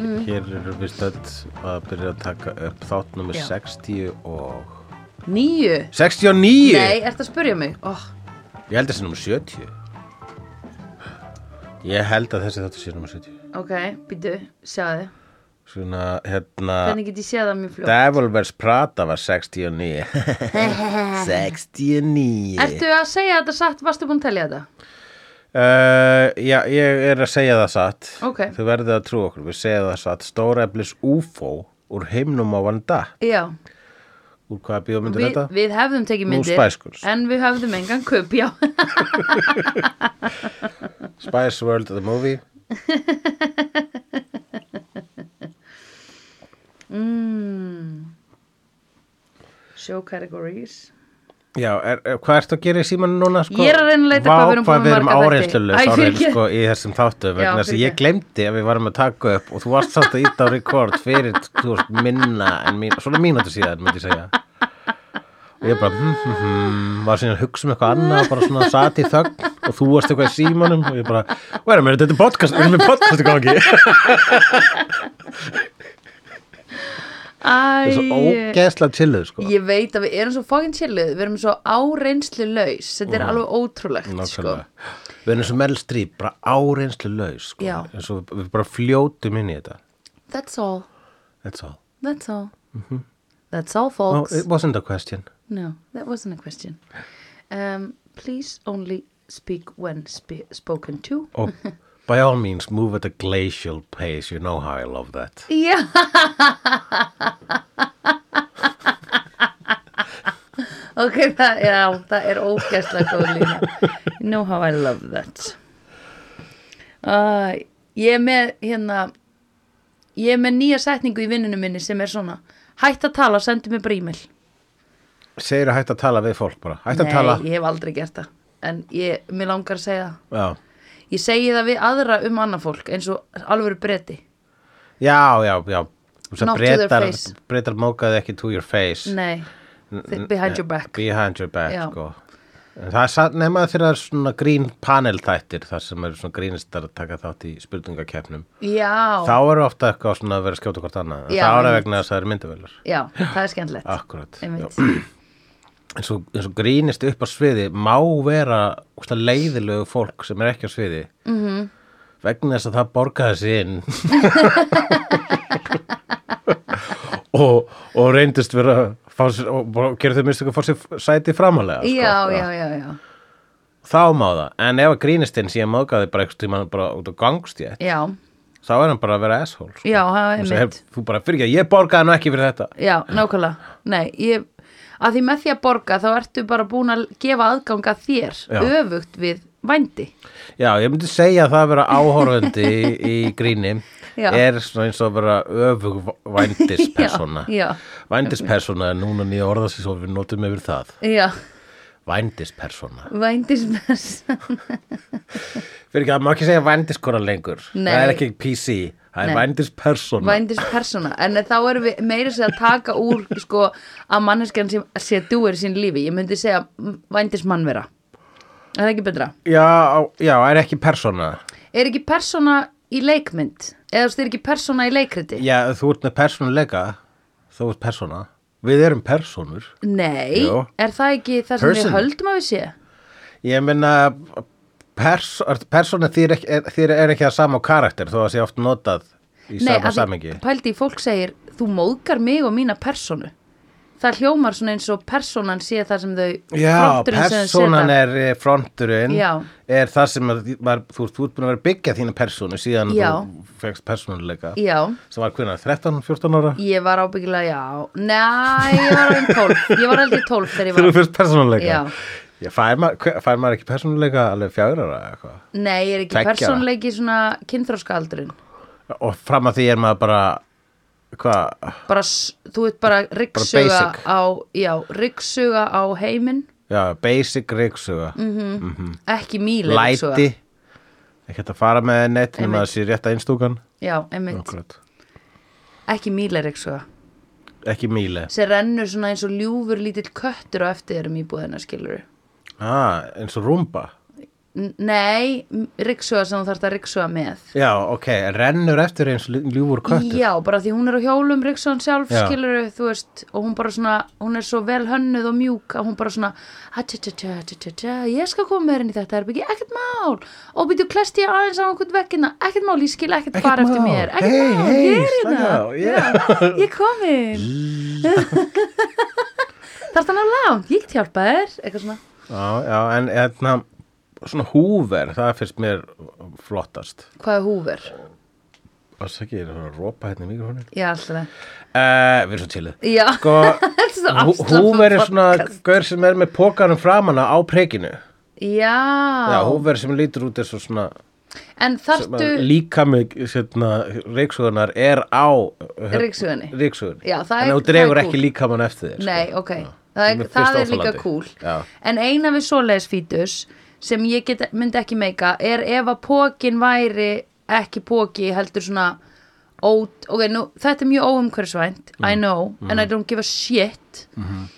Mm. erum við stödd að byrja að taka upp þátt nummer Já. 60 og... Nýju? 69? Nei, ertu að spyrja mig? Oh, Ég held að þessi nummer 70. Ég held að þessi þáttu sé nummer 70. ok, býtu, sjáðu Svona, hérna... Hvernig get ég séð það mjög fljótt? Devil Wears Prada var 69. 69. Ertu að segja þetta satt, varstu búin að telja þetta? Uh, já, ég er að segja það satt Ok. Þau verðið að trú okkur, við segja það satt Stóreflis UFO úr heimnum á vanda Já, Úr hvaða bíómyndir við, þetta? við hefðum tekið Nú myndir Spice Girls. En við hefðum engan köp, já Spice World the Movie Mm. Show categories Já, er, er, hvað ertu að gera í símanu núna? Sko? Ég er að reyna að leita Vá, hvað við erum búin hvað með við erum marga áreinslulega þætti. Æ, Sárið fyrirgefðu. sko í þessum þáttu Já, vegna þess að ég fyrirgefðu. glemdi að við varum að taka upp og þú varst samt að íta á rekord fyrir þú veist, minna en mín, svona mínútu síðan myndi ég segja og ég bara hm, hm, hm, var síðan að hugsa um eitthvað annað bara svona sat í þögn og þú varst eitthvað í símanum og ég bara, verðum við þetta er podcast, við erum með podcast í gangi það Æ, er svo ógeðslega chilluð sko ég veit að við erum svo fókin chilluð Við erum svo áreinslu laus Þetta er alveg ótrúlegt, sko Mhm. Nákvæmlega. Við erum svo Meryl Streep, bara áreinslu laus sko. Já. eins og við bara fljótum inn í þetta That's all, That's all that's all Mhm. That's all, No, folks it wasn't a question No, that wasn't a question. Um, please only speak when spe spoken to. Oh, by all means, move at a glacial pace. You know how I love that. Já. ok, það, já, það er ógæslega góð lína. You know how I love that. Uh, ég er með, hérna, ég er með nýja setningu í vinnunum minni sem er svona, hætt að tala, sendu mér bara e-mail. Segir að hætta að tala við fólk bara. Hætta að Nei, tala. ég hef aldrei gert það. En ég, mér langar að segja það. Já. Ég segi það við aðra um annað fólk eins og alvöru breyti. já, já, já. Þú veist að Not to their breytar, face. breytar mókaði ekki to your face. Nei, þi- behind your back. Behind your back, Já. sko. En það er satt nema þegar það er svona grín paneltættir, þar sem eru svona grínistar að taka þátt í spurningakeppnum. Já, Þá eru ofta eitthvað svona að vera að skjóta hvort annað. En Já, það ára einmitt. vegna þess að það eru myndavelar. já, það er skemmtilegt. Akkurat. Já. Einmitt. eins og, eins og grínist upp á sviði má vera úst, leiðilegu fólk sem er ekki á sviði mm -hmm. Mhm. vegna þess að það borgaði sig inn og, og reyndist vera að fá sér, og bara gera þau mistök að fá sér sæti framalega Já, já, já, já. þá má það, en ef að grínistinn sé að móðgæði bara eitthvað tíma bara út á gangstjætt Já, þá er hann bara að vera asshole sko. já, Þess að, það er mitt. "Heyrðu, þú bara fyrir ekki, ég borgaði nú ekki fyrir þetta Já, nákvæmlega. Nei, ég, að því með því að borga þá ertu bara búin að gefa aðganga þér Já. öfugt við vændi. Já, ég myndi segja að það að vera áhorfandi í, í gríni Já. er svona eins og að vera öfug vændispersona. Já, já. Vændispersona er núna nýja orðasins og við notum yfir það. Já, Vændispersona. vændismess. Fyrir ekki, það má ekki segja vændiskona lengur. Nei. Það er ekki PC, það Nei. er vændispersona. vændispersona en þá erum við meira sér að taka úr sko, að manneskjan sé, sé dúir sín lífi ég myndi segja vændismannvera er það ekki betra? Já, á- já, er ekki persona. er ekki persona í leikmynd? eða þú veist, er ekki persona í leikriti? Já, þú ert með personuleika, þú ert persona. Við erum personur. nei, Jú. er það ekki það sem Person. við höldum að við sé? Ég meina pers, persóna þýr, ekki- þýr er ekki það sama á karakter þó að sé oft notað í nei, sama af samingi pældi fólk segir þú móðgar mig og mína personu það hljómar svona eins og personan sé það sem þau Já, fronturinn sem þau persónan setja. er eh, fronturinn Já. er það sem að, var, þú, ert- þú ert búin að vera að byggja þína persónu síðan Já. þú fegst persónuleika já sem var hvernig 13, 14 ára Ég var ábyggilega, já. Nei, ég var alveg 12. Ég var alveg 12 þegar ég þegar þú var. fyrst persónuleika Já. Ég fær, ma hver- fær maður ekki persónuleika alveg fjögur ára eða eitthvað Nei, ég er ekki Tveggja. persónleiki svona kynþróskaaldurinn. og fram að því er maður bara hvað, Bara, s- þú ert bara ryggsuga basic. á, já, ryggsuga á heiminn, já, basic Mm. reiksuga ekki mýli læti ekki hægt að fara með neitt nema að sé rétt að einstúkan Já, einmitt. Akkurat. Ekki mýli ryggsuga. ekki mýle Sem rennur svona eins og um ljúfur lítill köttur á eftir þeirrum í búðina, skilur ah, eins og rúmba N- Nei, riksuga sem þú þarft að riksuga með Já, ok, rennur eftir eins ljúfur köttur Já, bara því hún er á hjólum Rikson sjálf Já. skilur þú veist og hún bara svona, hún er svo vel hönnuð og mjúk að hún bara svona "Ha-tja-tja-tja, tja-tja-tja, ég skal koma með henni í þetta er ekki ekkert mál og býtu klest ég aðeins á einhvern vekkina ekkert mál, ég skil ekkert Ekkert fara eftir mál. mér ekkert Hey, mál, hey, ég er hérna slaka á, Já, ég er komin þarf það ná langt, ég get hjálpa þér eitthvað svona Já, já, en hérna svona húver, það finnst mér flottast hvað er húfur? Það sé ekki, ég er að ropa hérna í mikrofónu Já, alltaf uh, Við erum svo tilið Já, Sko, þetta er svo hú- afslöppun húver er svona podcast. gaur sem er með pókarum framanna á prekinu Já, Já, húver sem lítur út eins og svona en þarftu líka með hérna, reyksugunar er á Ryksugunni. reyksugunni. Já, það en er- þú dregur það er ekki cool. líkamann eftir þér sko. Nei, ok, Já. það er, Mér það finnst er líka óþolandi. cool Já. En eina við svoleiðis fítus sem ég get, myndi ekki meika er ef að pókin væri ekki póki heldur svona ót, ok, nú, þetta er mjög óumhverfisvænt I know, and I don't give a shit mm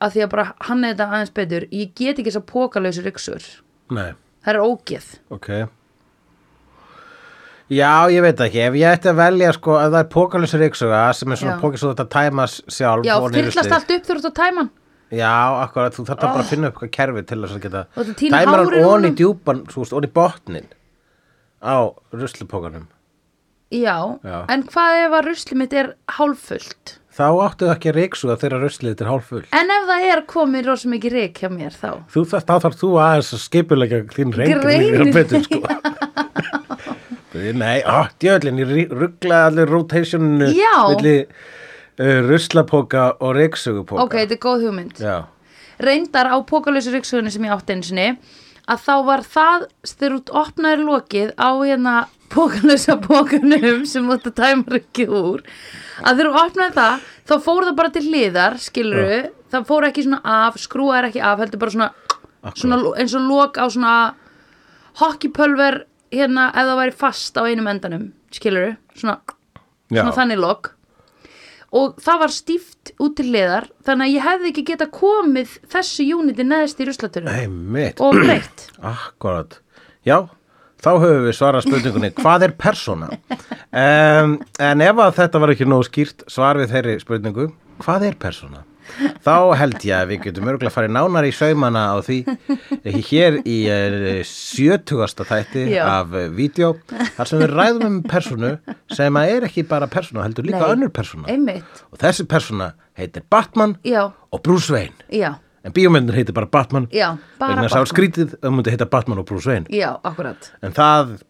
að því að bara hann er þetta aðeins betur ég get ekki þess að pókalausu ryksur Nei, það er ógeð ok Já, ég veit ekki, ef ég ætti að velja sko að það er pókalins reyksuga sem er svona Já. pókis og þetta tæmas sjálf Já, ofan í fyrtlast ruslið. allt upp þurft á tæman Já, akkurat, þú þarf bara að finna upp eitthvað kerfi til þess að geta Og þú tínir Tæmar hann hárið onni úr honum. djúpan, svo veist, onni botnin á ruslupókanum Já, Já. en hvað ef að ruslið mitt er hálffullt? Þá áttu það ekki að reyksuga þegar ruslið þetta er hálffull En ef það er komið rosa mikið reik hjá mér þá Þú þarf, þá þarf þú aðeins að skipulega þín reynir Greiningu. betur sko. Nei, ó, djöðlin, ég rugglaði allir rotationinu Já. milli uh, ruslapóka og reyksugupóka. Ok, þetta er góð hugmynd Já, Reyndar á pókalösu reiksugunni sem ég átti einu sinni að þá var það þegar út opnaðir lokið á hérna pókalösa pókanum sem þú þetta tæmar ekki úr að þegar þú opnaðir það þá fór það bara til hliðar, skiluru það fór ekki svona af, skrúaðir ekki af heldur bara svona, svona lo- eins og lok á svona hockeypölver hérna ef það væri fast á einum endanum, skiluru svona já, svona þannig lok og það var stíft út til hliðar þannig að ég hefði ekki geta komið þessu júniti neðst í ruslatunum einmitt, og breytt akkurat. Já, þá höfum við svarað spurningunni, hvað er persóna? Um, en ef að þetta var ekki nóg skýrt, svar við þeirri spurningu, hvað er persóna? Þá held ég að við getum örgulega farið nánar í saumana á því hér í eh, sjötugasta þætti Já. af eh, vídeo þar sem við ræðum um persónu sem að er ekki bara persóna, heldur líka Nei. önnur persóna. einmitt, Og þessi persóna heitir Batman já, og Bruce Wayne. já, En bíómyndin heitir bara Batman já vegna þess að bara það bara, var skrítið að hún myndi heita Batman og Bruce Wayne já, akkurat en það,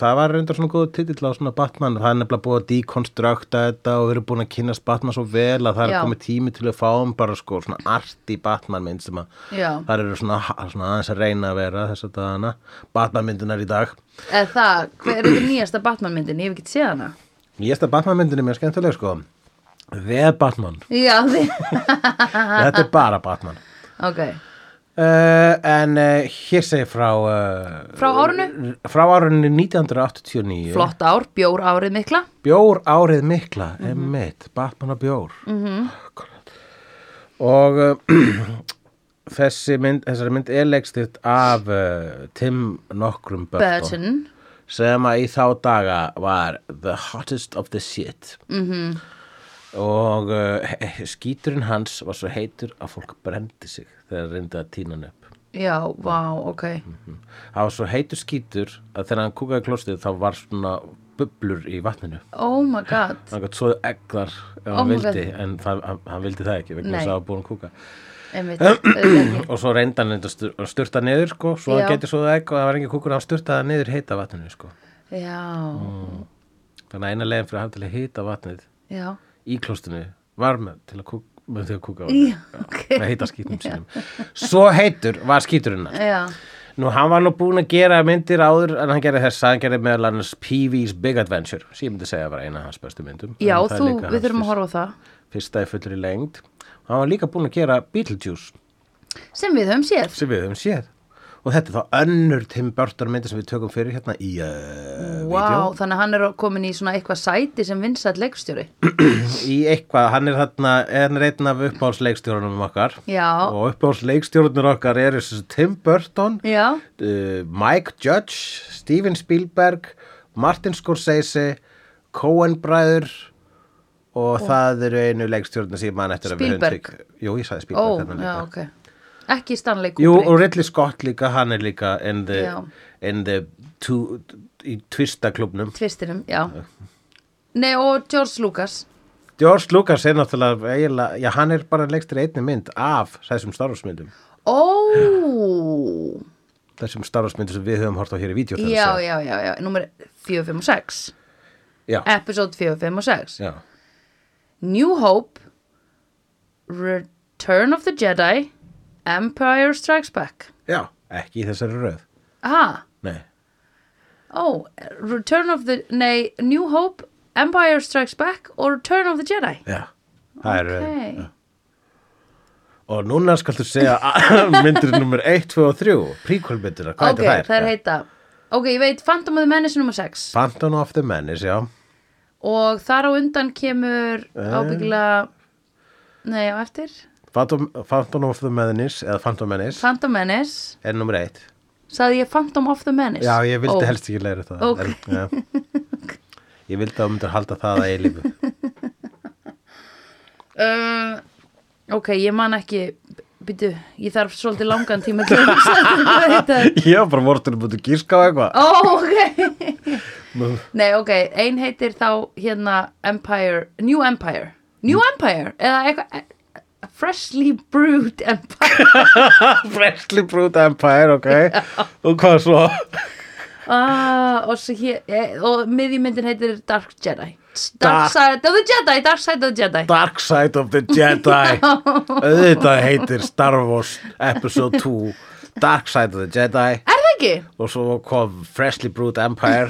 það var reyndar svona góð titill á svona Batman, það er nefnilega búið að dekonstrukta þetta og við erum búin að kynast Batman svo vel að það Já. er komið tími til að fáum bara sko svona arti Batman mynd sem að Já. það eru svona, svona aðeins að reyna að vera þess að dagana, Batman myndunar í dag eða það, hver er þetta nýjasta Batman myndin ég hef ekki séð hana nýjasta Batman myndin er mjög skemmtileg sko The Batman, já, því, þetta er bara Batman ok, Uh, en uh, hér segir frá uh, Frá árinu? Frá árunni 1989 flott Mhm. ár, bjór árið mikla Bjór árið mikla, emmitt, Batman og bjór. Mm Mhm. -hmm. Og uh, þessi mynd, þessari mynd er leikstitt af uh, Tim nokkrum Burton, Burton, sem að í þá daga var the hottest of the shit. Mm Mhm. -hmm. Og uh, he- he- skíturinn hans var svo heitur að fólk brendi sig þegar reyndi að tína hann upp. já, vá, ok Það var svo heitur skítur að þegar hann kúkaði í klostið þá var svona bublur í vatninu. oh my god, hann gætt svoðu eggar ef Oh hann my vildi, en það, hann, hann vildi það ekki vegna Nei. þess að það var búin að kúka einmitt auðvitað ekki. og svo reyndi hann reyndi að stu- að sturta niður sko, svo Já. hann geti svoðu egg og það var engin kúkur hann sturtaði það niður heita vatninu sko. Mm. já, þannig að eina leiðin fyrir að hafa til að heita vatnið já, í klostinu var með til að kúka, með því að kúka á vatninu, já, ok með heita skýtum sínum svo heitur var skýturinn hans já, Nú, hann var nú búinn að gera myndir áður en hann gerði þessa, hann gerði meðal annars PV's Big Adventure, sem ég myndi segja var eina af hans bestu myndum. já En það er þú, líka hans við þurfum fyrsta- að horfa á það fyrsta í fullri lengd hann var líka búinn að gera Beetlejuice sem við höfum séð sem við höfum séð og þetta er þá önnur Tim Burton myndi sem við tökum fyrir hérna í uh, Vá, þannig að hann er komin í svona eitthvað sæti sem vinsat leikstjóri í eitthvað, hann er þarna hann er einn af uppáhaldsleikstjórunum okkar Já. og uppáhaldsleikstjórunum okkar eru sem sagt Tim Burton Já, uh, Mike Judge Steven Spielberg Martin Scorsese Coen bræður og það eru einu leikstjórunum sem ég man eftir Spielberg. að við höfum tek- Jú, ég sagði ó, Spielberg þarna já, líka. ok Ekki Stanley Jú, og Kubrick Ridley Scott líka, hann er líka in the, Já. in the two, í tvistaklubnum Tvistinum, já Nei, og George Lucas George Lucas er náttúrulega eiginlega, já hann er bara leikstir einni mynd af þessum starfsmyndum Ó, þessum starfsmyndum sem við höfum hort á hér í vídeo já, já, já, já Númer 4, 5 og 6 já, Episode 4, 5 og 6 já, New Hope Return of the Jedi Empire Strikes Back já, ekki í þessari röð Aha, nei, ó, Oh, Return of the Nei, New Hope, Empire Strikes Back og Return of the Jedi já, það er röð Ok, og núna skaltu segja myndir nummer 1, 2 og 3 prequel myndir, hvað ok, heitir þær? það er heita Ok, ég veit Phantom of the Menace nummer 6 Phantom of the Menace, já og þar á undan kemur Eh. ábyggilega Nei, á eftir Phantom, Phantom of the Menace eða Phantom Menace Phantom Menace, er nummer 1 sagði ég Phantom of the Menace Já, ég vildi Ó, helst ekki leira það Ok. en, já. Ég vildi að þú myndir halda það að eilífu Um, ok, ég man ekki Býtu, ég þarf svolítið langan tíma til að hugsa þetta, hvað þetta er. Ég var bara vortur að búið að gíska á eitthvað Ó, ok Nei, ok, ein heitir þá hérna Empire, New Empire New Empire, eða eitthvað eh, Freshly Brewed Empire Freshly Brewed Empire, ok Og hvað svo? ah, og, svo hér, eh, og miðjumyndin heitir Dark Jedi Dark- Dark Side of the Jedi, Dark Side of the Jedi Dark Side of the Jedi Auðvitað heitir Star Wars Episode 2 Dark Side of the Jedi Er það ekki? Og svo kom Freshly Brewed Empire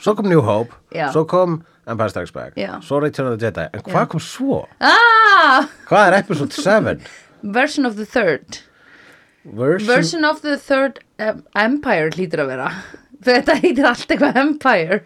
Svo kom New Hope Já. Svo kom Empire Strikes Back Já. Svo Return of the Jedi En hvað kom svo? Ah, Hvað er Episode 7? version of the third Version Version of the Third um, Empire hlýtur að vera Þetta heitir allt eitthvað Empire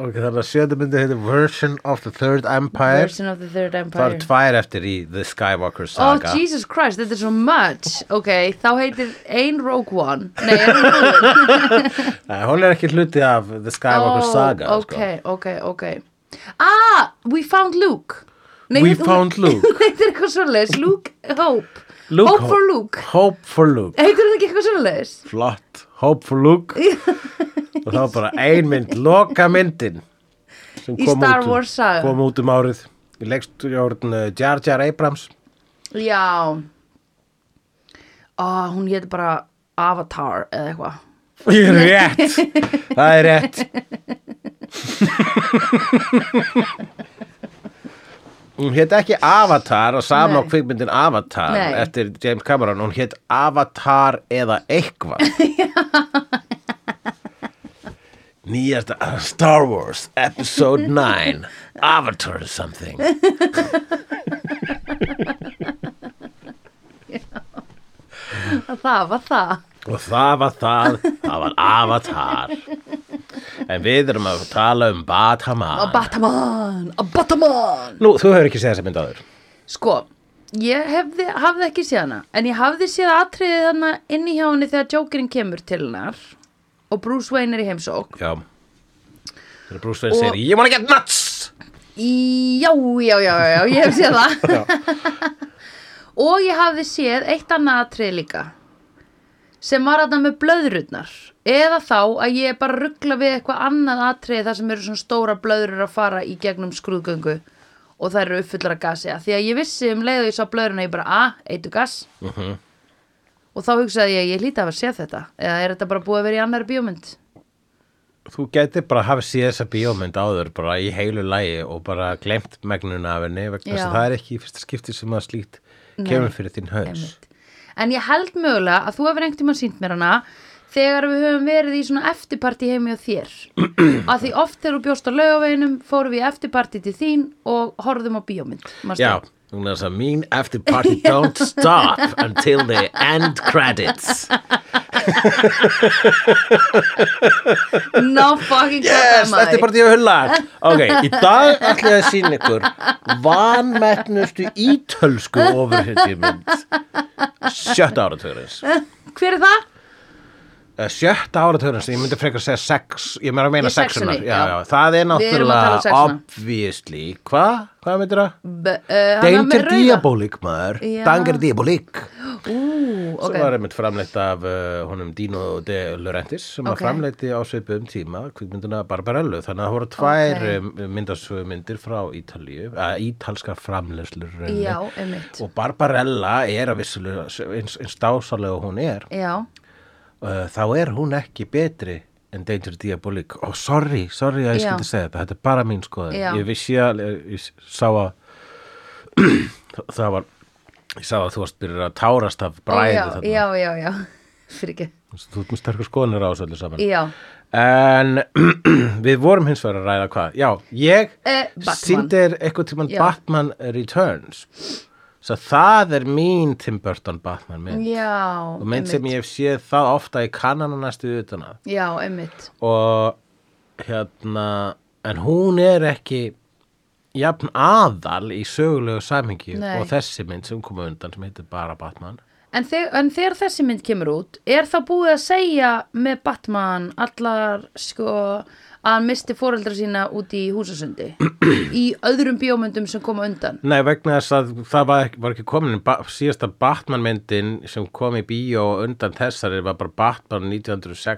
Ok, þannig að sjöðu myndi heitir Version of the Third Empire Version of the Third Það eru Empire tvær eftir í The Skywalker Oh saga Jesus Christ, þetta er svo much Ok, þá heitir ein Rogue One Nei, er hún Rogue One? Nei, Eh, hún er ekki hluti af The Skywalker Oh, saga sko. Ok, ok, ok Ah, We Found Luke Nei, We hún- Found Luke. Heitir eitthvað svoleiðis, Luke Hope Luke Hope for Hope. Luke sko. Hope for Luke Heitir þetta ekki eitthvað svoleiðis? Flott, Hope for Luke Og það var bara ein mynd, loka myndin sem Í kom Star út um- Wars saga. Kom út um árið Í leikstjórn uh, Jar Jar Abrams Já Ah, hún heitir bara Avatar eða eitthvað Ég er rétt, það er rétt Hún hétt ekki Avatar og sama á Nei. kvikmyndin Avatar Nei. eftir James Cameron, hún hétt Avatar eða eitthvað Nýjasta uh, Star Wars Episode 9 Avatar something Það var það og það var það, það var Avatar En við erum að tala um Bataman A Bataman, a Bataman Nú, þú hefur ekki séð þessa mynd áður Sko, ég hefði, hafði ekki séð hana En ég hafði séð atriðið hana inn í hjá henni þegar Jokerinn kemur til hennar Og Bruce Wayne er í heimsók Já Þegar Bruce Wayne segir Ég wanna get nuts Já, já, já, já, já, ég hef séð það Og ég hafði séð eitt annað atrið líka Sem var þarna með blöðrurnar Eða þá að ég bara ruggla við eitthvað annað atrið þar sem eru svona stóra blöðrur að fara í gegnum skrúðgöngu Og það eru uppfullar að gasi af Því að ég vissi um leið og ég sá blöðruna ég bara A, eitu gas Og þá hugsaði ég, ég hlýta að hafa séð þetta Eða er þetta bara búið að vera í annar bíómynd? Þú getur bara hafa séð þessa bíómynd áður bara í heilu lægi og bara glemt megnuna af henni vegna þess Já. að það er ekki í fyrsta skipti sem að slíkt kemur fyrir þín haus Einmitt. En ég held mögulega að þú hefur einhvern tímann sínt mér hana þegar við höfum verið í svona eftirparti heimi og þér. að því oft þegar þú bjóst á laugaveginum fórum við í eftirparti til þín og horfðum á bíómynd. manstu? Já, hún er þess að mín after party don't stop until the end credits No fucking Yes, þetta er maður. bara því að hulla Ok, í dag ætla ég að sína ykkur vanmetnustu ítölsku ofurhetjumynd sjötta áratugurins Hver er það? Eh, sjötta áratugurins, ég myndi frekar segja sex ég meira að meina Í sexunni, sexunar já, já. já, það er Við erum að tala um náttúrulega sexuna. obviously, hvað, hvað myndir það? B uh, Danger Diabolik maður Já. Danger Diabolik Ú, ok. sem var einmitt framleitt af uh, honum Dino de Laurentiis sem Ok. var framleitti á svipum tíma kvikmynduna Barbarello þannig að það voru tvær Ok. okay. myndasögumyndir frá Ítalíu uh, ítalska framleiðslur rauninni. Já, einmitt. og Barbarella er að vissulega eins, eins dásalega og hún er Já, uh, þá er hún ekki betri en Danger Diabolik og sorry, sorry að ég Já. skildi segja þetta þetta er bara mín skoðin Já. ég vissi að, eh, ég sá að það var ég sá að þú varst byrjur að tárast af bræði já, þarna. já, já, já. Fyrir ekki. Þú ert með sterkur skoðanir á þessu öllu saman. Já. En við vorum hins vegar að ræða hvað. Já, ég Eh, Batman. sýndir eitthvað tímann Já. Batman Returns. Svo það er mín Tim Burton Batman mynd. Já, og mynd sem ég hef séð það ofta í kannana næstu utan að. Já, einmitt. Og hérna, en hún er ekki jafn aðal í sögulegu samhengi Nei. og þessi mynd sem kom á undan sem heitir bara Batman. En, þeg, en þegar þessi mynd kemur út, er þá búið að segja með Batman allar sko að hann misti foreldra sína út í húsasundi í öðrum bjómyndum sem koma undan. Nei, vegna þess að það var ekki, var ekki komin ba síðasta Batman myndin sem kom í bíó undan þessari var bara Batman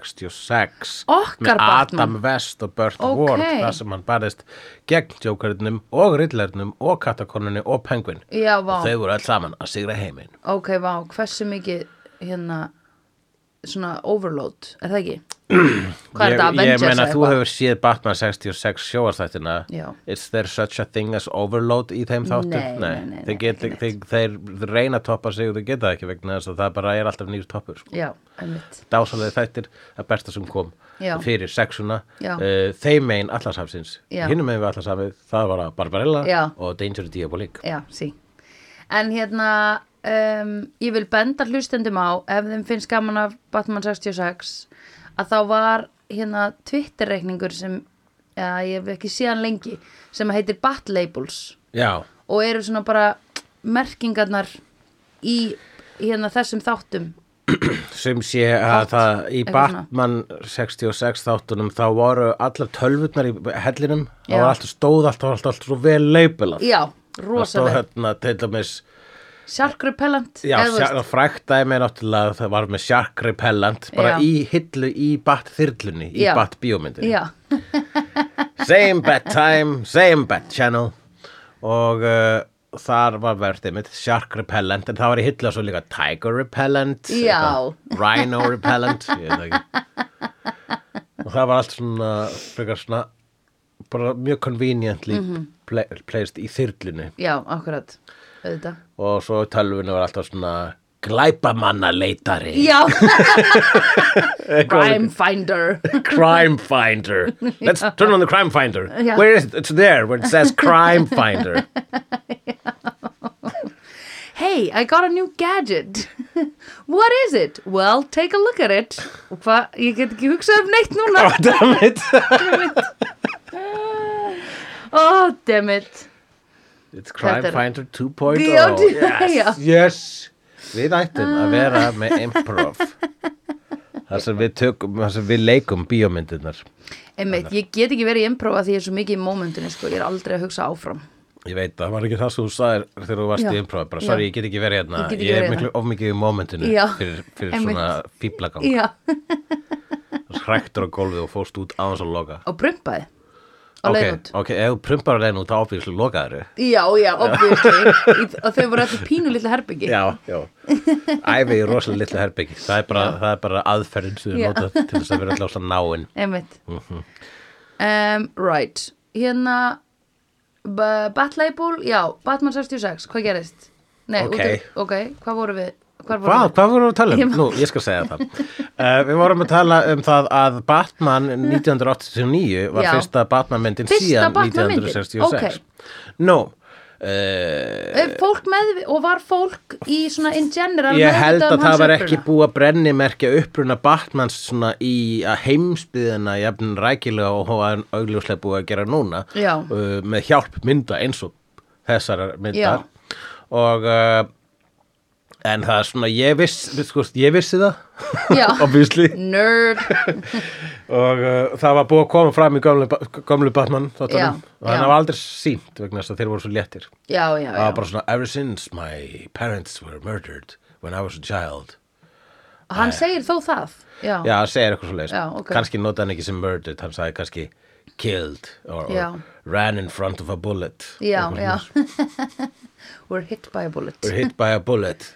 1966 Okkar með Batman. Adam West og Burt Ókei. Ward þar sem hann barðist gegn Jokerinnum og Riddlernum og Katakonunni og Penguin Já, og vá, þau voru alls saman að sigra heiminn ok, vá, hversu mikið hérna svona overload, er það ekki? Hvað er Ég, þetta, Avengers ég meina þú eða eitthvað? hefur séð Batman 66 sjóastættina Já. Is there such a thing as overload í þeim þáttum? Nei, nei, nei, þeir, nei, get, ekki þeir, þeir reyna að toppa sig og þeir geta það ekki vegna þess að það bara er alltaf nýr toppur sko. Já, einmitt. dásalega þættir að besta sem kom Já. fyrir sexuna Já. uh, þeim megin allarshafsins Já. hinum megin við allarshafið, það var að Barbarella Já. og Danger Diabolik Já, sí. En hérna, um, ég vil benda hlustendum á, ef þeim finnst gaman af Batman 66, að þá var hérna Twitter-reikningur sem, já, ég hef ekki síðan lengi, sem heitir Batlabels já, og eru svona bara merkingarnar í hérna þessum þáttum. sem sé að það í eitthvað svona. Batman 66 þáttunum þá voru allar tölvurnar í hellinum Já. það var alltaf stóð alltaf, alltaf, alltaf svo vel leipilað Já, það stóð rosalega. hérna til dæmis Shark Repellent, Já, eða þú veist. sjá- fræktaði mig náttúrulega að það var með shark repellent bara Já. í hillu í bat-þyrlunni, í Já. bat-bíómyndinni Já, same bat time, same bat channel og uh, þar var verðið mitt shark repellent en það var í hillu og svo líka tiger repellent Já. eitthvað, rhino repellent ég veit það ekki og það var allt svona frekar svona bara mjög conveniently Mhm. pla placed í þyrlunni já, akkurat, auðvitað. og svo tölvunni var alltaf svona glæpamanna leitari Já, Crime Finder. crime finder let's turn on the crime finder Já. where is it? it's there where it says crime finder Hey, I got a new gadget. What is it? Well, take a look at it. Og Hvað, ég get ekki hugsað um neitt núna. oh damn it Oh, damn it. It's Crime Þetta er- Finder 2.0 Bjóti- Já. yes, yes Við ættum að vera með improv þar sem við tökum þar sem við leikum bíómyndirnar Einmitt, ég get ekki verið í improv að því ég er svo mikið í momentinu, sko. Ég er aldrei að hugsa áfram. Ég veit það, var ekki það sem þú sagðir þegar þú varst Já. í improv bara, Já. sorry, ég get ekki verið hérna Ég Ég, get ekki er verið miklu of mikið í momentinu Já. fyrir, fyrir Einmitt. svona fíblagang Já. hræktur á gólfið og fórst út aðeins að loka Og brumpaði. Og Ok, leið út. ok, ef þú prumpar að leiðin út þá áfélslu lokaður Já, já, obviously. Í- og þau voru allir pínu litla herbyggi. Já, já Æfi í rosalega litlu herbyggi Það er bara, það er bara aðferðin sem við Já. nota til þess að vera alltaf svona náinn Einmitt. Mhm. um, right. Hérna, b- Batlabel, já, Batman 66, hvað gerist? Nei, Ok. út af, ok, hvað voru við? Hvar voru Hvað, við? hvað vorum við að tala um? Ég man- Nú, ég skal segja það. Uh, við vorum að tala um það að Batman 1989 var Já. fyrsta Batman myndin Fyrsta síðan Batman myndin, 1966. Nú, uh, Er Eh, fólk meðvitað og var fólk í svona in general ég held meðvitað að um það hans var uppruna? ekki búið að brennimerkja uppruna Batmans svona í að heimsbyðina jafn rækilega og hvað hann augljóslega búið að gera núna Já. uh, með hjálp mynda eins og þessar myndar Já. og uh, en það er svona ég, viss, sko, ég vissi það Já. Mm. obviously nerd og uh, það var búið að koma fram í gömlu, Ba- gömlu Batman þáttunum Já, og hann já. var aldrei sínt vegna þess að þeir voru svo léttir já, já, það já. var bara svona ever since my parents were murdered when I was a child hann segir þó það já, Já, hann segir eitthvað svo leiðis Já, ok. Kanski nota hann ekki sem murdered, hann sagði kannski killed or, Já. or ran in front of a bullet já, Eitthvað já. svoleiðis. we're hit by a bullet Or hit by a bullet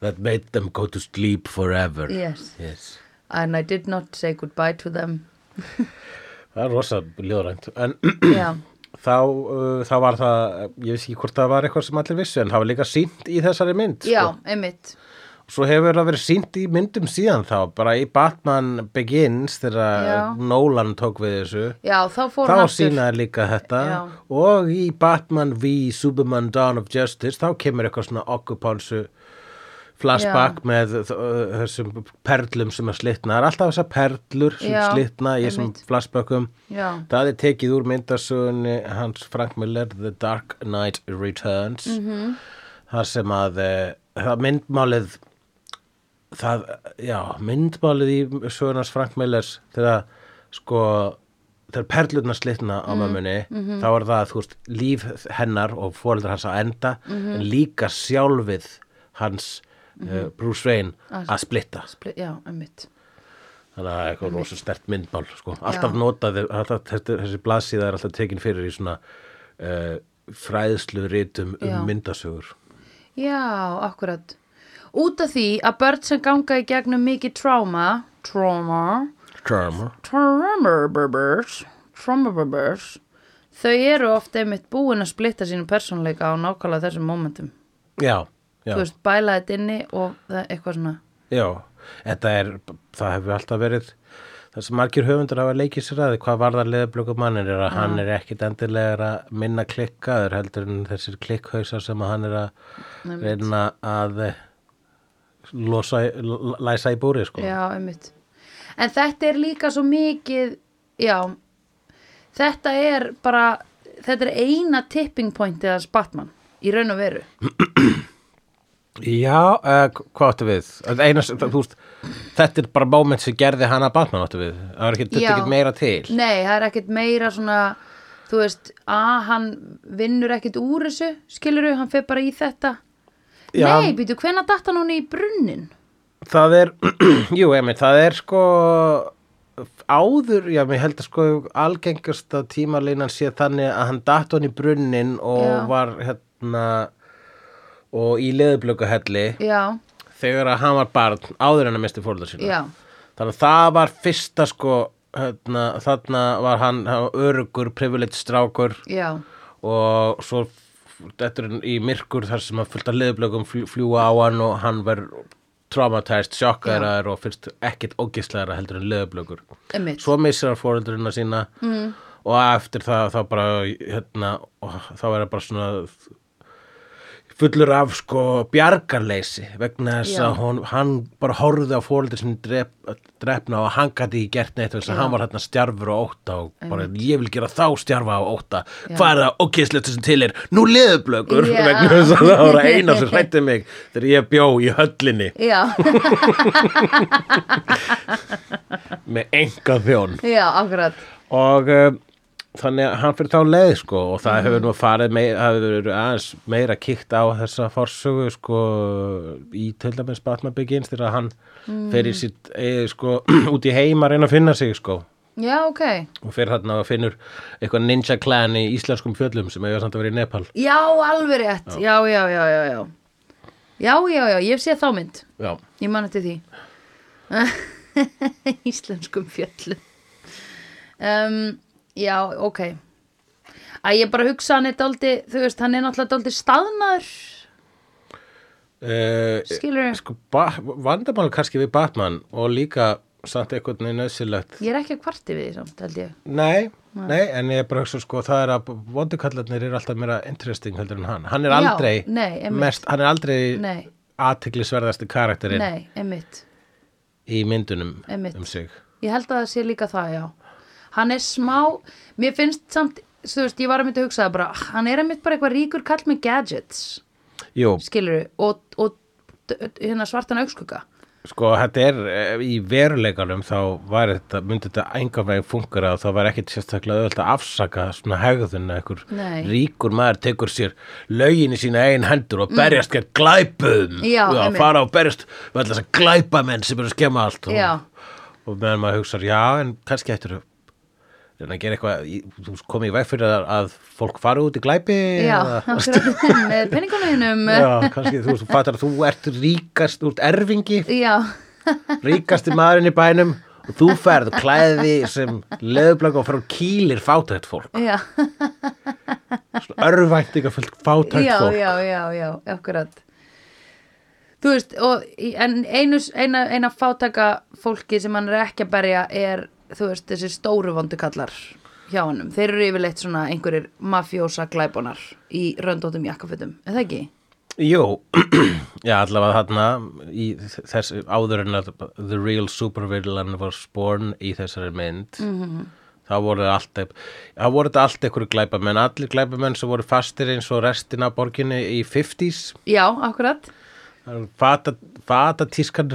that made them go to sleep forever Mhm. Yes. yes. and I did not say goodbye to them Það er rosa ljóðrænt En já, þá, uh, þá var það, ég veist ekki hvort það var eitthvað sem allir vissu En það var líka sínt í þessari mynd sko. já, einmitt Svo hefur það verið sínt í myndum síðan þá Bara í Batman Begins Já. þegar Nolan tók við þessu já, þá fór þá hann aftur sínaði líka þetta Já. og í Batman v Superman Dawn of Justice þá kemur eitthvað svona okkupálsu flashback með uh, þessum perlum sem að slitna það er alltaf þessar perlur sem Já, slitna í þessum einmitt. flashbackum Já. það er tekið úr myndasögunni hans Frank Miller The Dark Knight Returns -hmm. Mhm. þar sem að eh, það myndmálið það, já, myndmálið í sögunars Frank Millers þegar sko þegar perlurnar slitna Mhm, á mömmunni þá er það, þú veist, líf hennar og fóreldrar hans að enda Mhm. en líka sjálfið hans uh, Bruce Wayne Að- að splitta Spli- já, einmitt þannig að það er eitthvað rosa stert myndmál sko. alltaf notaði, alltaf, þessi, þessi blaðsíða er alltaf tekin fyrir í svona uh, fræðslu ritum um Já. myndasögur Já, akkurat. Út af því að börn sem ganga í gegnum mikið tráma, tráma, Charmer trámaburburs, trámaburburs, þau eru oft einmitt búin að splitta sínum persónleika á nákvæmlega þessum momentum. já, já. Þú veist, bæla þetta inni og það er eitthvað svona, Já, þetta er, það hefur alltaf verið, það sem margir höfundur hafa leikið sér að því hvað varðar leðublöku mannir er að hann er ekkit endilega að minna klikkaður heldur en þessir klikkhausar sem að hann er að reyna að eh, losa, í- l- læsa í búri sko. já, einmitt. En þetta er líka svo mikið, já, þetta er bara, þetta er eina tipping pointið að Batman í raun og veru. Já, uh, hvað áttu við? Einas, þú veist, þetta er bara moment sem gerði hann að Batman áttu við. Það er ekki, þetta er Já. ekkit meira til. Nei, það er ekkert meira svona þú veist, að hann vinnur ekkert úr þessu, skilur hann fer bara í þetta Já. Nei, býtu, hvenær datt hann hún í brunnin? það er, jú, emi, það er sko áður, já, mér held að sko algengasta tímalínan sé þannig að hann datt hann í brunnin og Já. var hérna og í leðublökuhelli Já, þegar að hann var barn áður en að misti fórhaldar sína já, þannig að það var fyrsta sko hérna, þarna var hann, hann var örugur, privilegt strákur já og svo þetta er í myrkur þar sem að fullta leðublökum fljúa á hann og hann verður traumatæst, sjokkaðar og finnst ekkit ógislegaðara heldur en leðublökur Einmitt. svo missir hann fóreldurina sína mm. og eftir það þá bara hérna, og þá er það bara svona fullur af sko bjargarleysi vegna þess Já. að hún, hann bara horfði á fóreldur sem drep, drefna og hann gæti ekki gert neitt þess að hann var hérna stjarfur og óta og bara ég vil gera þá stjarfa og óta hvað er það ógeðslegt sem til er nú leðublökur Já. vegna þess að það var að eina sem hrætti mig þegar ég bjó í höllinni Já, með enga þjón já, akkurat og um, þannig að hann fyrir þá leið sko og það hefur nú farið meira, það hefur verið aðeins meira kíkt á þessa forsögu sko í til dæmis Batman Begins þegar hann mm. fer í sitt eða sko út í heim að reyna að finna sig sko Já, ok og fer þarna og finnur eitthvað ninja clan í íslenskum fjöllum sem hefur samt að vera í Nepal Já, alveg rétt, já, já, já, já Já, já, já, já, ég sé þá mynd Já, Ég man eftir því Íslenskum fjöllum um, Já, ok Æ, ég bara hugsa hann er daldi Þú veist, hann er náttúrulega daldi staðnaður uh, Skilur sko ba- vandamál kannski við Batman og líka samt eitthvað nöðsilegt Ég er ekki að kvarti við því samt, held ég Nei, Nei, en ég er bara að hugsa sko, það er að vondukallarnir eru alltaf meira interesting heldur en hann. Hann er Já, aldrei, nei, einmitt. mest, hann er aldrei Nei, aðtiklisverðasti karakterinn nei, einmitt í myndunum Einmitt. um sig. Ég held að það sé líka það, já. Hann er smá, mér finnst samt, þú veist, ég var að mynda að hugsa það bara, "Ah, hann er að mynda bara eitthvað ríkur kall með gadgets, Jú, skilur og, og d- d- hérna svartan augskugga. sko, þetta er eh, í veruleikanum þá var þetta, myndi þetta engan veginn fungera og það var ekkit sérstaklega auðvelt að afsaka svona hegðun að einhver Nei. ríkur maður tekur sér lögin í sína eigin hendur og berjast gegn glæpum Mm. Já, einmitt. fara og berjast með alltaf þess að glæpa menn sem eru að skemma allt og, Já. og meðan maður hugsar, já, en kannski eftir að gera eitthvað, í- þú komið í veg fyrir að, að fólk fara út í glæpi Já, eða- akkurat, með penningunum. já, kannski þú þú fattar að þú ert ríkast, þú ert erfingi Já, ríkasti maðurinn í bænum og þú ferð og klæði þig sem leðublag og frá kýlir fátækt fólk já, svona örvæntingafullt fátækt já, fólk já, já, já, akkurat. Þú veist, og, í- en einu, eina, eina fátaka fólki sem hann er ekki að berja er, þú veist, þessi stóru vondu kallar hjá hannum. Þeir eru yfirleitt svona einhverjir mafjósa glæbonar í röndóttum jakkafutum, er það ekki? Jú, já, allavega þarna í þess áður en að The Real Supervillan var sporn í þessari mynd Mhm. þá voru það alltaf þá voru þetta allt ekkur glæpamenn allir glæpamenn sem voru fastir eins og restina af borginni í 50s Já, akkurat. fata, fata tískan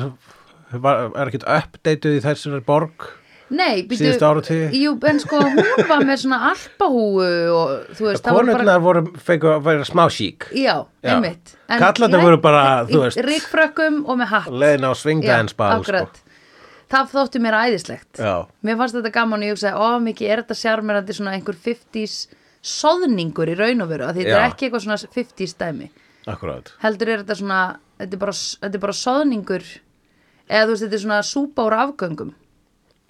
var, er ekkert uppdeituð í þessari borg Nei, býtu, Síðustu áratugi. Jú, en sko, hún var með svona alpahúu og þú veist, það var bara... Konurnar voru, fengu að vera smá sík Já, Já. einmitt. Kallarnir voru bara, þú veist- Ríkfrökkum og með hatt. leiðin á svingdæðinsbað akkurat. Það þótti mér æðislegt. sko. Já. Mér fannst þetta gaman og ég hugsaði, ó mikið er þetta sjármerandi svona einhver 50s soðningur í raun og veru, af því þetta er Já. ekki eitthvað svona 50s dæmi. Akkurát Heldur er þetta svona, þetta er bara, þetta er bara soðningur, eða þú veist, þetta er svona súpa úr afgöngum. Mhm.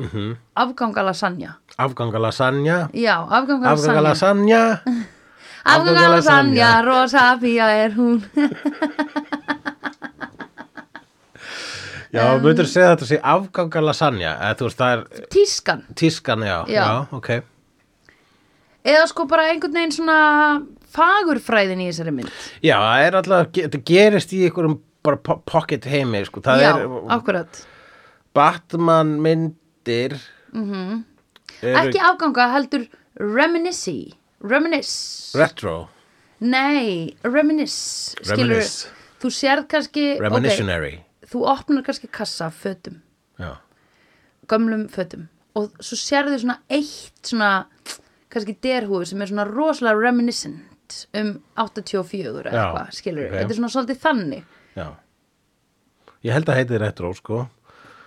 Mm -hmm. Afganga lasagna. Afganga lasagna Já, afganga lasagna. Afganga lasagna Afganga Afganga lasagna, lasagna. rosa fía er hún. Já, um, myndur segja þetta sé afganga lasagna eða þú veist það er Tískan. tískan, já Já. ok eða sko bara einhvern veginn svona fagurfræðin í þessari mynd Já, það er alltaf, þetta gerist í einhverjum bara po- pocket heimi, sko það já, er akkurat Batman myndir eru Mhm. ekki afganga heldur reminisci reminisce retro nei, reminisce skilur Reminisce. þú sérð kannski ok, Reminiscenary þú opnar kannski kassa af fötum Já, gömlum fötum og svo sérðu svona eitt svona kannski derhúfu sem er svona rosalega reminiscent um 84 Já, eða eitthvað skilur ok. þetta er svona svolítið þannig já Ég held að heiti retro, sko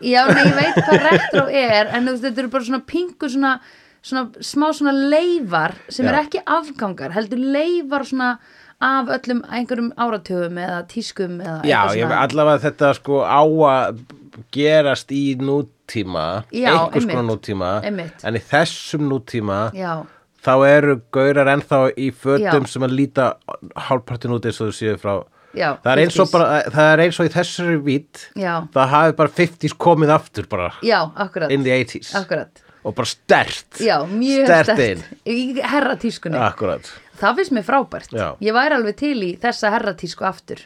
Já, nei, ég veit hvað retro er en þú veist, þetta eru bara svona pingu svona, svona smá svona leifar sem Já. er ekki afgangar, heldur leifar svona af öllum einhverjum áratugum eða tískum eða Já, eitthvað ég, svona. allavega þetta sko á að gerast í nútíma, Já, einhvers konar einmitt. nútíma, Einmitt. en í þessum nútíma Já, þá eru gaurar ennþá í fötum Já. sem að líta hálfpartin út eins og þú séu frá. já Það er, eins og 50s. bara, það er eins og í þessari vít, Já. það hafi bara 50s komið aftur bara Já, akkurat, in the 80s akkurat og bara stert, Já, mjög stert, stert inn. Í herratískunni Akkurat. Það finnst mér frábært Já. Ég væri alveg til í þessa herratísku aftur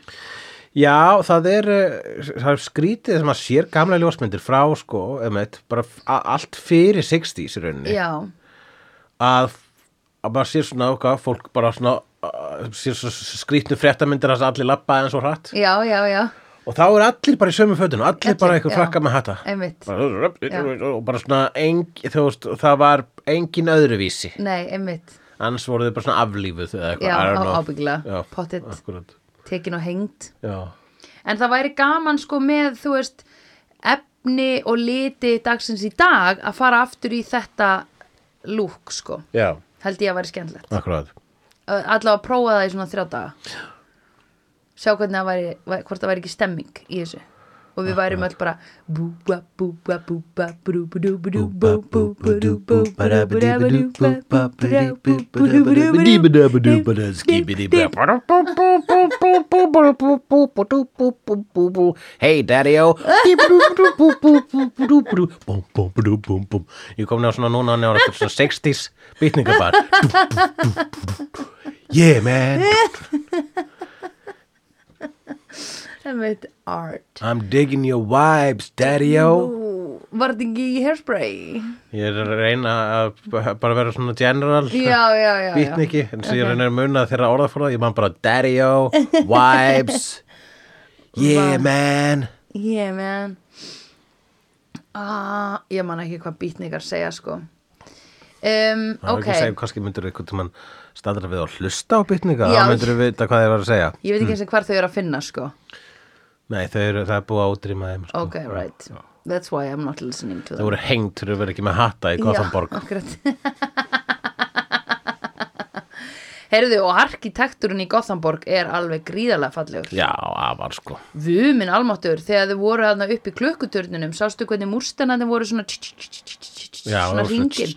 Já, það er, eh, það er skrítið sem að sér gamla ljósmyndir frá sko, emeit, bara f- a- allt fyrir 60s í rauninni Já, að, að maður sér svona okkar, fólk bara svona uh, sér svo skrítnu fréttamyndir þess að allir labba eins og hratt já, já, já og þá er allir bara í sömu fötunum, allir Allir, bara einhver já. frakka með hata Einmitt. bara, og bara svona engin, þú veist, það var engin öðruvísi Nei, einmitt annars voru þau bara svona aflífuð eða eitthvað, Já, I don't á- know. ábyggilega. Já, Pottet. akkurat. Tekin og hengd Já, En það væri gaman sko með, þú veist, efni og liti dagsins í dag að fara aftur í þetta lúk sko. já, Held ég að væri skemmtilegt. akkurat Alla að prófa það í svona þrjá daga. Sjá hvernig það væri, væ- hvort það væri ekki stemming í þessu. og við værum öll bara búba búba búba brú brú brú bú bú brú bú brú brú brú Hey daddy-o Ég kom nefn svona núna hann er svona 60s býtningabar Yeah man sem veit art I'm digging your vibes daddy-o Ú, var þetta ekki í hairspray? Ég er að reyna að bara vera svona general já, já, já, já. býtningi en svo ég reynir að muna þeirra orðaforða ég man bara daddy-o, vibes yeah man yeah man ah, ég man ekki hvað býtningar segja sko um, Það er ok ekki að segja, kannski myndur við einhvern tímann staldra við að hlusta á bytninga, Já. þá myndur við vita hvað þeir var að segja. ég veit ekki eins og hvar þau eru að finna sko Nei, þau eru, það er búið að útrýma þeim. Sko. ok, right that's why I'm not listening to Þau them voru hengt fyrir að vera ekki með hatta í Gothenburg. Já, akkurat Heyrðu, og arkitekturinn í Gothenburg er alveg gríðarlega fallegur. Já, afar sko. Vumin almáttur, þegar þau voru þarna upp í klukkuturninum, sástu hvernig múrstennandi voru svona tsk, tsk, tsk, tsk, tsk, tsk, Já, svona og svona ringin.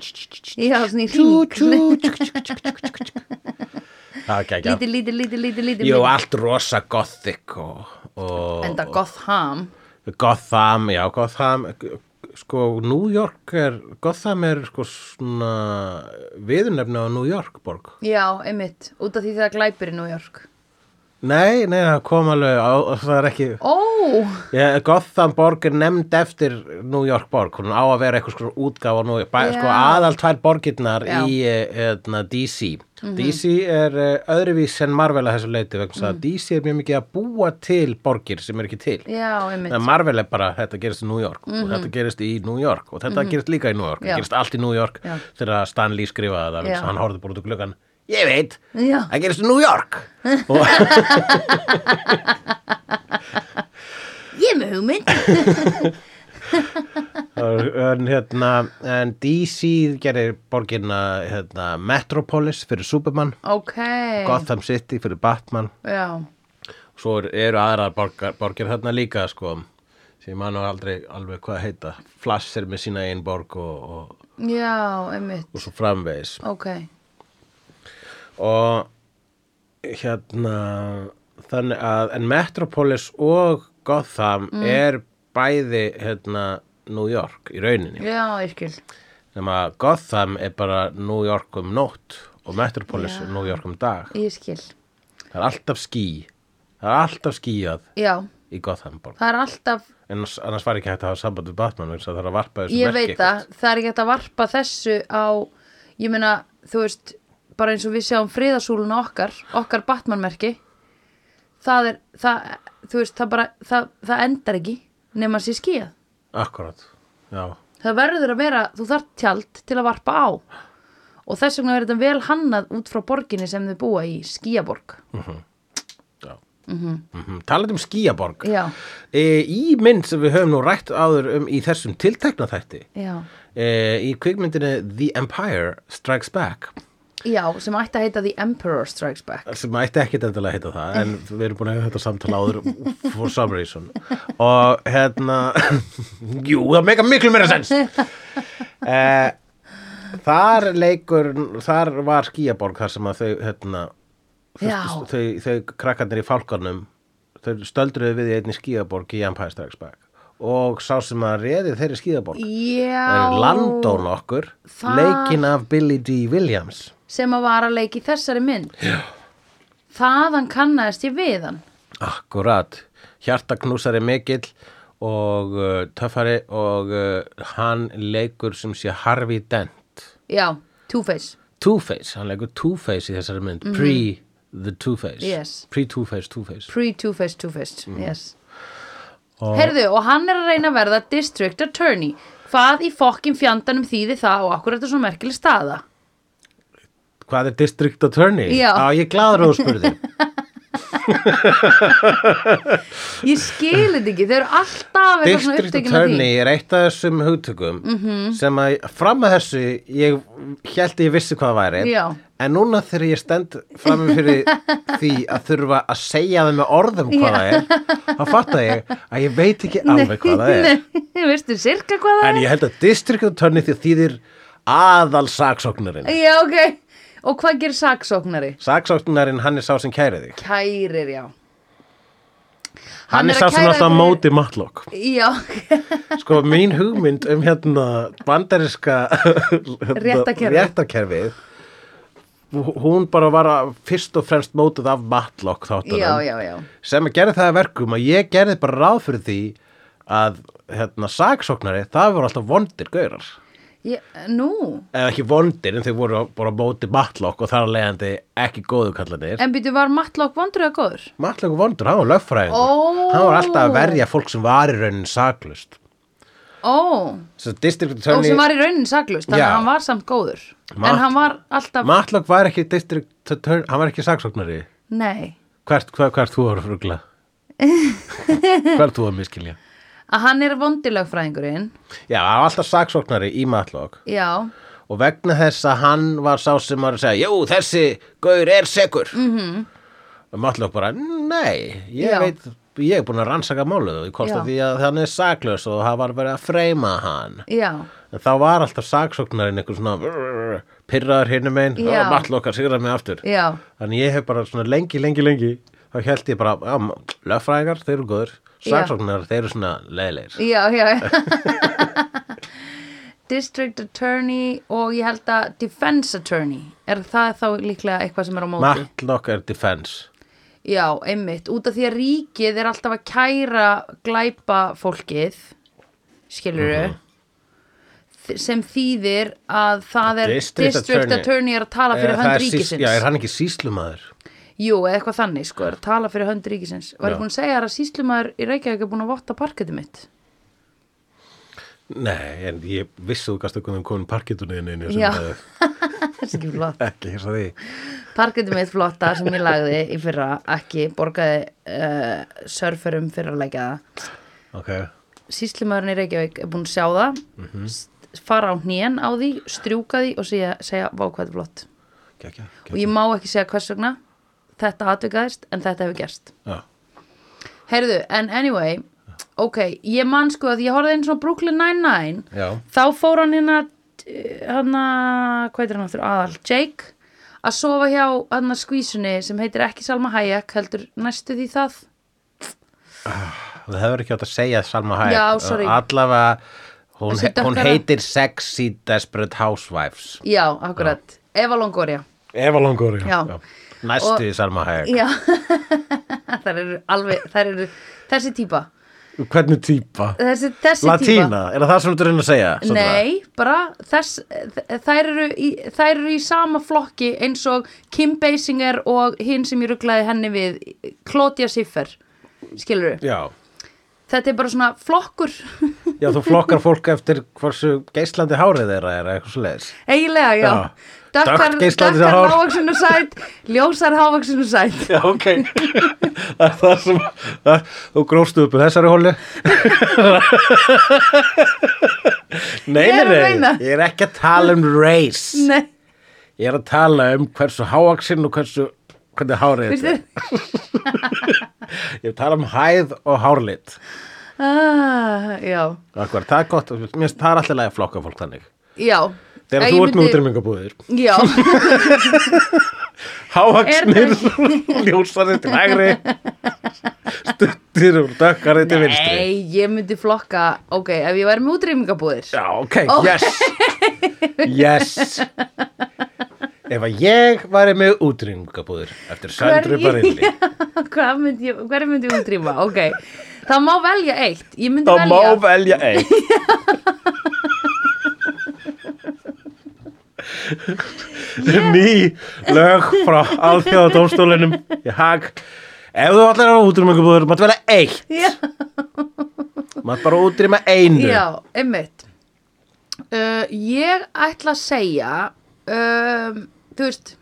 Já, svona í ring. Það er ekki ekki að. Lítið, lítið, lítið, lítið, lítið. Jú, allt rosa gothic og, og Enda Gotham. Gotham, já, Gotham, sko, New York er, Gotham er sko svona viðurnefni á New York borg. Já, einmitt, út af því það glæpir í New York. Nei, nei, það kom alveg á, það er ekki, Ó, Já, Gotham borg er nefnd eftir New York borg, hún á að vera eitthvað sko útgáfa á New York, bæ, Já. sko aðal tvær borgirnar Já. Mhm. í eh, hérna, DC DC er eh, öðruvís en Marvel að þessu leiti vegna þess að DC er mjög mikið að búa til borgir sem er ekki til Mhm. já, einmitt. Mhm. en Marvel er bara, þetta gerist í New York og þetta gerist í New York og þetta gerist líka í New York, Já. það gerist allt í New York Já. þegar Stan Lee skrifaði það, vegna þess Já. að hann horfði bara út úr gluggan ég veit, Já. það gerist í New York og Ég er með hugmynd. en hérna en DC gerir borginna hérna, Metropolis fyrir Superman Ok. Gotham City fyrir Batman Já, svo er- eru aðrar borgar, borgir hérna líka sko sem mann og aldrei alveg hvað heita Flash er með sína einn borg og, og, já, einmitt. og svo framvegis Ok. og hérna þannig að en Metropolis og Gotham Mm. er bæði hérna New York í rauninni Já, ég skil. nema að Gotham er bara New York um nótt og Metropolis er New York um dag Ég skil. það er alltaf ský það er alltaf skýjað Já, í Gotham borg það er alltaf, en en, annars- annars var ekki hægt að hafa samband við Batman vegna þess að það er að varpa þessu merki ég veit það, það er ekki hægt að varpa þessu á, ég meina, þú veist, bara eins og við sjáum friðasúluna okkar, okkar Batman-merki, það er, það, þú veist, það bara, það, það endar ekki nema sér skíða. akkurat, já, Það verður að vera, þú þarft tjald til að varpa á og þess vegna verður þetta vel hannað út frá borginni sem þau búa í, skíaborg. já. Mm -hmm. talað um skýjaborg Já, e, í mynd sem við höfum nú rætt áður um í þessum tiltekna þætti já, e, í kvikmyndinu The Empire Strikes Back já, sem ætti að heita The Emperor Strikes Back. sem ætti ekkit endilega að heita það en við erum búin að hafa þetta samtala áður for some reason og hérna jú, það meika miklu meira sens eh, þar leikur þar var skýjaborg þar sem að þau hérna, Já. þau, þau, þau krakkarnir í fálkanum þau stöldruðu við í einni skýjaborg í Empire Strikes Back og sá sem að reði þeirri skýjaborg Já. er Landón okkur Það- leikinn af Billy D. Williams sem að vara leik í þessari mynd Já. þaðan kannaðist ég við hann Akkurat, hjartaknúsari mikill og uh, töffari og uh, hann leikur sem sé Harvey Dent já, Two-Face Two-Face, hann leikur Two-Face í þessari mynd pre the Two-Face Mhm. Yes. pre Two-Face, Two-Face pre-Two-Face, Two-Face yes. herðu, Mm. og hann er að reyna að verða District Attorney hvað í fokkin fjandanum þýði það og akkur þetta er svo merkileg staða Hvað er District Attorney? Já. Á, ég er glaður að þú spurði ég skil þetta ekki, þeir eru alltaf eitthvað svona District upptekin af því Mhm. Attorney er eitt af þessum hugtökum -hmm. sem að fram að þessu ég held að ég vissi hvað það væri Já. En núna þegar ég stend framum fyrir því að þurfa að segja það með orðum hvað það er þá fatta ég að ég veit ekki alveg hvað það er Nei, veistu sirka hvað það En er? ég held að district attorney því þýðir aðal saksóknarinn Já, ok Og hvað gerir saksóknari? Saksóknarinn hann er sá sem kæri þig Kærir, já Hann er að sá sem kæra er alltaf á þig- móti matlokk Já, Sko mín hugmynd um hérna bandariska hérna, Réttarkerfið. réttarkerfið hú- hún bara var að fyrst og fremst mótuð af matlokk þáttunum já, já, já sem gerði það að verkum að ég gerði bara ráð fyrir því að hérna, saksóknari, það voru alltaf vondir gaurar. Ég, nú, Eða ekki vondir en þau voru bara á móti matlokk og þar að leiðandi ekki góðu kallanir. en býtu var Matlock vondur eða góður? Matlokk og vondur, hann var lögfræðingur. Ó. Hann var alltaf að verja fólk sem var í raunin saklust. Ó, Svo district og attorney, sem var í raunin saklust Þannig Já. að hann var samt góður Mat- En hann var alltaf, matlokk var ekki district attorney, hann var ekki saksóknari. nei Hvert, hvert, hvert þú voru frugla? hvert þú voru miskilja? Að hann er vondilögfræðingurinn Já, hann var alltaf saksóknari í matlokk. Já, og vegna þess að hann var sá sem var að segja, jú, þessi gaur er segur mm -hmm. og Matlock bara, nei ég Mhm. Já. veit, ég er búin að rannsaka málið og ég komst Já. að því að hann er saklaus og það var verið að freyma hann já, en þá var alltaf saksóknarinn einhver svona pyrraður hinnum einn Já. og Matlock að sigra mig aftur já þannig ég hef bara svona lengi, lengi, lengi þá held ég bara, já, löffræðingar, þeir eru góður Já. saksóknar, þeir eru svona leiðilegir Já, já District Attorney og ég held að Defense Attorney er það þá líklega eitthvað sem er á móti Matlock er defense Já, einmitt, út af því að ríkið er alltaf að kæra glæpa fólkið skilurðu Mhm. þ- sem þýðir að það er District Attorney. er að tala fyrir Eh, það hönd er sýs- ríkisins Já, er hann ekki síslumæður? Jú, eða eitthvað þannig sko, er að tala fyrir hönd ríkisins Var Já. ég búin að segja þér að síslumæður í Reykjavík er búin að votta parketið mitt Nei, en ég vissi þú gasta hvernig komin parkitunniðinu einu sem Já. hefði Það er ekki flott ekki hérsa því. Parketið mitt flotta sem ég lagði í fyrra ekki borgaði uh, surferum fyrir að leggja það. Ok, Sýslimaðurinn í Reykjavík er búin að sjá það, fara á hnén á því, strjúka því og segja, segja vá hvað þetta er flott. gekkja, Og ég gekkja. má ekki segja hvers vegna þetta atvikaðist en þetta hefur gerst. Já, Heyrðu, en anyway, ok, ég man sko að ég horfði einn svona Brooklyn Nine-Nine já, þá fór hann hérna hérna, hvað heitir hann aftur aðal, Jake að sofa hjá hann skvísunni sem heitir ekki Salma Hayek, heldur næstu því það það hefur ekki átt að segja Salma Hayek. Já, sorry. Allavega, hún, Þessi hún dökkara- heitir Sexy Desperate Housewives. já, akkurat, Eva Longoria Eva Longur, Já. Og- Næstu í Salma Hayek. já, þær eru alveg þær eru, þessi típa Hvernig týpa? þessi, þessi típa Latína, er það það sem þú reyna að segja? Nei, bara þess, þ- þær, eru í, þær eru í sama flokki eins og Kim Basinger og hinn sem ég rugglaði henni við Claudia Schiffer, skilur Já, þetta er bara svona flokkur já, þú flokkar fólk eftir hversu geislandi hárið þeirra er eitthvað svo leiðis. eiginlega, já, Já. dökkar, Dökkt geislandi dökkar hár. hávaksin og sæt ljósar hávaksin og sæt Já, ok. það er það sem, það, þú gróstu upp í þessari hólu. nei, Ég er að nei, nei, reyna. ég er ekki að tala um race. Nei, Ég er að tala um hversu háaksinn og hversu, hvernig hárið þetta er. Ég er að tala um hæð og hárlit. ah, já, Akkur, það er gott, mér finnst það er alltaf að flokka fólk þannig. já Þegar Ég þú ert með myndi- útrýmingabúðir, Já, Er háaksnir, ljósari til hægri, stuttir og dökkari til vinstri. nei, ég myndi flokka ok, ef ég væri með útrýmingabúðir Já, ok, yes Yes Ef að ég væri með útrýmingabúður eftir Söndru Hverju- Barilli Hvað myndi ég, hver myndi ég útrýma, ok Það má velja eitt, ég myndi þá má velja velja eitt Ný lög frá alþjóðadómstólinum í hag Ef þú allir eru útrýmingabúður mátt velja eitt Já. mátt bara útrýma einu Já, einmitt uh, Ég ætla að segja um, Þú veist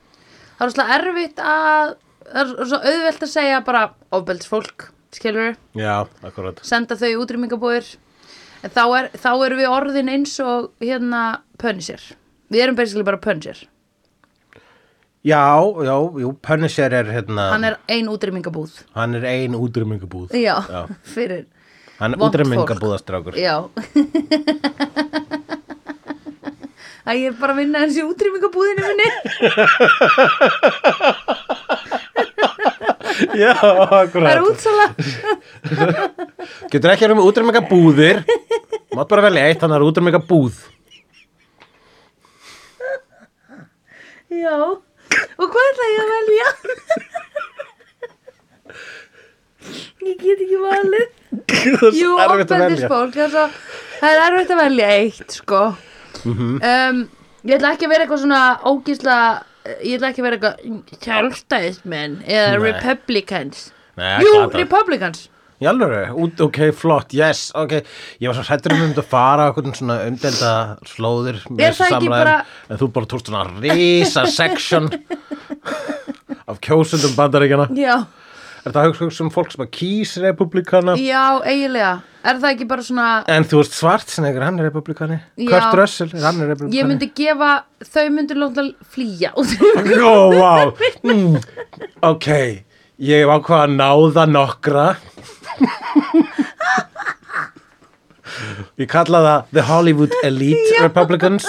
Það er svona erfitt að Það er svona auðvelt að segja bara ofbelds fólk, skilur Já, akkurat senda þau í útrýmingabúðir en þá, er, þá erum við orðin eins og hérna pönisir Við erum basically bara pönisir Já, já, jú, Punisher er hérna, Hann er ein útrýmingabúð. hann er ein útrýmingabúð Já, Já. fyrir, Hann er Vont fólk. útrýmingabúðastrákur já. Æ, ég er bara að vinna þessi útrýmingabúðinu minni. Já, Það er akkurat útsala. Getur ekki að vera með útrýmingabúðir Mátt bara velja eitt, hann er útrýmingabúð Já, og hvað ætla ég að velja? ég get ekki valið. Það Jú, ofbeldisfólk, það er svo- það er erfitt að velja eitt, sko. Mhm. um, ég ætla ekki að vera eitthvað svona ógísla, ég ætla ekki að vera eitthvað sjálfstæðismenn eða Nei. republicans. Nei, Jú, glatað. republicans. Jálfur, út, ok, flott, yes, ok Ég var svo hættur um um þetta að fara á einhvern svona umdelda slóðir með Er þessu það ekki samræðum, bara- En þú bara tókst svona risa section af kjósundum bandaríkjana Já, Er það hugsa hugsa um fólk sem að kýs republikana já, eiginlega. Er það ekki bara svona, En þú veist svart sem hann er republikani Já. Kurt Russell, hann er republikani ég myndi gefa, þau myndi lóta flýja út. Ó, vá mm, Ok, ég hef ákvað að náða nokkra Ég kalla það The Hollywood Elite Republicans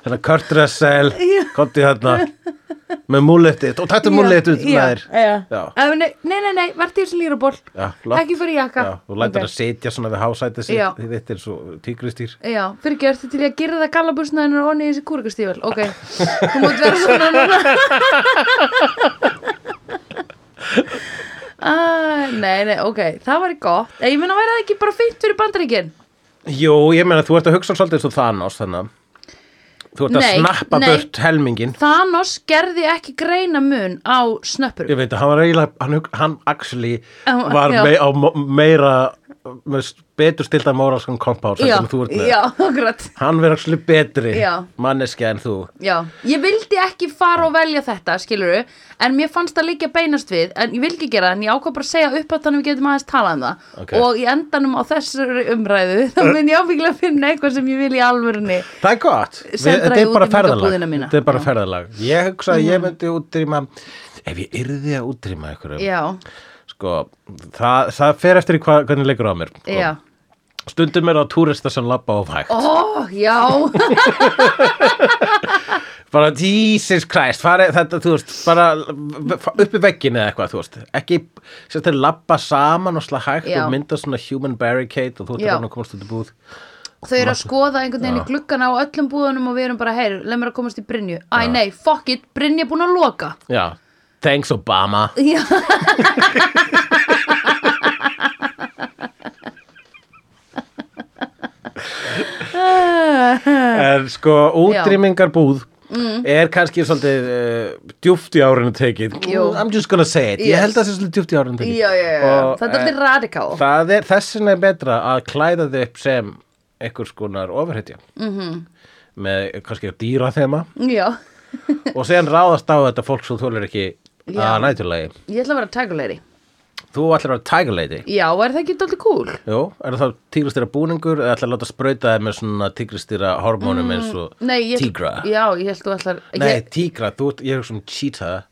Þannig að Kurt Russell Já. Kondi þarna Með múletið Og tættu múletið með Já, þér já. Já. Ef- Nei, nei, nei, nei verði þessi líraból Já, flott. Ekki fyrir jakka Já, þú lætur Ok. að sitja svona við hásætið Já. sitt Þetta er svo tígristýr Já, fyrir ekki, ertu til í að gera það gallabúsnaðinu og niður þessi kúrikastífel Ok, þú mútt vera svona núna ah, Nei, nei, ok, það væri gott Eh, Ég meina, væri það ekki bara fint fyrir bandaríkin Jú, ég meina þú ert að hugsa svolítið eins og Thanos þannig að- Þú ert að Nei, snappa nei. burt helmingin Thanos gerði ekki greina mun á snöppur Ég veit að hann var eiginlega, hann, hug- hann actually Á, var já. mei, á mo- meira, með s- betur stilta móralskan kompás Já, en þú ert með. já, akkurat Hann verið actually betri Já. manneskja en þú. Já, ég vildi ekki fara og velja þetta, skiluru, en mér fannst það líka beinast við, en ég vil ekki gera það, en ég ákvað bara að segja upp að þannig við getum aðeins talað um það. Ok. Og í endanum á þessari umræðu, þá mun ég ábyggilega finna eitthvað sem ég vil í alvörunni. Það er gott. Við- Sendra Þetta í er bara ferðalag. útrýmingabúðina um mína. Þetta er bara Já. Mhm. ferðalag. Ég hugsa að ég myndi útrýma, ef ég yrði að útrýma einhverjum, Já, sko, það, það fer eftir í hva, hvernig leikur á mér. Sko. já. Stundum er það túrista sem labba of hægt. Ó, já, bara Jesus Christ fari, þetta, þú veist, bara upp í veggin eða eitthvað, þú veist ekki, sérst þeir labba saman og slá hægt Já. og mynda svona human barricade og þú ert hérna Já. að komast út í búð þau eru að skoða einhvern veginn í Já. gluggana á öllum búðunum og við erum bara, heyr, leið mér að komast í Brynju. Æ, nei, fuck it, Brynja er búin að loka. já, thanks Obama Já. en sko, útrýmingarbúð Mm. er kannski svolítið uh, djúft í árinu tekið Jú. I'm just gonna say it, ég Yes. held að það sé svolítið djúft í árinu tekið Já, já, já, Og, þetta er eh, allir radikál. það er, þess vegna er betra að klæða þau upp sem einhvers konar ofurhetja mm Mhm. -hmm. með kannski dýra þema Já, og síðan ráðast á þetta fólk sem þú er ekki Já. að nætulegi ég ætla að vera tækulegri. þú ætlar að vera Tiger Lady Já, er það ekki dálítið cool? Jú, er það tígristýra búningur eða ætlar að láta sprauta þig með svona tígristýra hormónum eins og Mm, Nei, ég, tígra Já, ég held þú ætlar Nei, ég, tígra, þú, ert- ég er svona cheetah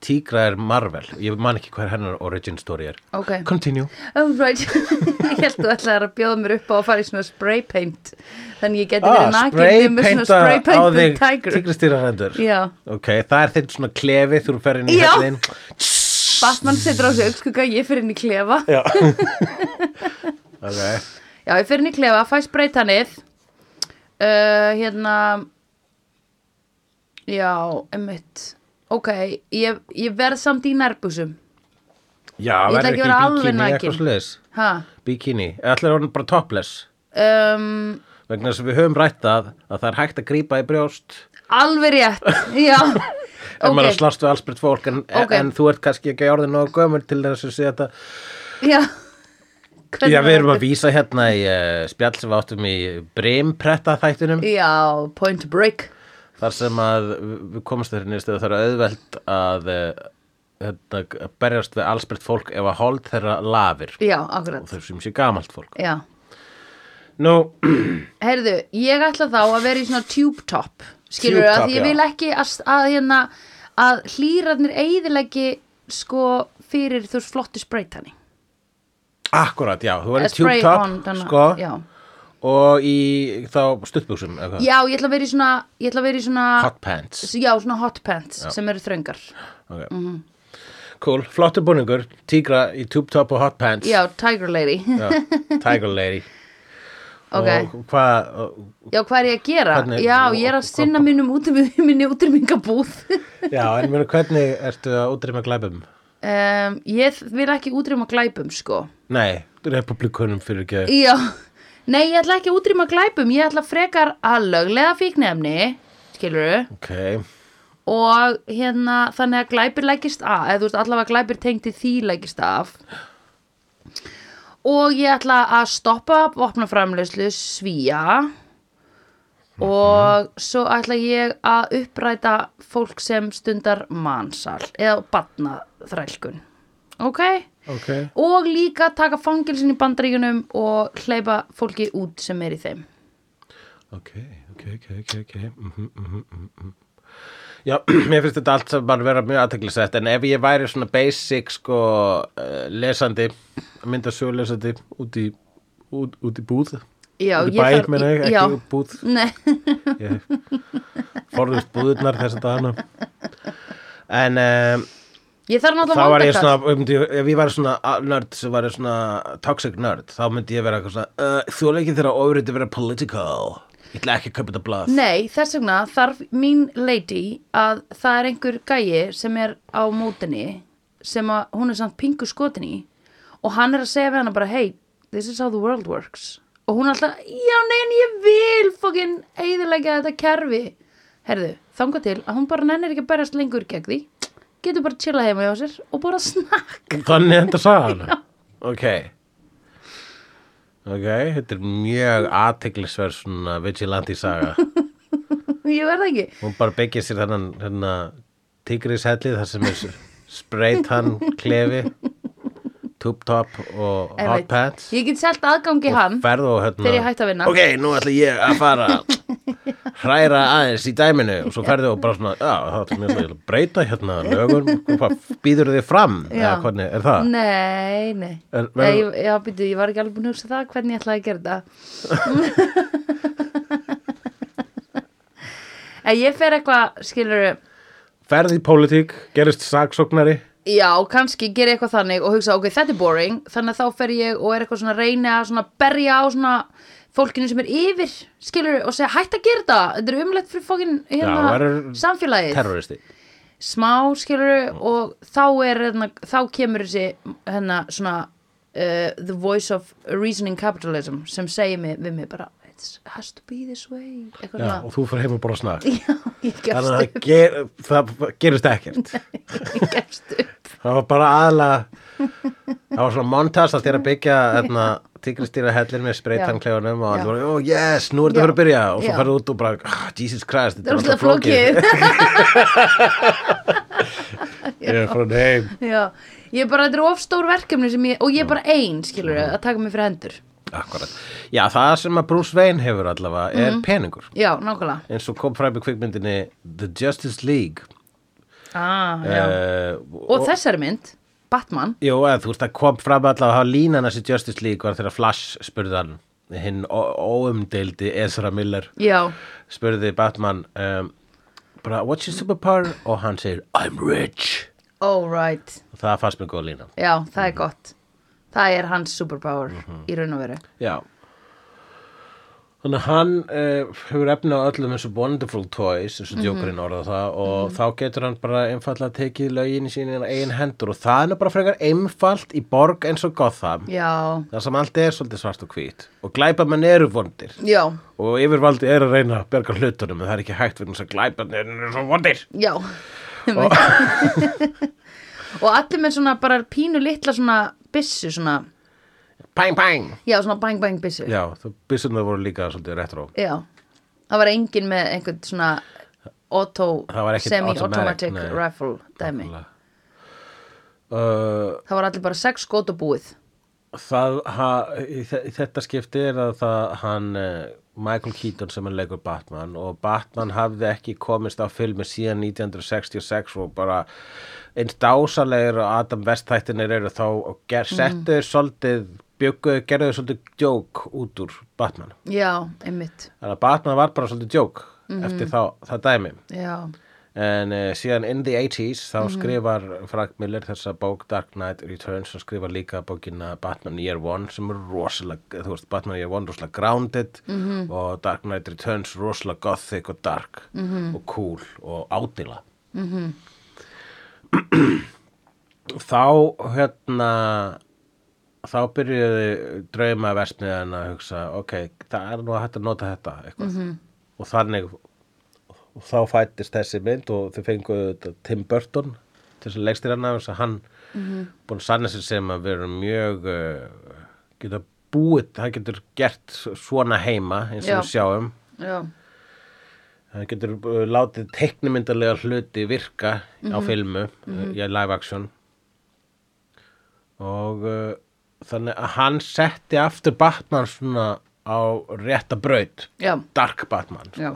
Tígra er Marvel, ég man ekki hver hennar origin story er Ok, Continue oh, right Ég held þú ætlar að bjóða mér upp á að fara í svona spray paint Þannig ég geti Ah, verið nakin með spraypainta svona spray á paint um þig tiger tígristýra hendur Já, Ok, það er þitt svona klefi þú ferð inn í Já. hellin Batman setur á sig augnskuga, ég fyrir inn í klefa Já Ok Já, ég fyrir inn í klefa, fæ spraytanið uh, Hérna Já, emmitt Ok, ég, ég verð samt í nærbúsum Já, verður Ég ætla ekki ekki að vera alveg bíkinni nakin. eitthvað sliðis Ha, bikini, ætlar hún bara topless um, vegna þess að við höfum rætt að að það er hægt að grípa í brjóst alveg rétt Já, ef maður er að slást við allsbrytt fólk en, Ok. en þú ert kannski ekki orðin nógu gömur til þess að segja þetta Já Hvernig Já, við erum var að vísa hérna í uh, spjall sem við áttum í brimpretta þættinum þetta? Já, point break þar sem að við komumst þeirri nýrstu að það er auðvelt að uh, hérna, að berjast við allsbrytt fólk ef að hold þeirra lafir Já, og akkurat þau sem sé gamalt fólk Já, Nú, heyrðu, ég ætla þá að vera í svona tube top skilur Fjúka, að ég já. vil ekki að, að, hérna, að hlýrarnir eigðilegi sko fyrir þú veist flottu spraytanning Akkurat, já, þú Eða verður tube spray on, top þannig- sko, já. og í þá stuttbuxum eða hvað? já, ég ætla að vera í svona, ég ætla að vera í svona hot pants já, svona hot pants sem eru þröngar okay. Cool, flottur búningur, tígra í tube top og hot pants já, tiger lady Já, Tiger Lady Ok. Og hvað, og- já, hvað er ég að gera? Hvernig- já, ég er að sinna mínum útrym, minni útrymingabúð já, en mér hvernig ertu að útrýma glæpum? um, ég vil ekki útryma glæpum sko Nei, republikunum fyrir ekki Já, nei ég ætla ekki að útrýma glæpum, ég ætla frekar að löglega fíknefni, skilurðu, Ok, og hérna þannig að glæpir lækist af, eða þú veist allavega glæpir tengdi því lækist af. Og ég ætla að stoppa vopnaframleyslu svíja og svo ætla ég að uppræta fólk sem stundar mansal eða batnaþrælkun. Ok? ok og líka taka fangilsin í bandaríkunum og hleypa fólki út sem er í þeim Ok, ok, ok, ok, ok mm Já, mér finnst þetta allt sem bara vera mjög aðteklisett en ef ég væri svona basic sko uh, lesandi, myndasögulesandi út í, út, út í búð Já, út í ég bæ, þarf- meina ég, ekki já. búð Nei, ég forðust búðurnar þess að dana en um, ég þarf þá náttúrulega var ég vandakall. svona ég myndi, ef ég væri svona a- nerd sem var ég svona toxic nerd þá myndi ég vera eitthvað svona uh, þú er ekki þeirra ofrið að vera political ég ætla ekki að kaupa þetta blað Nei, þess vegna þarf mín lady að það er einhver gæi sem er á mótinni sem að hún er samt pingu skotinni og hann er að segja við hana bara hey, this is how the world works og hún er alltaf, já nei en ég vil fokkin eigðilega þetta kerfi herðu, þanga til að hún bara nennir ekki að berjast lengur gegn því getur bara að chilla heima hjá sér og bara snakk þannig enda sagði hann ok ok, þetta er mjög aðteklisverð svona vigilante saga ég verð ekki hún bara byggja sér þennan hérna, tigrishelli þar sem er spreyt hann klefi tube top og hot Einmitt. pants ég get selt aðgangi hann ferð og hérna Þegar ég hætti að vinna. ok, nú ætla ég að fara hræra aðeins í dæminu og svo ferðu og bara svona já, það er mjög svolítið breyta hérna lögum hvað býður þið fram eða Já. hvernig er það Nei, nei Er- Nei, verður- ég- Já, býtu, ég var ekki alveg búin að hugsa það hvernig ég ætlaði að gera þetta En ég fer eitthvað, skilur ferð í pólitík, gerist saksóknari Já, kannski gera eitthvað þannig og hugsa, ok, þetta er boring Þannig að þá fer ég og er eitthvað svona að reyna að svona berja á svona fólkinu sem er yfir, skilur og segja, hætt að gera þetta, þetta er umlegt fyrir fólkin Já, hérna, verður- samfélagið terroristi smá skilur og þá er hérna, þá kemur þessi hérna svona uh, the voice of reasoning capitalism sem segir mig, við mig bara it has to be this way eitthvað já, og svona þú fyrir heim og brosna já, ég þannig gefst að upp, það ger, það gerist ekkert ég gefst upp það var bara aðalega það var svona montas að þér að byggja hérna, tigristýra hellir með spreytanklefunum og Já. allir voru, oh yes, nú er þetta Já. fyrir að byrja og svo Já. ferðu út og bara, ah, Jesus Christ það er alltaf úrslega flókið ég er frá heim já, ég bara, þetta er of stór verkefni sem ég, og ég er bara ein skilur að taka mig fyrir hendur Akkurat. Já, það sem að Bruce Wayne hefur allavega er Mhm. peningur já, nákvæmlega eins og kom fram í kvikmyndinni The Justice League ah, já. uh, og þessari mynd, Batman Jú, eða þú veist, það kom fram allavega að hafa línan þessi Justice League var þegar Flash spurði hann hinn ó- óumdeildi Ezra Miller já, spurði Batman um, bara, what's your superpower? og hann segir, I'm rich all right og það fannst mér góð lína já, það er gott það er hans superpower Mhm. í raun og veru Já Þannig að hann uh, hefur efni á öllum eins og Wonderful Toys, eins og djókurinn orða það og þá getur hann bara einfallega tekið lögin sín í einn hendur og það er nú bara frekar einfalt í borg eins og Gotham já, þar sem allt er svolítið svart og hvít og glæpamenn eru vondir já, og yfirvaldi er að reyna að berga hlutunum en það er ekki hægt vegna þess að glæpamenn eru svo vondir Já og, og allir með svona bara pínu litla svona byssu svona, Pæng, pæng! já svona bang bang byssu já. Já, þú byssum það voru líka svolítið retro það var engin með einhvern svona auto, Það var ekkert automatic, semi-automatic nei. rifle dæmi, Uh, það var allir bara sex skot og búið það, ha, í þe- í þetta skipti er að það hann eh, Michael Keaton sem er leikur Batman og Batman hafði ekki komist á filmi síðan 1966 og bara eins dásalegir og Adam West þættinir eru þá og ger, settu mm. svolítið bjöggu, gerðu svolítið djók út úr Batman já, einmitt þannig að Batman var bara svolítið djók eftir þá, það dæmi já, en uh, síðan in the 80s þá skrifar Frank Miller þessa bók Dark Knight Returns og skrifar líka bókina Batman Year One sem er rosalega, þú veist, Batman Year One rosalega grounded -hmm. og Dark Knight Returns rosalega gothic og dark -hmm. og cool og ádila þá hérna þá byrjuðu drauma versmiðan að hugsa ok, það er nú að hægt að nota þetta eitthvað og þannig og þá fættist þessi mynd og þau fengu þetta Tim Burton til þess að leggst þér hann að hann búin að sanna sér sem að vera mjög uh, geta búið, hann getur gert svona heima eins og við Já. sjáum já, hann getur uh, látið teiknumyndarlega hluti virka á filmu uh, í live action og uh, þannig að hann setti aftur Batman svona á rétta braut já, Dark Batman já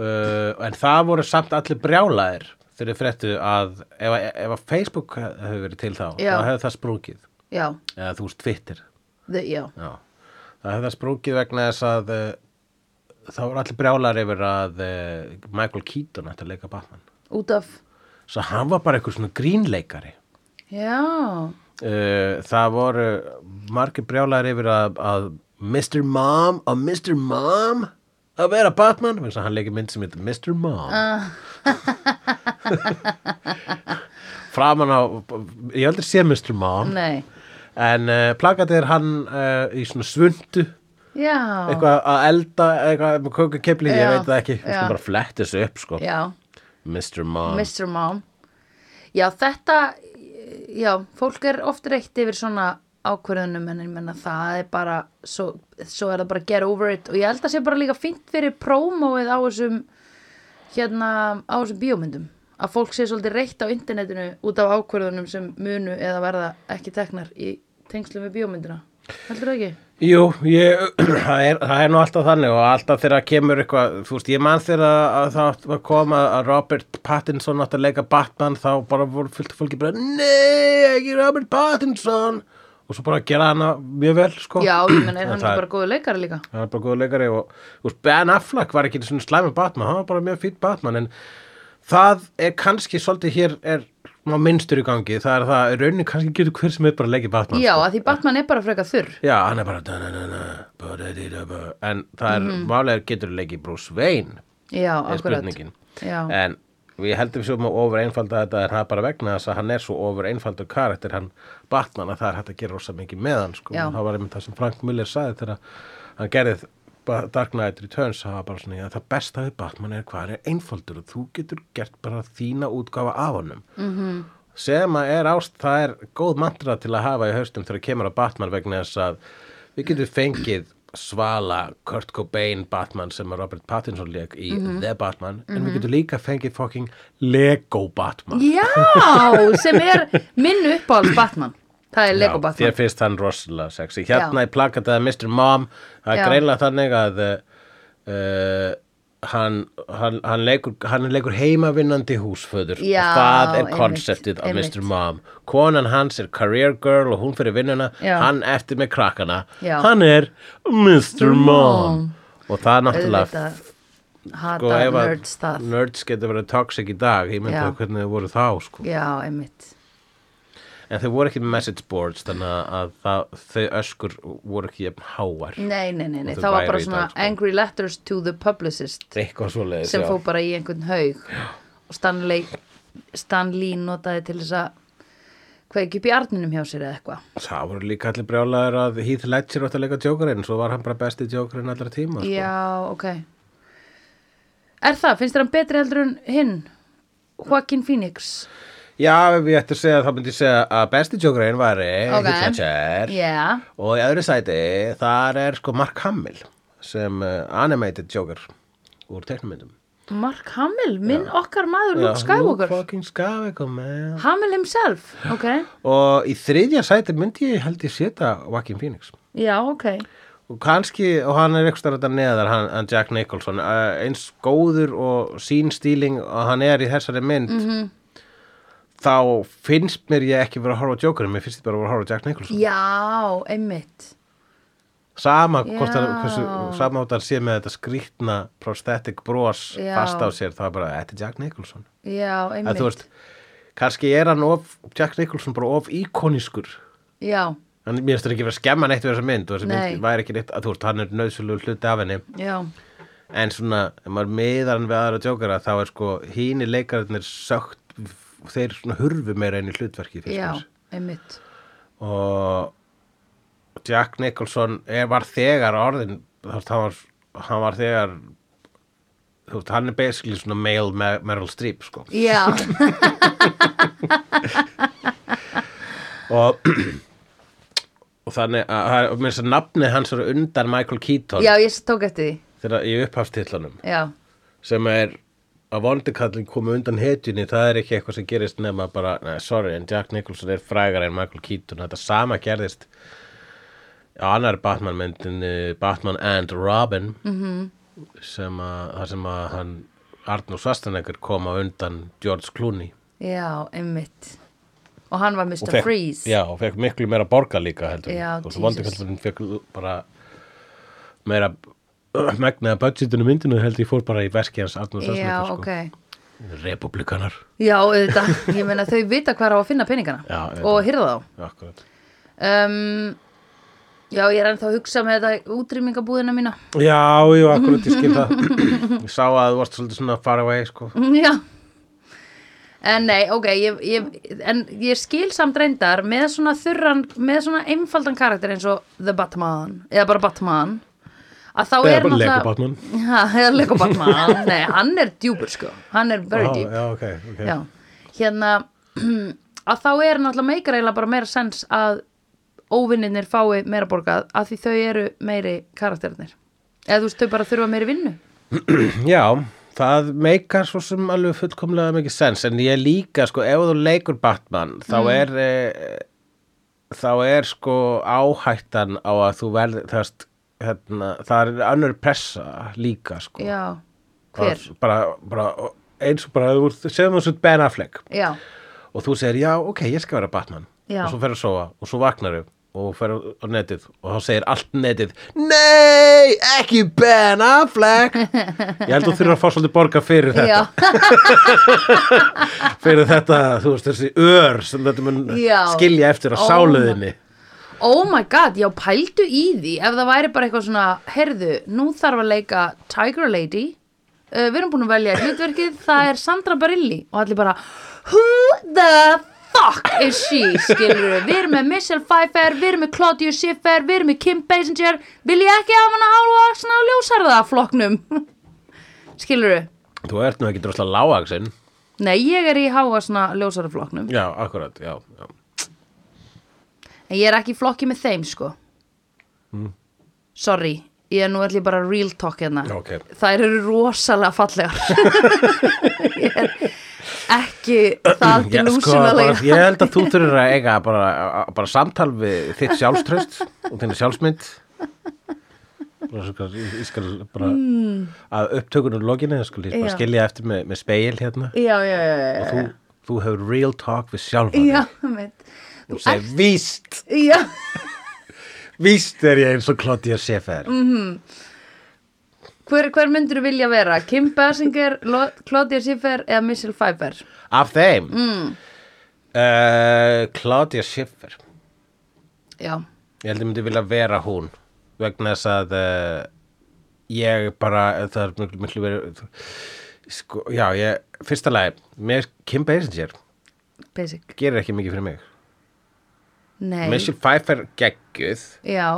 uh, en það voru samt allir brjálaðir þegar þeir fréttu að ef, að- ef að Facebook hefur verið til þá Já. þá hefði það sprungið já, eða þú veist Twitter The, já, Já, það hefði það sprungið vegna þess að uh, það voru allir brjálar yfir að uh, Michael Keaton ætti að leika Batman. út af Svo hann var bara eitthvað svona grínleikari. já, Uh, það voru margir brjálar yfir að, að Mr. Mom og Mr. Mom að vera Batman vegna þess að hann leikir mynd sem heitir Mr. Mom framan á ég heldur sé Mr. Mom nei en uh, plakatið er hann uh, í svona svundu já, eitthvað að elda eitthvað með kókakepli, Já, ég veit það ekki já. Ég bara flett þessu upp sko já Mr. Mom Mr. Mom Já, þetta já, fólk er oft reykt yfir svona ákvörðunum en ég menna það er bara svo, svo er það bara get over it og ég held að sé bara líka fínt fyrir prómóið á þessum hérna, á þessum bíómyndum að fólk sé svolítið reykt á internetinu út af ákvörðunum sem munu eða verða ekki teknar í tengslu við bíómyndina heldur það ekki? Jú, ég, það, er, það er nú alltaf þannig og alltaf þegar kemur eitthvað þú veist, ég man þegar að, að það átti að koma að Robert Pattinson átti að leika Batman þá bara voru fullt af fólki bara Nei, ekki Robert Pattinson og svo bara gera hana mjög vel sko Já, ég menna er hann Það ekki bara góðu leikari líka? hann er bara góð leikari og þú veist, Ben Affleck var ekki svona slæmi Batman, hann var bara mjög fýtt Batman en það er kannski svolítið hér er má minnstur í gangi það er það, í rauninni kannski getur hver sem er bara að leikið Batman Já, sko. að því Batman er bara frekar þurr já, hann er bara da-na-na-na, ba-da-di-da-ba. en það er, mm -hmm. málega getur leikið Bruce Wayne Já, er akkurat spurningin Já. en við heldum svo um að ofur einfalda þetta er það bara vegna þess að hann er svo ofur einfaldur karakter hann Batman að það er hægt að gera rosa mikið með hann sko, Já. það var einmitt það sem Frank Miller sagði þegar hann gerði ba- Dark Knight Returns það var bara svona, já, það besta við Batman er hvað hann er einfaldur og þú getur gert bara þína útgáfa af honum mm -hmm. sem að er ást, það er góð mantra til að hafa í haustum þegar kemur að Batman vegna þess að við getum fengið svala Kurt Cobain Batman sem að Robert Pattinson leik í The Batman en við getum líka fengið fucking Lego Batman Já, sem er minn uppáhalds Batman Það er Lego Já, Batman Þér finnst hann rosalega sexy Hérna Já. í plakataði Mr. Mom Það Já. er greinlega þannig að uh, hann, hann, hann, leikur, hann leikur heimavinnandi húsföður Já, og það er einmitt, konseptið af einmitt. Mr. Mom Konan hans er career girl og hún fyrir vinnuna Já. hann eftir með krakkana Já. Hann er Mr. Mom Og það er náttúrulega Auðvitað hata sko, ef að nerds það nerds getur verið toxic í dag Ég myndi Já. að hvernig þau voru þá sko. Já, einmitt En þau voru ekki með message boards þannig að- að það, þau öskur voru ekki jafn háar. Nei, nei, nei, nei. Og þau það var væru bara í svona dag, sko. angry letters to the publicist Eitthvað svoleiðis, sem já. fó bara í einhvern haug og Stanley, Stanley notaði til þess að kveiki upp í arninum hjá sér eða eitthvað Það voru líka allir brjálaður að Heath Ledger átti að leika djókurinn, svo var hann bara besti djókurinn allra tíma. Sko. Já, ok Er það, finnst þér hann betri heldur en hinn? Joaquin Phoenix Já, ef ég ætti að segja, þá myndi ég segja að besti djókurinn var Ok. Heath Ledger Já, og í öðru sæti þar er sko Mark Hamill sem uh, animated djókur úr teknumyndum. Mark Hamill, minn okkar maður Luke Luke Skywalker fucking Skywalker, man. Hamill himself, ok Og í þriðja sæti myndi ég held ég setja Joaquin Phoenix. Já, ok, og kannski, og hann er eitthvað þetta neðar, hann, hann Jack Nicholson eh, eins góður og sínstíling og hann er í þessari mynd Mhm. -hmm. þá finnst mér ég ekki verið að horfa á Jokerinn, mér finnst ég bara að vera að horfa á Jack Nicholson Já, einmitt sama hvort Já. hann, hversu, sama hvort hann sé með þetta skrýtna prosthetic bros Já. fast á sér, þá er bara, þetta er Jack Nicholson Já, að einmitt þú veist, kannski er hann of, Jack Nicholson bara of íkonískur Já, Hann, mér finnst þetta ekki verið að skemma neitt við þessa mynd og þessa Nei. mynd væri ekki neitt að þú veist, hann er nöðsulegu hluti af henni já, en svona, ef maður meðar hann við aðra tjókara þá er sko, hínir leikararnir sögt, þeir svona hurfu meira inn í hlutverki finnst já, mér. einmitt og Jack Nicholson er, var þegar orðin þú veist, hann var, hann var þegar þú veist, hann er basically svona male Mer- Meryl Streep sko Já, og og þannig að, að, að, að nafni hans er undan Michael Keaton já, ég tók eftir því þegar í upphafstillanum Já, sem er að vondikallin komi undan hetjunni, það er ekki eitthvað sem gerist nema bara, nei, sorry, en Jack Nicholson er frægar en Michael Keaton, þetta sama gerðist á annar Batman myndinni Batman and Robin -hmm. sem að, það sem að hann Arnur Svarstanegger kom á undan George Clooney já, einmitt Og hann var Mr. Og fekk- Freeze Já, og fekk miklu meira borga líka heldur en. Já, og Jesus. svo vondikallin fekk bara meira megnaða budgetinu myndinu heldur ég fór bara í verki hans Arnur já Svarstanegger ok Republikanar Já, auðvitað, ég meina þau vita hvað á að finna peningana Já, auðvitað. og hirða þá Akkurat. um, Já, ég er ennþá að hugsa með þetta útrýmingabúðina mína Já, jú, akkurat, ég skil það Ég sá að þú varst svolítið svona far away sko. Já En nei, ok, ég, ég, en ég skil samt reyndar með svona þurran, með svona einfaldan karakter eins og The Batman, eða bara Batman að þá Eða er bara Lego Batman. Já, eða Lego Batman, nei, hann er djúpur sko, hann er very Já, deep Já, ok, ok Já, hérna að þá er náttúrulega meikar eiginlega bara meira sens að óvinninir fái meira borgað að því þau eru meiri karakterinir eða þú veist þau bara þurfa meiri vinnu Já, það meikar svo sem alveg fullkomlega mikið sens en ég líka, sko, ef þú leikur Batman þá Mm. er e, þá er sko áhættan á að þú verð þarst, hérna, það er önnur pressa líka, sko Já, hver? bara, bara, eins og bara, þú ert- segjum þessu Ben Affleck Já, og þú segir já, ok, ég skal vera Batman Já. og svo ferðu að sofa og svo vaknar þau og ferðu á netið og þá segir allt netið Nei, ekki Ben Affleck Ég held þú þurfa að fá svolítið borga fyrir þetta já, fyrir þetta, þú veist, þessi ör sem þetta mun Já. skilja eftir á Ó, sáluðinni oh my god, já pældu í því ef það væri bara eitthvað svona, herðu nú þarf að leika Tiger Lady uh, við erum búin að velja hlutverkið það er Sandra Barilli og allir bara who the fuck is she, skilur við við erum með Michelle Pfeiffer, við erum með Claudia Schiffer við erum með Kim Basinger vil ég ekki hafa hana hálfa svona ljósarða flokknum skilur við Þú ert nú ekki drosla lágaksinn nei, ég er í háa svona ljósarða flokknum Já, akkurat, já, já. En ég er ekki í flokki með þeim sko Mm. Sorry Ég er nú allir bara real talk hérna Já, ok. Þær eru rosalega fallegar Ég er ekki það Já, sko, delusionalega bara, ég held að þú þurfir að eiga bara, bara samtal við þitt sjálfströst og þinn sjálfsmynd bara, svo, ég, ég skal bara að upptökunum lokinni ég skal ég bara Já. skilja eftir með, með speil hérna Já, já, já, já, og þú, þú hefur real talk við já, sjálfan já einmitt. og segir víst, Já, víst er ég eins og Claudia Schiffer Mm. hver, hver myndur vilja vera? Kim Basinger, Lo- Claudia Schiffer eða Michelle Pfeiffer? af þeim mm. uh, Claudia Schiffer Já, Ég held ég myndi vilja vera hún vegna þess að uh, ég bara, það er miklu, miklu verið sko, já, ég, fyrsta lagi mér, Kim Basinger basic gerir ekki mikið fyrir mig Nei, Michelle Pfeiffer geggjuð já,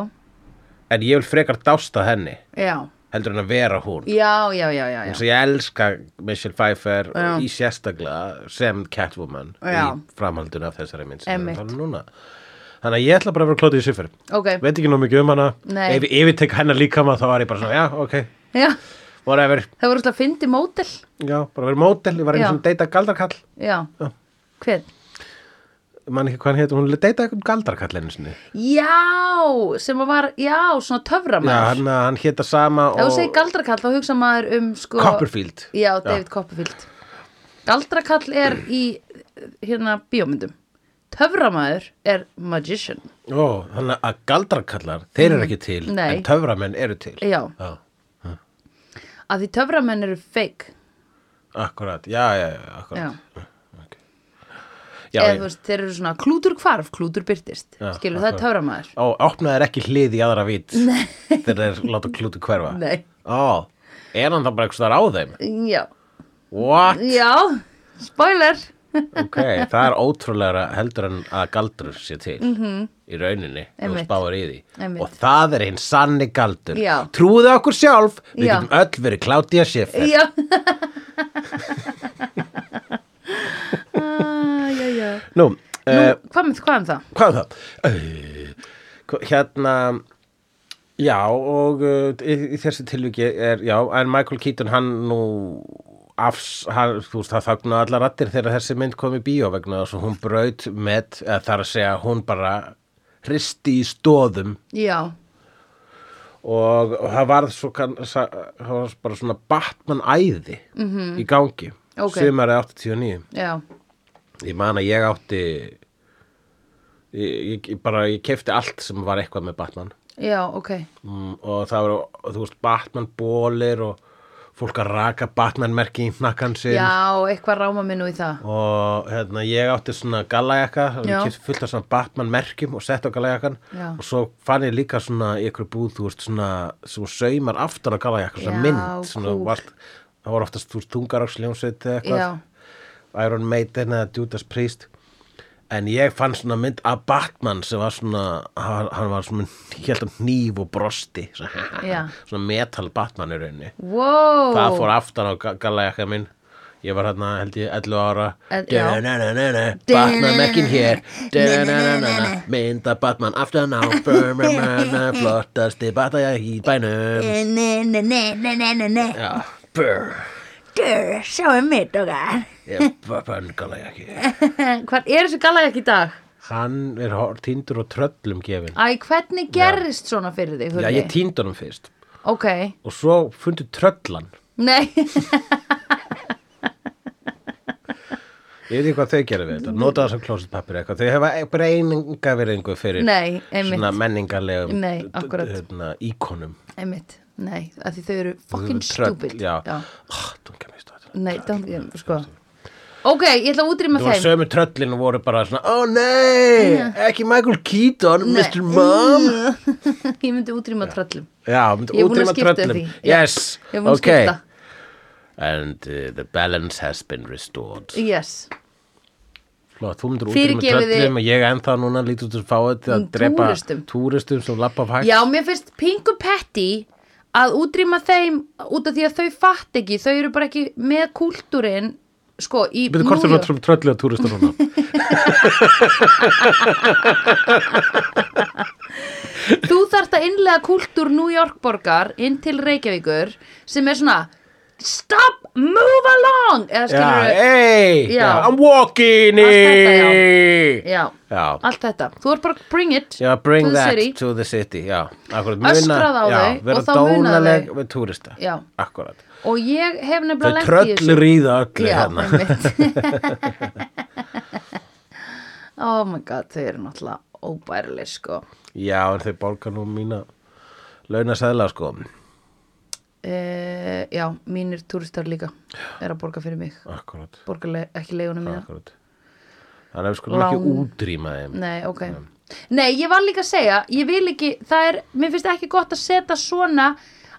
en ég vil frekar dásta henni já heldur en að vera hún Já, já, já, já, eins já og ég elska Michelle Pfeiffer Já. í sérstaklega sem Catwoman Já. í framhaldinu af þessari minn Einmitt. um þannig að ég ætla bara að vera klótið í siffur Ok, veit ekki nóg mikið um hana Nei. ef ef ég tek hennar líka maður þá var ég bara svona, já, ok, já, whatever það voru alltaf fyndi mótel já, bara verið mótel, ég var Já. eins og deyta galdarkall Já, Já. hver? man ekki hvað hann heitur, hún deyta eitthvað galdarkallinu sinni. já, sem að var, já, svona Já, töframæður hann, hann hétta sama ef þú segir og galdrakall þá hugsa maður um sko, Copperfield. já, David Copperfield galdrakall er í hérna bíómyndum töframæður er magician Ó, þannig að galdrakallar, þeir eru ekki til, Mm. Nei. en töframenn eru til. já, Já, að því töframenn eru fake akkurat, já, já, já, akkurat. Já, ok. já, eða já. þú veist, þeir eru svona klútur hvarf, klútur byrtist Já, skilur það er töframæður Ó, opnaði ekki hlið í aðra vít þegar þeir láta klúti hverfa. Nei. Ó, er hann það bara eitthvað þar á þeim? já, What? já, spoiler Ok, það er ótrúlega heldur en að galdur sé til -hmm. í rauninni og Mhm. Einmitt. spáir í því. Einmitt. Og það er hinn sanni galdur. Já. Trúðu okkur sjálf, við Já. getum öll verið Kládía Schiffer. já Ah, já, já. Nú, Nú, uh, hvað með hvað um það? hvað er það? Uh, hva- hérna, já, og uh, í, í þessu tilviki er, já, en Michael Keaton, hann nú afs, hann, þú veist, það þagnaði allar rattir þegar þessi mynd kom í bíó vegna þess að hún braut með, eða þar að segja, hún bara hristi í stóðum Já, og, og það varð svo kann, sa, það var bara svona Batman æði í gangi Mhm. Ok. sumarið 89 já, ég man að ég átti ég, ég, ég bara ég kefti allt sem var eitthvað með Batman já, ok mm, og það voru, þú veist, Batman bólir og fólk að raka Batman merki í hnakkan sinn Já, eitthvað ráma mig nú í það og hérna, ég átti svona gallajakka og Já. ég kefti fullt af svona Batman merkjum og sett á gallajakkan Já. og svo fann ég líka svona í ykkur búð, þú veist, svona sem saumar aftur á gallajakka, Já, svona mynd svona, kúl. vart, það voru oftast, þú veist, tungaröksljónsveit eða eitthvað, Já, Iron Maiden eða Judas Priest en ég fann svona mynd af Batman sem var svona, hann hann var svona ég held að hníf og brosti Já. svona, svona metal Batman í rauninni wow það fór aftan á gallajakka minn ég var hérna held ég 11 ára En- já. Da-na-na-na-na, Batman mekkin hér Da-na-na-na-na, mynda Batman aftan á Brr-brr-brr-brr, flottasti Batman í Eh. bænum Ne-ne-ne-ne-ne-ne-ne já, brr, Gör, sjáum mitt okkar ég Batman gallajakki Hvað er þessi gala ekki í dag? hann er hor- týndur og tröllum gefin Æ, hvernig gerist svona fyrir þig? Já, Hulli? ég týndi honum fyrst Ok, og svo fundu tröllan. nei, Ég veit ekki hvað þau gerðu við þetta, notaðu sem klósetpapir eitthvað. Þau hefa bara eininga verðingu fyrir Nei, einmitt. svona menningarlegum Nei, akkurat. hérna, íkonum. einmitt Nei, að því þau eru fucking Tröll, stupid Já, Ah, dunga mér stóð þetta. Nei, don't, ég, sko Ok, ég ætla að útrýma Þú var þeim sömu tröllin og voru bara svona, ó nei, ekki Michael Keaton, Nei. Mr. Mom. Ég myndi útrýma tröllum Já, myndi Ég er búin að útrýma skipta tröllum. því. Já. Yes, Ég mun ok. okay. skipta And uh, the balance has been restored. Yes, Flott, þú myndir útrýma Fyrirgefiði- tröllum og ég ennþá núna lítur til fáið að Mm, drepa túristum. túristum sem lappa af hægt. Já, mér finnst pingu petti að útrýma þeim út af því að þau fatt ekki, þau eru bara ekki með kúltúrin, sko, í Byrðu, hvort er New York. það sem tröllu að túrista núna? Þú þarft að innlega kúltúr New York borgar inn til Reykjavíkur sem er svona Stop, move along eða Já, eh. skilur við, hey, Já. já, I'm walking Allt þetta, in já, Já. allt þetta þú ert bara bring it Já, bring to the that city. to the city Já, akkurat Öskrað á já, þau vera og þá muna dónaleg þau. við túrista Já. Akkurat og ég hef nefnilega Þau lent í þessu. tröllur í það öllu Já, hérna einmitt Oh my god, þau eru náttúrulega óbærileg sko Já, en þau borga nú mína launasæðla sko uh, Já, mínir túristar líka er að borga fyrir mig Akkurat, borga le ekki leigunum mína Ah. akkurat Þannig að við skulum ekki Lán. útrýma þeim Nei, ok Nei, ég var líka að segja, ég vil ekki það er, mér finnst ekki gott að setja svona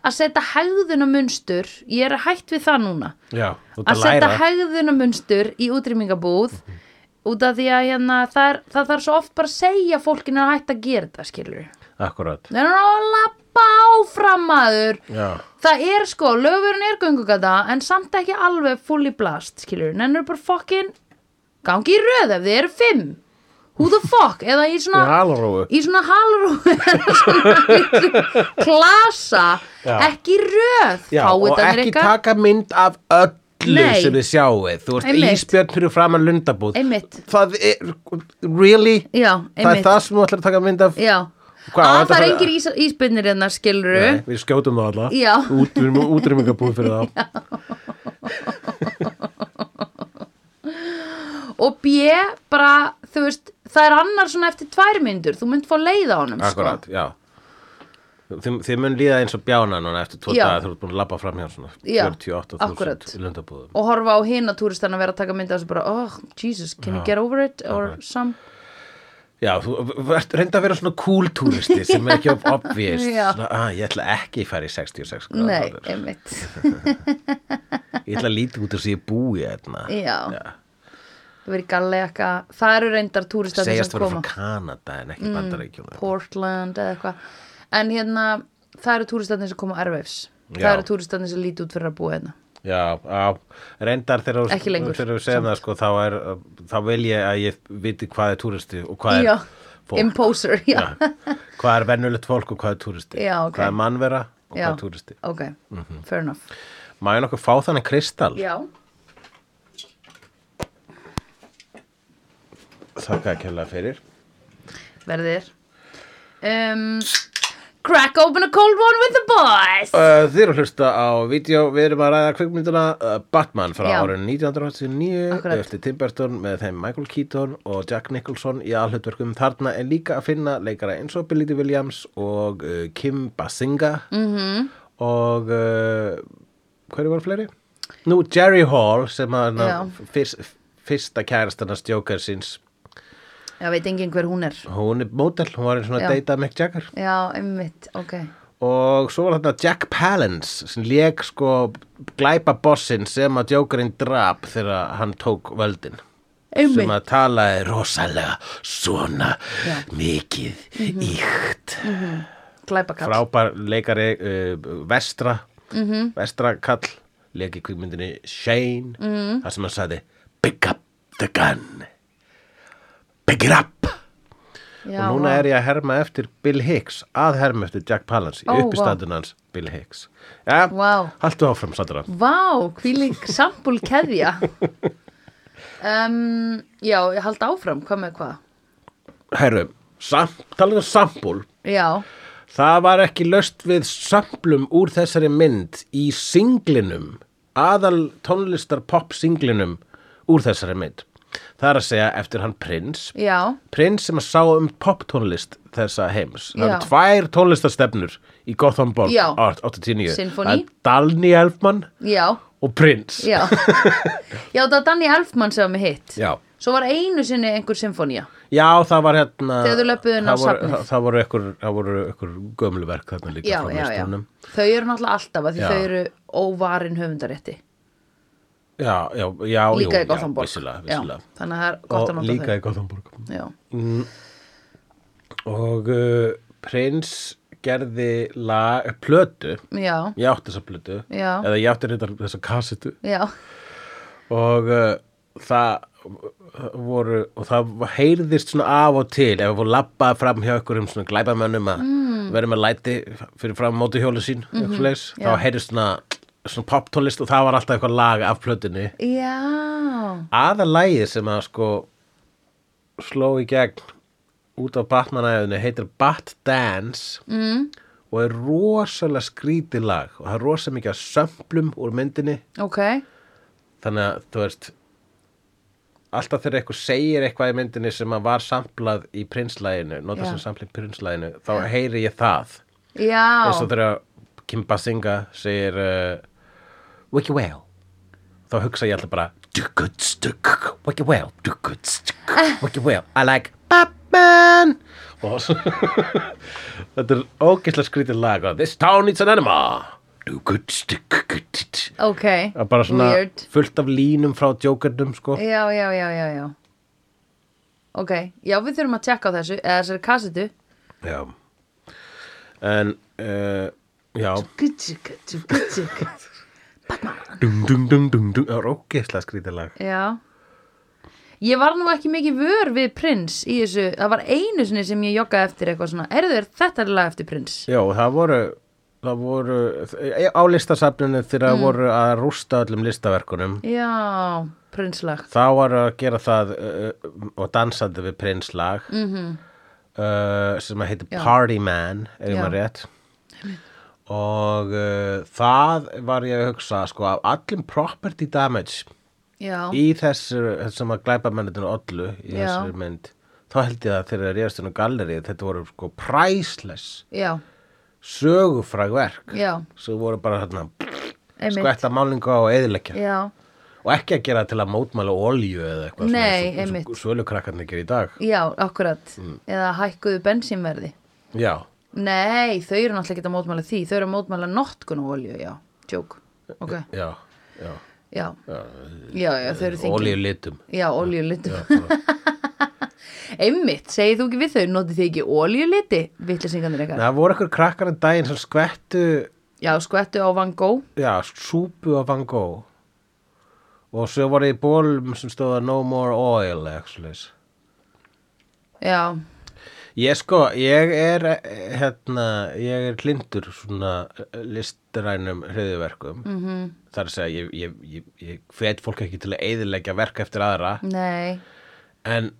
að setja hegðunamunstur ég er hætt við það núna Já, þú ert að að setja læra hegðunamunstur í útrýmingabúð út af því að hérna, það, er, það þarf svo oft bara að segja fólkinu að hætta að gera þetta skilur Akkurat, það er að lappa áfram maður já það er sko, lögurinn er göngugata en samt ekki alveg full í blast skilur, en eru bara fokkin gangi í röð ef þið eru fimm who the fuck, eða Í í svona halróu í svona halrú eða svona litlu klasa Já. ekki í röð Já, og fáið ekki taka mynd af öllu öllu Nei. sem þið sjáið þú veist Einmitt. ísbjörn fyrir framan lundabúð Einmitt. það er, really Já, það er einmitt. það sem þú ætlar að taka mynd af Já, Hvað, að þetta það er fyrir- engir ís, hérna, ísbyrnir hennar skiluru Nei, við skjótum það alla Já. Út, við erum útrýmingabúð fyrir það og B, bara, þú veist það er annar svona eftir tvær myndur þú mynd fá leið á honum sko. akkurat, já Þið, þið mun líða eins og bjána núna eftir tvo Já. daga þú ert búin að labba fram hjá svona Já, 48.000 akkurat. lundabúðum og horfa á hina túristan að vera að taka mynd af þessu bara, oh, Jesus, can you get over it or some, Já, þú ert reynda að vera svona cool túristi sem er ekki of obvious Já. svona, ah, ég ætla ekki að fara í 66 gráður nei, einmitt ég ætla að líti út og sé ég búi hérna Já. það verið gallega, það eru reyndar túristan segjast sem vera koma frá Kanada en ekki mm. bandarækjum Portland eða eitthvað en hérna, það eru túristatnir sem koma á Airwaves það Já. eru túristatnir sem líti út fyrir að búa hérna Já, á, reyndar þegar Ekki lengur, þegar við segja það sko, þá, er, þá vil ég að ég viti hvað er túristi og hvað já, um er fólk imposer, já, Já. hvað er vennulegt fólk og hvað er túristi Já, ok. hvað er mannvera og Já. hvað er túristi ok, Mhm. fair enough má ég nokkuð fá þannig kristall já, þakka að kella fyrir verðir um, crack open a cold one with the boys Uh, þið eru að hlusta á vídeo, við erum að ræða kvikmyndina uh, Batman frá Já. árið 1989 Akkurat. eftir Tim Burton með þeim Michael Keaton og Jack Nicholson í aðhlutverkum þarna er líka að finna leikara eins og Billy Dee Williams og uh, Kim Basinga Mhm. -hmm. og uh, hverju var fleiri? Nú, Jerry Hall sem að Já. ná, fyrst, fyrsta kærastannast Joker síns já, veit enginn hver hún er hún er mótel, hún var einn svona Já. að deyta Mick Jagger já, einmitt, ok og svo var þetta Jack Palance sem leik sko glæpa bossinn sem að Jokerinn drap þegar hann tók völdin sem einmitt, að talaði rosalega svona mikið íkt glæpakall frábær leikari uh, vestra vestra kall leik í kvikmyndinni Shane Mhm. þar sem hann sagði pick up the gun pick it up já, og núna er ég að herma eftir Bill Hicks að herma eftir Jack Palance í Ó, vá. uppistandun hans Bill Hicks ja, Vá. haltu áfram Sandra Vá, hvílík sambúl keðja um, Já, ég hald áfram, hvað með hvað? herru, sam, talað um sambúl Já, það var ekki löst við samplum úr þessari mynd í singlinum aðal tónlistar pop singlinum úr þessari mynd það er að segja eftir hann Prince já, Prins sem að sá um poptónlist þessa heims. Það Já. eru tvær tónlistastefnur í Gothenburg Já. art 89. Sinfóní. Það er Dalni Elfman já, og Prins. já Já, það var Danny Elfman sem var með hitt Já. Svo var einu sinni einhver symfónía Já, það var hérna... Þegar þau löbbuðu inn á það voru- safnið. það- Það voru ekkur, það voru ekkur gömluverk þarna líka Já, frá já, já listunum. Þau eru náttúrulega alltaf að því Já. þau eru óvarin höfundarétti Já, já, já, Líka jú, í Gothenburg Já, vissilega, vissilega. Já, Þannig að það er gott að og nota líka í Gothenburg. þau Já, Og uh, Prins gerði lag, eh, plötu, já, ég átti þessa plötu, Já. eða ég átti reyndar þessa kassetu. já og uh, það voru og það heyrðist svona af og til ef við labbaði fram hjá ykkur um svona glæpamönnum að mm. verðum að læti fyrir fram mótuhjólu sín mm -hmm. leis, Mhm, já. þá heyrðist svona, svona poptólist og það var alltaf eitthvað lag af plötunni Já, aðalagið sem að sko sló í gegn út á Batmanæðinu heitir Bat Dance mm, og er rosalega skrítið lag og það er rosalega mikið af sömplum úr myndinni ok þannig að þú veist alltaf þegar eitthvað segir eitthvað í myndinni sem að var samplað í prinslæginu nota Já. sem samplið í prinslæginu þá heyri ég það Já, eins og þegar Kim Basinga segir uh, Wiki Whale þá hugsa ég alltaf bara "Duggudsdugg, Wiki Whale duggudsdugg, Wiki Whale, I like Batman og svo- þetta er ógeðslega skrítið lag og This town needs an animal Duggudsdugg, ok Það er bara svona Weird. fullt af línum frá djókernum sko. Já, já, já, já, já Ok, já við þurfum að tjekka á þessu eða þessari kassetu Já. En, uh, já. Gutsik, gutsik, gutsik Dung, dung, dung, dung, dung. Það er ógeðslega skrítilag. Já Ég var nú ekki mikið vör við prins í þessu, það var einu sinni sem ég joggaði eftir eitthvað svona, erður þetta er lag eftir prins Já, og það voru, það voru eh, á listasafninu þegar mm. voru að rústa öllum listaverkunum já, prinslagt þá var að gera það uh, og dansandi við prinslag mm uh, sem að heitir Mhm. Já. Party Man ef ég Já. maður rétt og uh, það var ég að hugsa sko af allum property damage já, í þessu sem að glæpa mennitinu ollu í Já. þessari mynd þá held ég að þegar réðast inn á gallerið þetta voru sko priceless já, sögufræg verk Já. sem voru bara hérna einmitt skvætta málingu á og eðileggja já, og ekki að gera til að mótmæla olju eða eitthvað Nei, svona, einmitt. sölukrakkarnir gerir í dag já, akkurat eða hækkuðu bensínverði já, nei, þau eru náttúrulega ekki að mótmæla því þau eru að mótmæla notkun og olju, já tjók, ok, já, já, já já, já, þau eru þingin olju litum Já, oljuliti Einmitt, segið þú ekki við þau notið þið ekki oljuliti, vittlisingarnir eitthvað það voru eitthvað krakkar en daginn sem skvættu Já, skvettu á Van Gogh já, súpu af Van Gogh og svo voru í bólum sem stóða no more oil actually. Já, ég sko, ég er eh, hérna, ég er klindur svona eh, listrænum hriðuverkum mm Mhm. -hmm. þar að segja, ég, ég, ég, ég fet fólk ekki til að eyðileggja verk eftir aðra nei en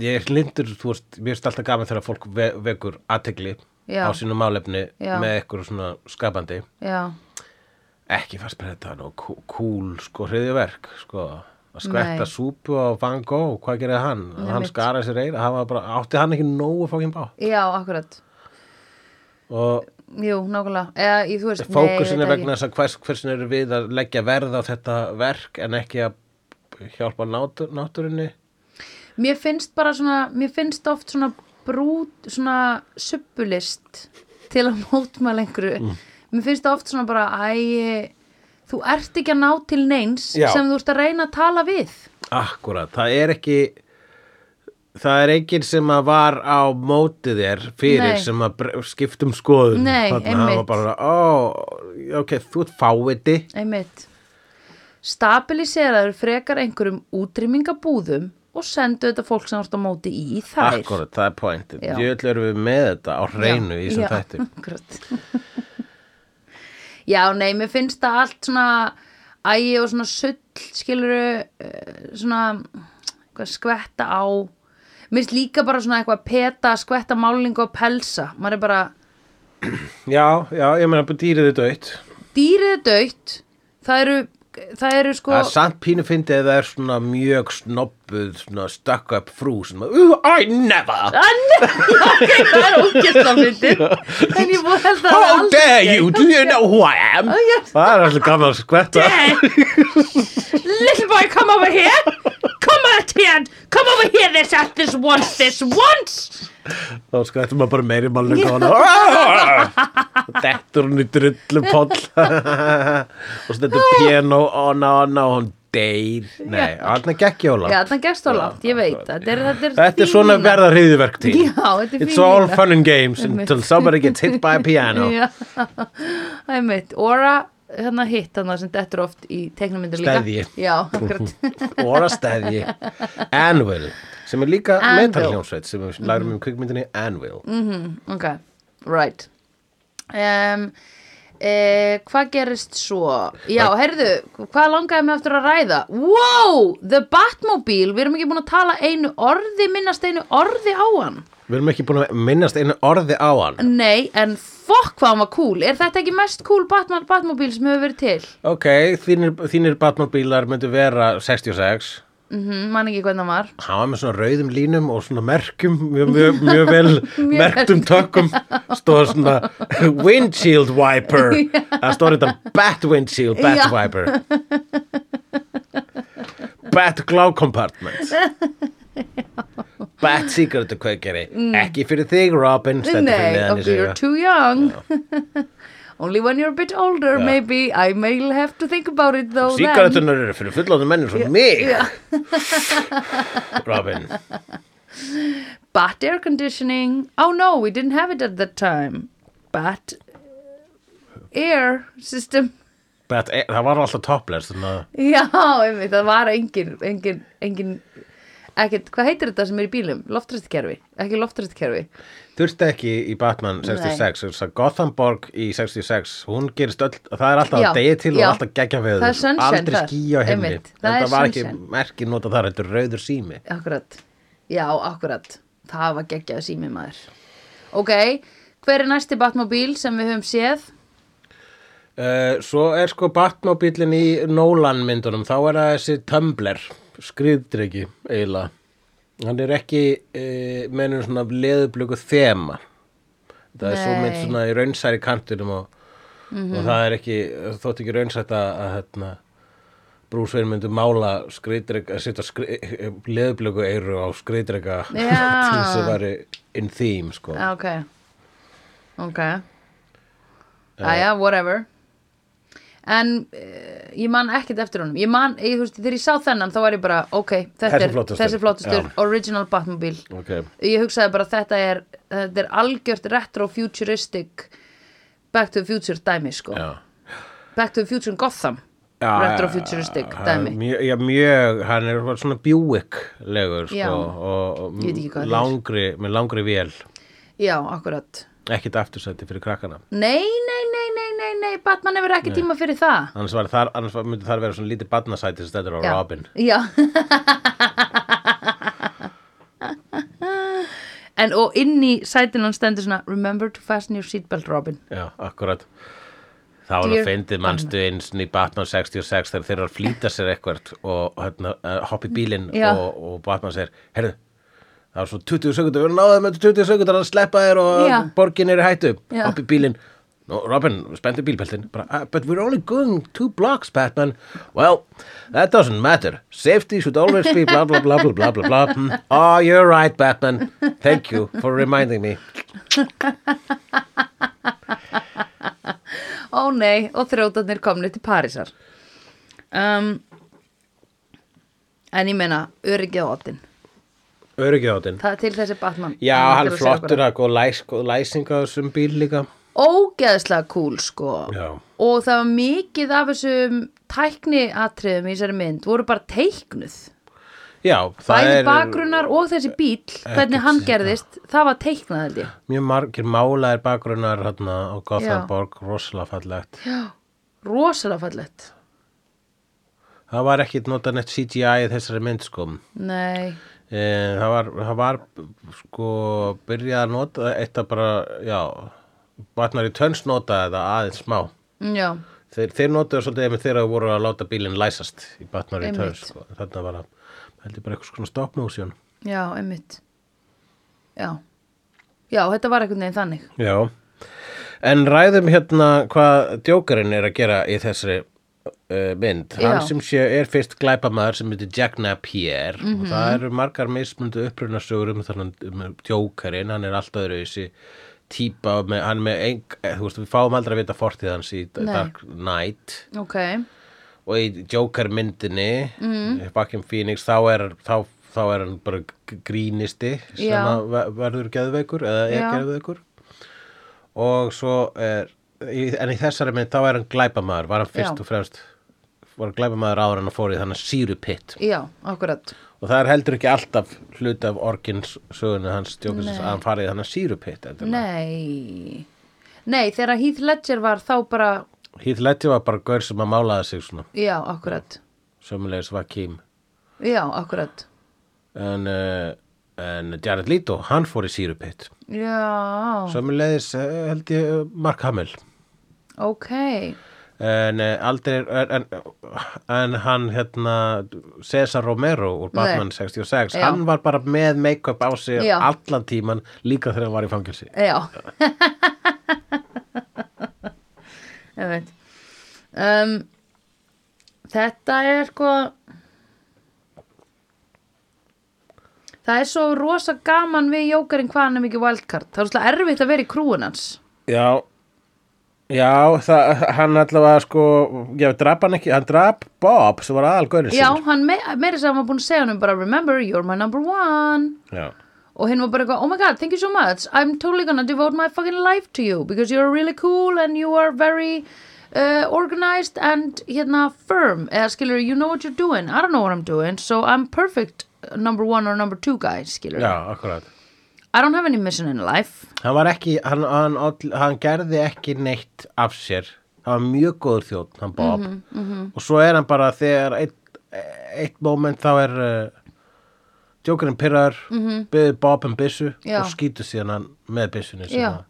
ég er hlindur, þú veist, mér finnst alltaf gaman þegar fólk ve vekur aðtegli Já. á sínu málefni Já. með eitthvað svona skapandi Já, ekki fannst mér þetta nú kú- kúl sko hriðjuverk sko að skvetta Nei. súpu á Van Gogh, hvað gerði hann? Nei, hann mitt. skaraði sér eira, hann var bara, átti hann ekki nógu fókin bá já, akkurat og Jú, nákvæmlega Eða, í, þú veist, fókusin nei, er þetta vegna þess að hvers, hversin eru við að leggja verð á þetta verk en ekki að hjálpa nátur, náturinni ekki. Mér finnst bara svona, mér finnst oft svona brút, svona subbulist til að mótmæla einhverju Mm. Mér finnst það oft svona bara, æ, þú ert ekki að ná til neins Já. sem þú ert að reyna að tala við Akkurat, það er ekki það er enginn sem að var á móti þér fyrir Nei. sem að bre- skipta um skoðun Nei, hann var einmitt. bara, ó, ok, þú ert fáiði Einmitt. Stabiliseraður frekar einhverjum útrýmingabúðum og sendu þetta fólk sem ást á móti í þær. Akkurat, það er pointið Já. Jöll erum við með þetta á hreinu í þessum þætti Akkurat. Já, nei, mér finnst það allt svona ægi og svona sull, skiluru, eh, svona hvað, skvetta á. Mér finnst líka bara svona eitthvað peta, skvetta málingu og pelsa. Maður er bara, Já, já, ég meina bara dýrið er dött dýrið er döitt, það eru, það eru sko... Það er samt pínu fyndið að það er svona mjög snobbuð, svona stuck up frú sem að, uh, I never ok, það er ógæsla myndin en ég búið held að það er How alls dare ekki. you, do you know who I am? yes. Það er alltaf gaman að skvetta Little boy, come over here Come over here Come over here this at this once This once þá skvættum maður bara meiri málun og dettur hún í drullu poll og stendur piano on on og hún deyr nei, hann er gekkjóla Já, það gerst á langt, ég veit það Þetta er, þetta er, þetta er þín svona lína. verða hriðiverk til Já, þetta er it's fín all lína. fun and games until somebody gets hit by a piano Já, það er mitt Óra, hérna hitt hann sem dettur oft í teiknumyndir líka Steðji. Já, akkurat or a steði Anvil, sem er líka Anvil. metalhljómsveit sem við lærum um kvikmyndinni Anvil Ok, right um, e, Hvað gerist svo? Já, heyrðu, hvað langaði mig aftur að ræða? Wow, The Batmobile Við erum ekki búin að tala einu orði minnast einu orði á hann við erum ekki búin að minnast einu orði á hann Nei, en fokk hvað hann var cool Er þetta ekki mest cool Batman, Batmobile sem hefur verið til? ok, þínir, þínir Batmobílar myndu vera 66 Mhm, man ekki hvernig hann var hann var með svona rauðum línum og svona merkjum mjög, mjög, mjög vel merktum tökum stóð svona windshield wiper það stóð þetta bat windshield bat Já. wiper bat glow compartment bat cigarette kveikari ekki fyrir þig Robin stendur fyrir Mm. Nei, neðan í okay, you're sig too young Only when you're a bit older, maybe I may have to think about it though then. cigarettunar eru fyrir fullóðum mennur svo mig Robin Bat air conditioning. Oh no, we didn't have it at that time. Bat air system. bat, eh, það var alltaf topless þannig að Já, einmitt, það var engin, engin, engin ekkert, hvað heitir þetta sem er í bílum? Loftristkerfi, ekki loftristkerfi Þurfti ekki í Batman 66 þess að Gothenburg í 66 hún gerist öll, það er alltaf Já, að degi til já. og alltaf gegja við Það er sunshine aldrei þar, ský á heimni en einmitt. Það er það var ekki sunshine. merki nota þar, þetta er rauður sími Akkurat, já, akkurat Það var geggjaðu sími maður Ok, hver er næsti Batmobíl sem við höfum séð? uh, Svo er sko Batmobílin í Nolan myndunum þá er það þessi Tumblr skriðdreki eiginlega hann er ekki uh, mennum svona leðublöku þema það er svo Nei. Mhm. mynd svona í raunsæri kantinum og, og það er ekki þótt ekki raunsætt að, að hérna, brúsveir myndu mála skriðdreka, setja skri, leðublöku eiru á skriðdreka til Já. þess að veri in theme sko. Já, Ah, Ok, ok Eh. Æja, whatever En uh, ég man ekkert eftir honum Ég man, ég, þú veist, þegar ég sá þennan þá var ég bara, ok, þetta Þessi er flottastur. þessi flottastur Já. original Batmobíl Ok. ég hugsaði bara þetta er, þetta er algjört retro-futuristic back to the future dæmi sko Já. back to the future in Gotham Já, retro-futuristic já, dæmi mjög, já, mjög, hann er bara svona bjúiklegur Já. sko, og, og Ég veit ekki hvað það er. langri, með langri vél já, akkurat ekkit aftursætti fyrir krakkana nei, nei, nei, nei, nei, nei Batman hefur ekki tíma fyrir það annars, var þar, annars var, myndi þar vera svona lítið badnasæti sem þetta er á já, Robin já. en og inn í sætinu hann stendur svona remember to fasten your seatbelt Robin já, akkurat þá var Dear það fyndið mannstu eins og í Batman 66 þegar þeir eru að flýta sér eitthvert og hérna, eh, hoppa í bílinn Já. og, og Batman segir, herðu það var svo 20 sekundar, við náðum með 20 sekundar að sleppa þér og Já. borgin er í hættu Já. hoppa í bílinn No, Robin, spenndi bílbeltin bara, "Ah, But we're only going two blocks, Batman Well, that doesn't matter Safety should always be blah blah blah blah blah blah blah Hmm. Oh, you're right, Batman Thank you for reminding me Ó nei, og þrjótarnir komnir til Parísar um, En ég meina, öryggið á oddin Öryggjáttinn Það er til þessi Batman Já, hann er flottur að að góð læs, góð læsing á þessum bíl líka Ógeðslega cool sko Já. Og það var mikið af þessum tækniatriðum í þessari mynd voru bara teiknuð Já, það Bæði er bakgrunnar og þessi bíl hvernig hann gerðist, það var teiknað held ég mjög margir málaðir bakgrunnar hérna á Já. Gothenburg, rosalega fallegt Rosalega fallegt Það var ekkit notað neitt CGI í þessari mynd sko Nei, e, það, var, það var sko byrjað að nota eitt að bara, já Batnar í tönns notaði þetta aðeins smá já, Þeir, þeir notaðu svolítið einmitt þegar þeir voru að láta bílinn læsast í Batnar í Einmitt. tönns sko. Þetta var að, heldur bara eitthvað svona stop motion já, einmitt Já, já, þetta var einhvern veginn þannig Já, en ræðum hérna hvað djókarinn er að gera í þessari uh, mynd. Já. Hann sem sé er fyrst glæpamaður sem heitir Jack Napier Mhm. og það eru margar mismundu upprunasögur um þannig um djókarinn, hann er alltaf öðru þessi típa, með, hann er með ein, eh, þú veist, við fáum aldrei að vita fortið hans í Nei. Dark Knight Ok, og í Joker myndinni Mhm. mm. Bakken Phoenix, þá er, þá, þá er hann bara g- grínisti sem Já. að ver- verður geðveikur eða er Já. geðveikur og svo er í- en í þessari mynd þá er hann glæpamaður var hann fyrst Já. og fremst var glæpamaður ára hann að fóri þannig síru pitt já, akkurat og það er heldur ekki alltaf hluti af orkins sögunu hans djókisins að hann farið þannig síru pitt Nei Nei, þegar Heath Ledger var þá bara Heath Ledger var bara gaur sem að málaði sig svona Já, akkurat sömulegis var Kim Já, akkurat en, uh, en Jared Leto, hann fór í síru pitt Já, Sömmulegis held ég eh, Mark Hamill ok en eh, aldrei en, en hann hérna Cesar Romero úr Batman 66 Já. hann var bara með make-up á sig Já. allan tíman líka þegar hann var í fangelsi Já Ég veit um, Þetta er sko Það er svo rosa gaman við jókarinn hvað hann er mikið wildcard Það er svo erfitt að vera í krúin hans Já Já, það, hann allavega sko, já, drap hann ekki, hann drap Bob sem var aðalgörin Já, hann me meiri sem hann var búin að segja hann bara Remember, you're my number one Já. og hinn var bara eitthvað, oh my god, thank you so much I'm totally gonna devote my fucking life to you because you're really cool and you are very uh, organized and hérna firm, eða skilur, you know what you're doing I don't know what I'm doing, so I'm perfect number one or number two guy skilur já, akkurat I don't have any mission in life hann var ekki, hann, hann, all- hann gerði ekki neitt af sér hann var mjög góður þjótt, hann Bob Mhm, og svo er hann bara þegar eitt, eitt moment þá er uh, djókurinn pyrrar mm -hmm. byður Bob um byssu Mhm. Já. og skýtur síðan hann með byssunni sem Já. að-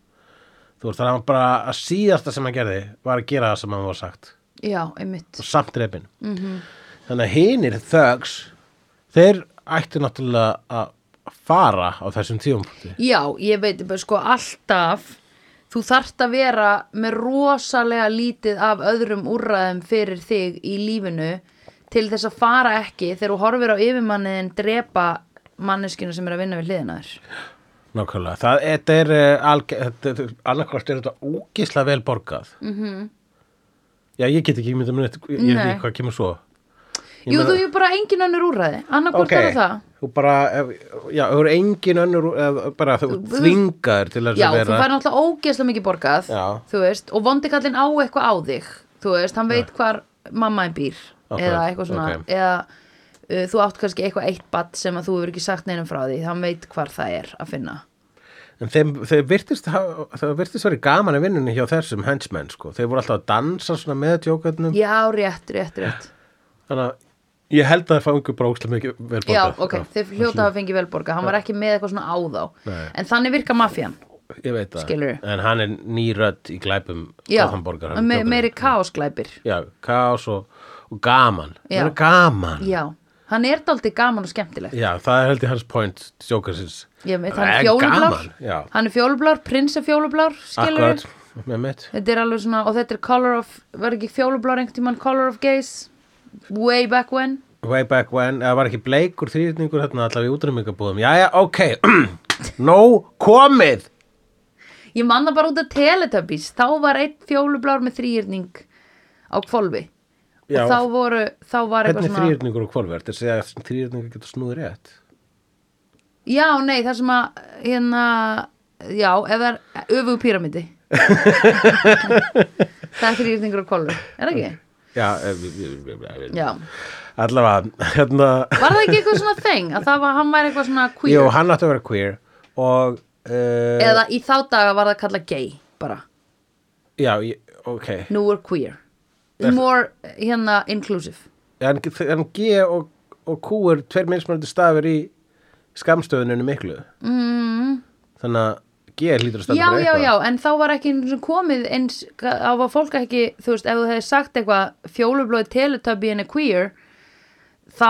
þú veist, þannig að hann bara að síðasta sem hann gerði var að gera það sem hann var sagt já, einmitt og samt reyfin mm -hmm. Mhm. þannig að hinir þögs þeir ættu náttúrulega að fara á þessum tíumpunkti já, ég veit bara sko alltaf þú þarft að vera með rosalega lítið af öðrum úrræðum fyrir þig í lífinu til þess að fara ekki þegar þú horfir á yfirmanniðin drepa manneskinu sem er að vinna við hliðinaður Nákvæmlega, það þetta er eh, alge- þetta er- annarkvort er þetta ógisla vel borgað -hmm. Já, ég get ekki myndið mér neitt, ég veit Mhm. Nei. ekki hvað kemur svo Ég jú, meina- þú er bara engin önnur úrræði annarkvort Ok, okay. er það þú bara, ef- já, þú eru engin önnur, eða bara þú Þú- þvingar til þess Já, að þú vera fær náttúrulega ógeðslega mikið borgað Já. þú veist, og vondikallin á eitthvað á þig þú veist, hann veit hvar mamma einn býr Akkurat, eða eitthvað svona ok. eða uh, þú átt kannski eitthvað eitt batt sem að þú hefur ekki sagt neinum frá því hann veit hvar það er að finna En þeim, þeim virtist, hafa- það virtist verið gaman í vinnunni hjá þessum hensmenn, sko Þeir voru alltaf að dansa svona með tjókarnum Já, rétt, rétt, rétt Þannig að ég held að það fangur bara ógisla mikið vel borgað sko. Já, ok, þeir hljóta að fengi velborga hann var ekki með eitthvað svona á þá Nei. en þannig virka mafían Ég veit það Skilurðu. En hann er nýrödd í glæpum Já, Gothenburgar, hann me djókarinn. meiri kaosglæpir já, kaos og, og gaman Já. það er gaman Já, hann er daldið gaman og skemmtilegt já, það er held ég hans point sjókarsins Ég veit, Það hann er er fjólublár gaman, já. Hann er fjólublár, prins er fjólublár Skilur akkurat, með mitt Þetta er alveg svona, og þetta er Color of, var ekki fjólublár einhvern tímann Color of Gaze, way back when. way back when, eða var ekki bleikur þrýrningur hérna allavega í útrýmingabúðum já, já, ok, nóg komið Ég man það bara út af Teletubbies, þá var einn fjólublár með þrýrning á kvolfi. Já. og þá voru, þá var eitthvað hvernig svona, þrýrningur og hvolver þetta segja að þrýrningur getur snúið rétt já, nei, það sem að, hérna, já, ef það er öfugu píramidi. það er þrýrningur á kvolfi, er það ekki? já, eh, vi- vi- vi- vi- vi- Já. allavega hérna, Var það ekki eitthvað svona þeng, að það var, hann væri eitthvað svona queer? jú, hann átti að vera queer og uh, Eða í þá daga var það kallað gay, bara. já, ég- ok nú er queer more hérna inclusive en, en G og, og Q er tveir minnsmjöndi stafir í skamstöðuninu miklu mm. þannig að G hlýtur að standa já fyrir já eitthvað. já en þá var ekki einu sinni komið eins á að fólk ekki þú veist ef þú hefði sagt eitthvað fjólublóði teletubby en er queer þá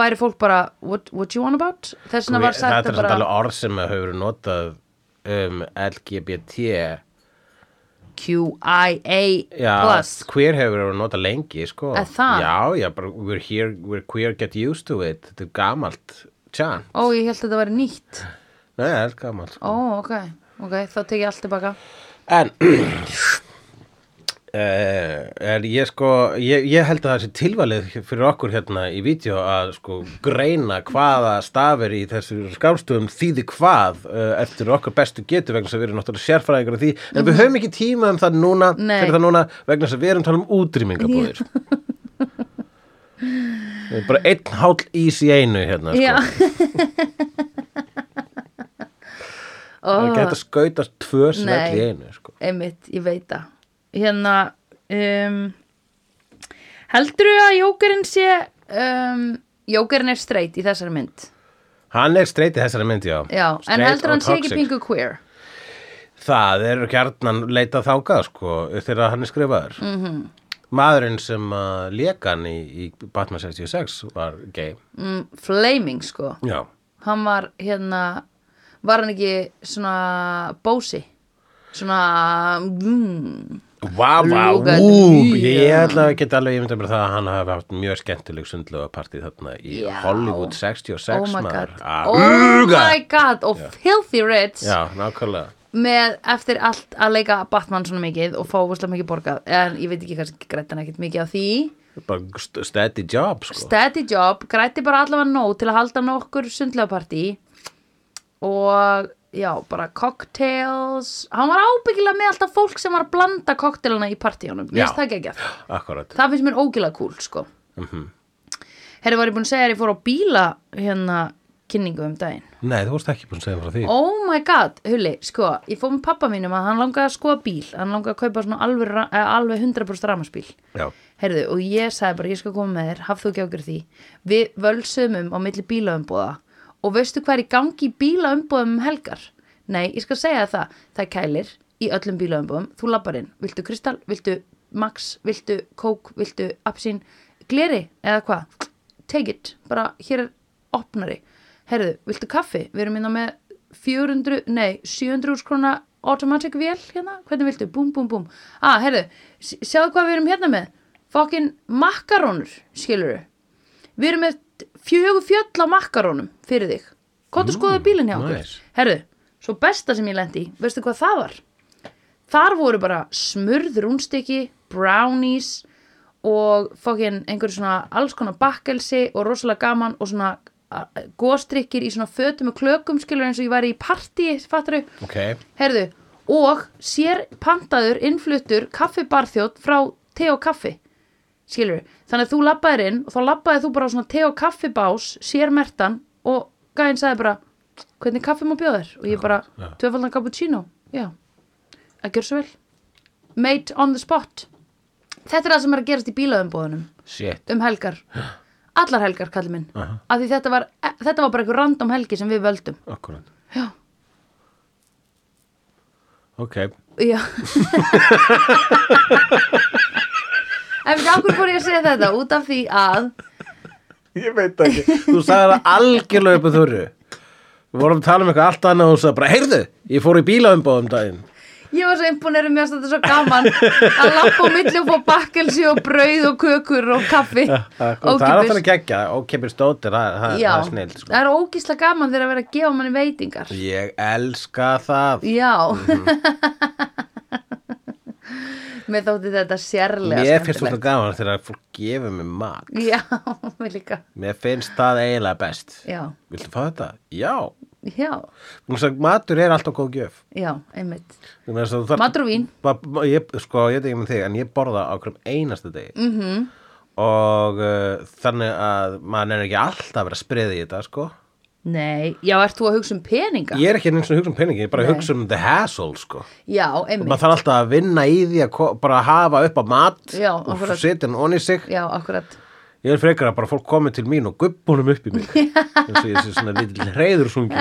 væri fólk bara what, what you on about þess vegna var sagt þetta að er samt bara alveg orð sem hefur verið notað um LGBT QIA já, plus queer hefur verið notað lengi sko. Er það? já, já, bara we're here, we're queer, get used to it þetta er gamalt tjan, ó ég held að þetta væri nýtt nei, það er gamalt sko. ó ok ok þá tek ég allt tilbaka En Uh, er ég sko ég, ég held að það sé tilvalið fyrir okkur hérna í vídeo að sko greina hvaða stafir í þessu skámstöðum þýði hvað uh, eftir okkar bestu getu vegna þess að við erum náttúrulega sérfræðingar af því, en við höfum ekki tíma um það núna, Mhm. Nei. fyrir það núna vegna þess að við erum að tala um útrýmingabúðir bara einn hál ís í einu hérna sko, já það er ó gett að skauta tvö svell í Nei. einu sko. einmitt, ég veit það hérna um, heldurðu að jókerinn sé um, jókerinn er straight í þessari mynd hann er streit í þessari myndi já, já, en Straight og heldur hann sé ekki toxic. pingu queer Það eru gjarnan leitað þákað sko þegar hann er skrifaður. Mm Mhm. -hmm. Maðurinn sem uh, lekan í, í Batman 66 var gay. mm, flaming sko Já. hann var hérna var hann ekki svona bósi svona mm, Vá, vá, Logan, ú, já. ég ætla að geta alveg, ég myndi bara það að hann hafi haft mjög skemmtileg sundlega partí þarna í Já. Hollywood 66 oh my god maður. Að oh urga. my god og filthy rich Já, nákvæmlega. með eftir allt að leika Batman svona mikið og fá úrslega mikið borgað en ég veit ekki kannski grætt hann ekkert mikið á því Bara st- steady job sko. steady job, grætti bara allavega nóg til að halda nokkur sundlega partí og já, bara cocktails hann var ábyggilega með alltaf fólk sem var að blanda cocktailana í partíunum, Já. mér finnst það ekki ekki Akkurat. Mhm. það finnst mér ógilega cool sko Herri, var ég búin að segja að ég fór á bíla hérna kynningu um daginn. Nei, þú vorst ekki búin að segja frá því Oh my god, Hulli, sko, ég fór með pappa mínum að hann langaði að skoða bíl, hann langaði að kaupa svona alveg, ra- eh, alveg 100% ramarsbíl. Já, Herðu, og ég sagði bara, ég skal koma með þér, haf þú ekki ágjör því. Við völsum um á milli bílaumbóða og veistu hvað er í gangi í bílaumbóðum um helgar? Nei, ég skal segja þér það, það er kælir í öllum bílaumbóðum, þú labbar inn, viltu kristall, viltu max, viltu kók, viltu apsín, gleri eða hvað, take it, bara hér er opnari. Herðu, viltu kaffi? Við erum inn á með 400, nei, 700 úrskrona automatic vél hérna, hvernig viltu, búm, búm, búm ah, herðu, s- sjáðu hvað við erum hérna með fokkin makkarónur skilur við erum með fjögur fjöll á makkarónum fyrir þig, hvað þú skoðu bílinn hjá okkur nice. herðu, svo besta sem ég lendi veistu hvað það var þar voru bara smurð rúnstykki brownies og fokkin einhver svona alls konar bakkelsi og rosalega gaman og svona góstrykkir í svona fötum og klökum skilur eins og ég væri í partí fattaru, ok herðu og sér pantaður innfluttur kaffibarþjótt frá te og kaffi skilur þannig að þú labbaðir inn og þá labbaðir þú bara á svona te og kaffibás sér mertan og gæðin sagði bara hvernig kaffi má bjóða þér og ég bara já. tvöfaldan cappuccino já, að gjör svo vel made on the spot þetta er það sem er að gerast í bílaðumbóðunum Shit um helgar allar helgar kallið minn Aha. af því þetta var, e, þetta var bara einhver random helgi sem við völdum Akkurat já, Ok já en við okkur fór ég að segja þetta út af því að Ég veit ekki Þú sagði það algjörlega upp að þurru Við vorum að tala um eitthvað allt annað og þú sagði bara Heyrðu, ég fór í bílaumboðum daginn ég var svo imponerið mér að þetta er svo gaman að lappa á milli og fá bakkelsi og brauð og kökur og kaffi Það það er alltaf að gegja Ókipis dóttir, það það- já, það er snill sko. það er ógísla gaman þegar að vera að gefa manni veitingar Ég elska það já Mhm. mér þótti þetta sérlega Mér finnst skemmtilegt. þetta gaman þegar fólk gefur mér mat Já, mér líka. Mér finnst það eiginlega best Já, Viltu fá þetta? Já já, Þú sagði, matur er alltaf góð gjöf já, einmitt. Vegna þess að þú þarft- Matur og vín. Ba- ba- ég, sko, ég veit ekki með þig en ég borða á hverjum einasta degi -hmm. Mhm. og uh, þannig að maður er ekki alltaf að vera að spriði í þetta sko. Nei, já, ert þú að hugsa um peninga? ég er ekki eins og hugsa um peningi ég er bara að Nei. hugsa um the hassle sko. Já, maður einmitt. þarf alltaf að vinna í því að ko- bara hafa upp á mat Já, og akkurat. setja hann onni sig Já, akkurat. ég er frekar að bara fólk komi til mín og gubbunum upp í mig eins og ég sé svona litil reyður sungi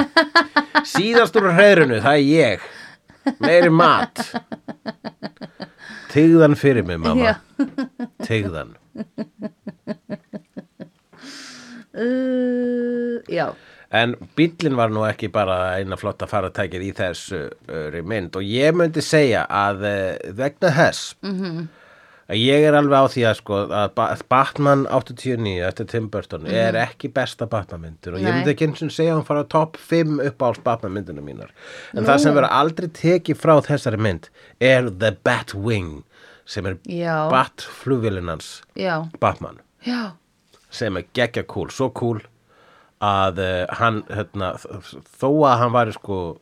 síðastur úr reyðrunu, það er ég meiri mat tegðan fyrir mig mamma Já. tegðan Uh, já, En bíllinn var nú ekki bara eina flotta faratækið í þessu uh, mynd og ég myndi segja að eh, vegna þess Mhm. að ég er alveg á því að, sko, að Ba- Batman 89 eftir Tim Burton er ekki besta Batman myndur og ég Mhm. Nei. myndi ekki eins og segja að hún fara á topp 5 upp á Batman myndina mínar en það sem verður aldrei tekið frá þessari mynd er The Batwing sem er Já. Batflugvélinans já, Batman já, sem er geggja cool, svo cool að uh, hann hérna, þ- þó að hann var sko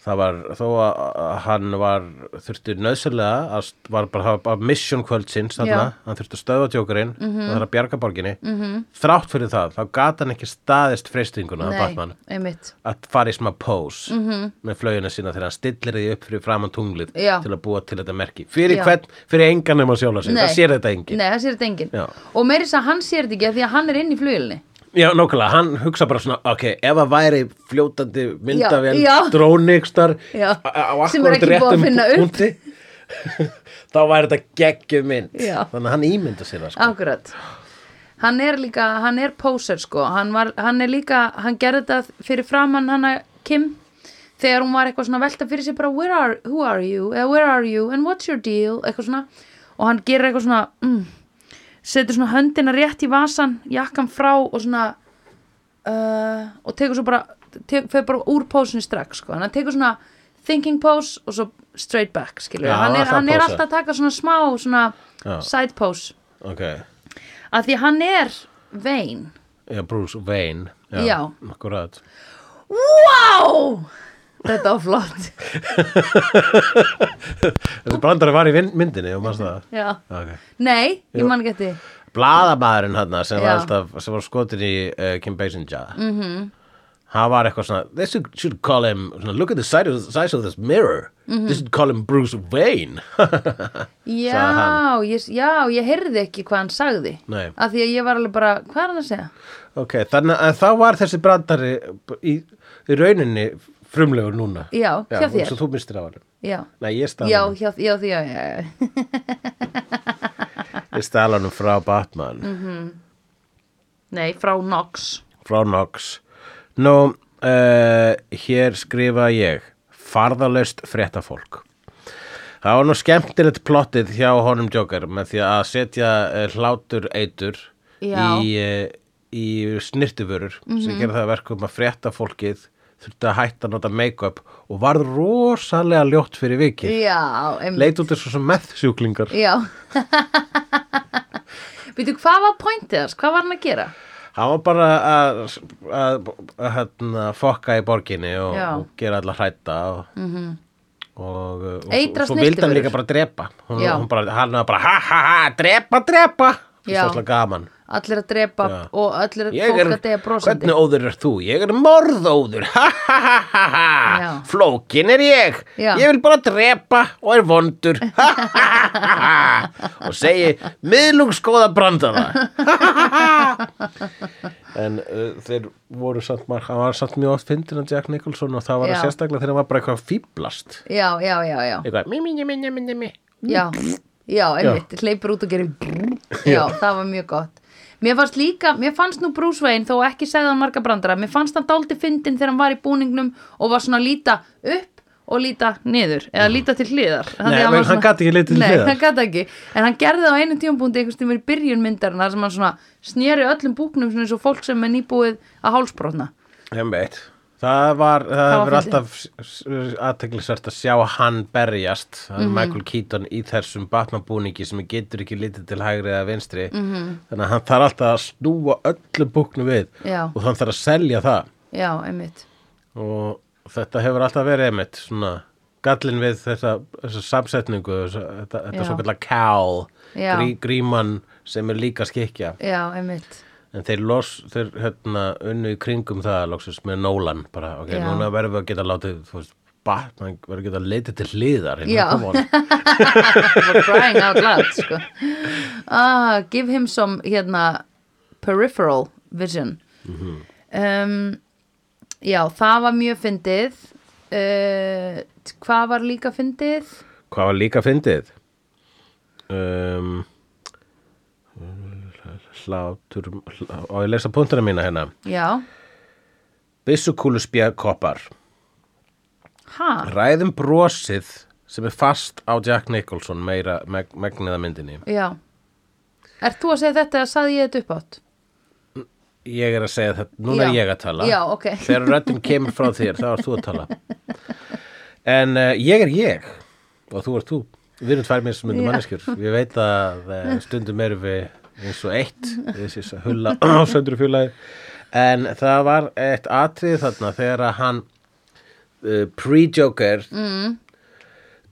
það var þó að að hann var þurfti nöðsynlega að st- var bara hafa bara mission kvöldsins þarna, Já. Mhm. hann þurfti að stöðva tjókurinn mm -hmm. það er að bjarga borginni -hmm. þrátt fyrir það, þá gat hann ekki staðist freystinguna að nei, Batman einmitt. að fara í smá pose -hmm. með flöginu sína þegar hann stillir því upp fyrir framan tunglið Já. til að búa til þetta merki fyrir Já. hvern, fyrir engan um að sjóla sig það sér þetta engin Nei, það sér þetta engin. Já. Og meiri þess að hann sér þetta ekki af því að hann er inn í flugilni. Já, nákvæmlega, hann hugsa bara svona, ok, ef að væri fljótandi myndavél, Já, já. drónikstar Já, á sem er akkurat ekki búið að réttum finna upp. punkti, þá væri þetta geggjum mynd. Já. Ah. Þannig að hann ímynda sér það, sko. Akkurat. Hann er líka, hann er poser sko, hann, var, hann er líka, hann gerði þetta fyrir framann hana Kim þegar hún var eitthvað svona að velta fyrir sér bara where are, who are you, eða where are you and what's your deal, eitthvað svona og hann gerir eitthvað svona, mm, setur svona höndina rétt í vasan, jakkan frá og svona uh, og tekur svo bara tek, fer bara úr pósinu strax sko. hann tekur svona thinking pose og svo straight back skilur Já, hann, er, alltaf hann er pósa. alltaf að taka svona smá svona Já. side pose Ok, að því að hann er vein já, Bruce Wayne. Já. Akkurat. Wow! Þetta var flott Þessi brandari var í vin- myndinni og maður það. Já. Ok. Nei, ég Jú. man ekki eftir því. bladamaðurinn hann sem, var Já. Mhm. alltaf- sem var skotin í uh, Kim Basinger mm -hmm. hann var eitthvað svona they should, should call him, svona, look at the size of, size of this mirror Mhm. they should call him Bruce Wayne já, ég, já, ég heyrði ekki hvað hann sagði Nei. af því að ég var alveg bara, hvað er hann að segja? ok, þannig að þá var þessi brandari í, í rauninni frumlegur núna Já, hjá þér. svo þú mistir af hann Já, Nei, ég stala já, hann já, já, já, já, já. Ég stala hann frá Batman nei, frá Nox frá Nox Nú, uh, hér skrifa ég farðalaust fréttafólk Það var nú skemmtilegt plottið hjá honum Joker með því að setja eh, hlátur eitur Já. í, eh, í snirtiförur sem gera það að verkum að fréttafólkið þurfti að hætta að nota make-up og varð rosalega ljótt fyrir vikið já, em, leit út þessu sem meðsjúklingar já veitu, hvað var pointið þess? hvað var hann að gera? Hann var bara að, að, að hérna, fokka í borginni og, Já. Mhm. og gera alla hrætta og, mm -hmm. og, og, Eitra og svo vildi hann snyrtivörur. líka bara drepa hún, Já. hún bara, hann var bara ha ha ha, drepa, drepa Já. Svo gaman allir að drepa Já. og allir að fólk að deyja brosandi hvernig óður er þú? Ég er morðóður, ha ha ha ha ha Já. Flókin er ég Já. Ég vil bara drepa og er vondur ha ha ha ha ha Og segi, miðlungsgóða brandara ha ha ha ha En uh, þeir voru samt marg, hann var samt mjög oft fyndin að Jack Nicholson og það var Já. að sérstaklega þegar hann var bara eitthvað fýblast já, já, já, já Eitthvað, mi mi mi mi mi mi mi já, já, einmitt, hleypur út og gerir já, það var mjög gott mér fannst líka, mér fannst nú Bruce Wayne þó ekki segði hann marga brandara, mér fannst hann dálti fyndin þegar hann var í búningnum og var svona að líta upp og líta niður eða líta til hliðar Þannig Nei, að menn var hann gat ekki litið til Nei, hliðar. hann gat ekki, en hann gerði það á einu tíumbúndi einhvers tímur í byrjun myndarinn þar sem hann svona sneri öllum búknum svona eins og fólk sem er nýbúið að hálsbrotna Einmitt. Það var, það var hefur fyndið. alltaf aðteglisvert að sjá hann berjast, hann Mhm. Michael Keaton í þessum batnabúningi sem getur ekki litið til hægri eða vinstri -hmm. Mhm. þannig að hann þarf alltaf að snúa öllu búknu við Já. og hann þarf að selja það já, einmitt og þetta hefur alltaf verið einmitt svona gallin við þessa, þessa samsetningu, þessa, þetta, þetta Já. svo kallar cowl, Já. grí, gríman sem er líka skikja já, einmitt En þeir, los, þeir hérna, unnu í kringum það loksins með Nolan bara, ok, Já. núna verðum við að geta látið, þú veist, batna, verðum við að geta leitið til hliðar, Já. hérna, come on. for crying out loud sko. ah, give him some hérna, peripheral vision um, já, það var mjög fyndið uh, hvað var líka fyndið Hvað var líka fyndið? Um, hlátur, hlá, á ég að lesa punktuna mína hérna. já, Byssukúlu spjakoppar, ha ræðum brosið sem er fast á Jack Nicholson meira meg, megniða myndinni. já Ert þú að segja þetta eða saði ég þetta upp átt? Ég er að segja þetta, núna er Já. ég að tala Já, ok. Þegar röddum kemur frá þér, þá ert þú að tala En uh, ég er ég og þú ert þú Við erum tvær mismundu Já. manneskjur Ég veit að uh, stundum erum við eins og eitt þessi s- hulla á söndur fjölaði En það var eitt atrið þarna þegar að hann uh, pre-joker mm.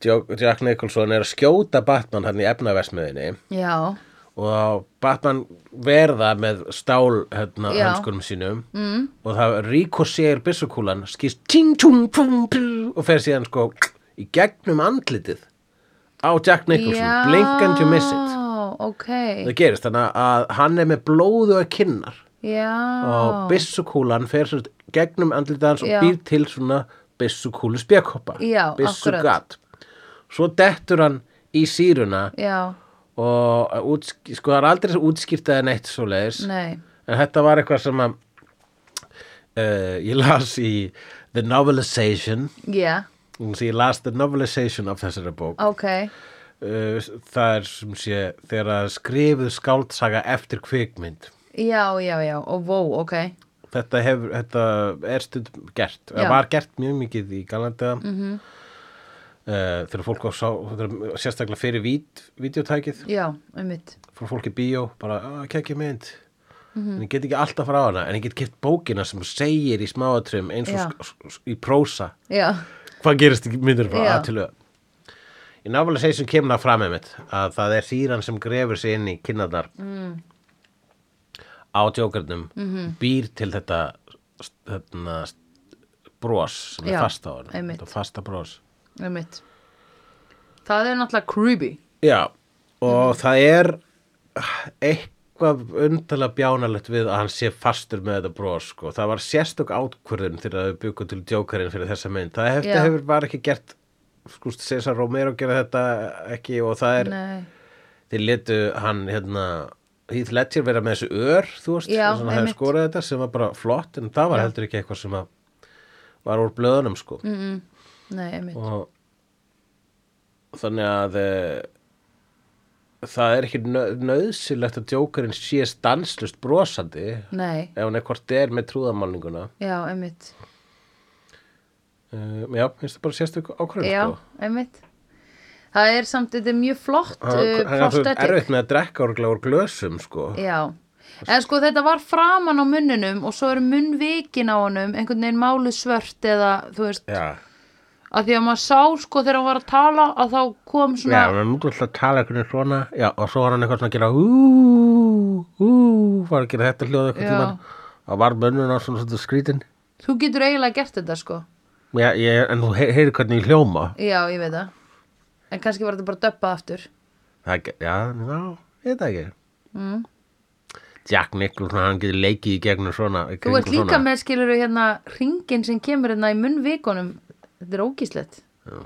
Jack Nicholson er að skjóta Batman hann í efnaversmiðinni Já, og Batman verða með stál hérna, Já. hanskunum sínum mm. og það ríkosér byssukúlan skýst ting tung pum pum og fer síðan sko í gegnum andlitið á Jack Nicholson já blink and you miss it ok, það gerist þannig að hann er með blóðu að kinnar já og byssukúlan fer svo gegnum andlitið hans Já. og býr til svona byssukúlu spjakoppa Já, byssugat svo dettur hann í síruna Já, og útsk, sko það er aldrei útskýrtaði neitt svo leiðis nei, en þetta var eitthvað sem að uh, ég las í The Novelization já, því ég las The Novelization af þessari bók ok uh, það er sem sé þegar að skrifuð skáldsaga eftir kvikmynd Já, já, já, og vó, ok þetta, hefur, þetta er stundum gert Já. Mhm. það var gert mjög mikið í Galanda mm -hmm. þegar fólk á sá, þegar, sérstaklega fyrir vít, vídeotækið Já, einmitt. fór fólk í bíó, bara, að kekja mynd Mhm. en ég get ekki alltaf frá hana en ég get kett bókina sem segir í smáatrum eins og Já. sk- sk- sk- í prósa Já, hvað gerist í myndir frá Já. að til að í návælega segir sem kemur það fram með mitt að það er síran sem grefur sig inn í kinnarnar mm. á djókarnum Mhm. býr til þetta þetta bros sem Já, er fast á hann einmitt. þetta fasta bros einmitt það er náttúrulega creepy Já, og það er ah, eitthvað undarlega bjánalegt við að hann sé fastur með þetta bros sko. það var sérstök átkvörðun þegar þau byggu til djókarinn fyrir þessa mynd það hefði, Já. hefur bara ekki gert sko, César Romero gera þetta ekki og það er, Nei. þeir letu hann hérna Heath Ledger vera með þessu ör þú veist, Já, þess að hann hefði einmitt. skorað þetta sem var bara flott en það var heldur ekki eitthvað sem að var úr blöðunum sko Nei, einmitt og þannig að e, það er ekki nau- nauðsynlegt að djókarinn sé stanslust brosandi Nei, ef hann ekkort er með trúðamálninguna já, einmitt uh, já, finnst það bara sérstök ákvörðun Já, sko. einmitt Það er samt, þetta er mjög flott hann uh, hann er svo prosthetic. erfitt með að drekka orglega úr glösum sko. Já, en sko þetta var framan á munninum og svo er munnvikin á honum einhvern veginn málu svört eða þú veist, já, að því að maður sá sko þegar hann var að tala að þá kom já, svona hann er mútið að tala einhvern veginn svona já, og svo var hann eitthvað svona að gera ú, ú, var að gera þetta hljóð eitthvað Já. tímann það var mönnun á svona, svona skrítin þú getur eiginlega gert þetta sko já, ég, en þú hey, heyrir hvernig ég hljóma Já, ég veit það en kannski var þetta bara döppað aftur Það, ge- já, já, ég veit það ekki. Mm. Jack Nicholson, hann getur leikið í gegnum svona. í Þú ert kringum líka svona. með skilur hérna ringin sem kemur hérna í munnvikunum þetta er ógíslegt Já,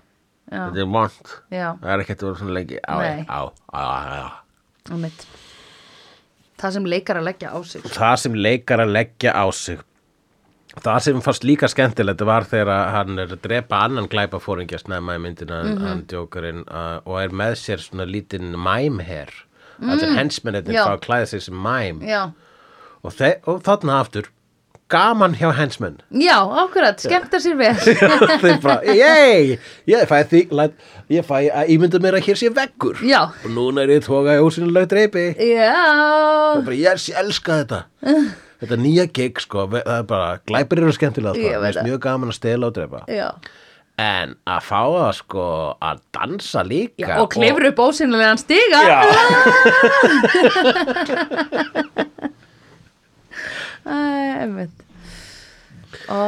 Þetta er vond. já, Það er ekkert að vera svona leikið. Á, Nei. á, á, á, á. á mitt Það sem leikar að leggja á sig Það sem leikar að leggja á sig. Það sem fannst líka skemmtilegt var þegar að hann er að drepa annan glæpafóringja snemma í myndina Mhm. mm hann djókurinn uh, og er með sér svona lítinn mæmher. Mm. Allir hensmennetinn Já. fá að klæða sig sem mæm. Já, Og, þe- og þarna aftur, gaman hjá hensmenn. já, ákvörðat, skemmta sér vel þeir bara, yey ég fæ því, læt, ég fæ að ímynda mér að hér sé veggur Já. og núna er ég tóka í ósynilega dreipi Já, og bara, yes, ég elska þetta þetta nýja gig, sko, ve- það er bara glæpir eru skemmtilega, sko, Ég veit mér finnst það. mjög gaman að stela og dreipa já. en að fá það, sko, að dansa líka og klifur upp ósynlegan stiga Já. Æ, einmitt. Ó,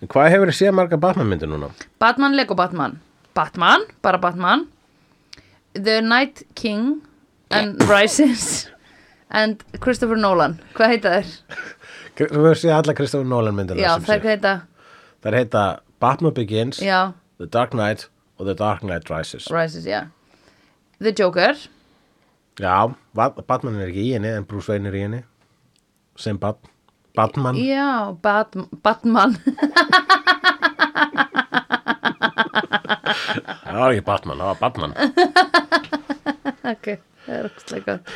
En hvað hefur þið séð marga batnamyndir núna? Batman, Lego Batman Batman, bara Batman The Night King and Rises and Christopher Nolan hvað heita þær? Þú hefur séð alla Kristofur Nolan myndina Já, sem þær sé. hvað heita þær heita Batman Begins, Já, The Dark Knight og The Dark Knight Rises Rises, já The Joker Já, Bat- Batman er ekki í henni en Bruce Wayne er í henni sem Bat Batman Já, Bat Batman Það var ekki Batman, það var Batman ok, það er ógstlega gott uh,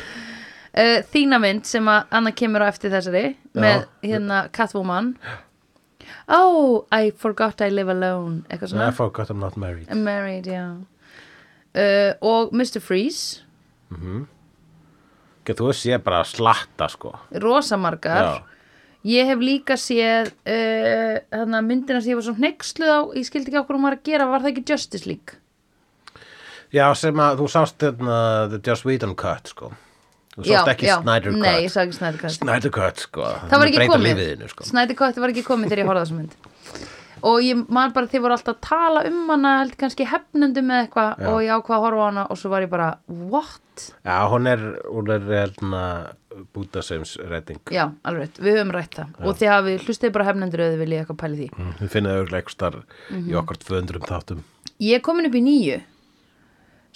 þína mynd sem að Anna kemur á eftir þessari með hérna Catwoman oh, I forgot I live alone eitthvað I svona forgot I'm not married I'm married, já uh, og Mr. Freeze Get, Þú sé bara að slatta sko rosamargar Já. ég hef líka séð uh, hana, myndina sem ég var svo hneiksluð á ég skildi ekki okkur hún var að gera, var það ekki Justice League Já, sem að þú sást þarna The Joss Whedon cut sko Þú sást ekki Snyder nei, ég cut sá ekki Snyder Cut Snyder cut sko það var ekki komið lífiðinu, sko. Snyder Cut var ekki komið þegar ég horfði á þessa mynd og ég man bara þið voru alltaf að tala um hana held kannski hefnundum með eitthvað og ég ákvað að horfa á hana og svo var ég bara what? Já, hún er, hún er hérna Buddha Sims redding Já, alveg, rétt, við höfum rætt það og þið hafið hlustið bara hefnundur eða þið viljið eitthvað pæli því Við finnum auðvitað eitthvað star Mhm. í okkar 200 þáttum ég er komin upp í nýju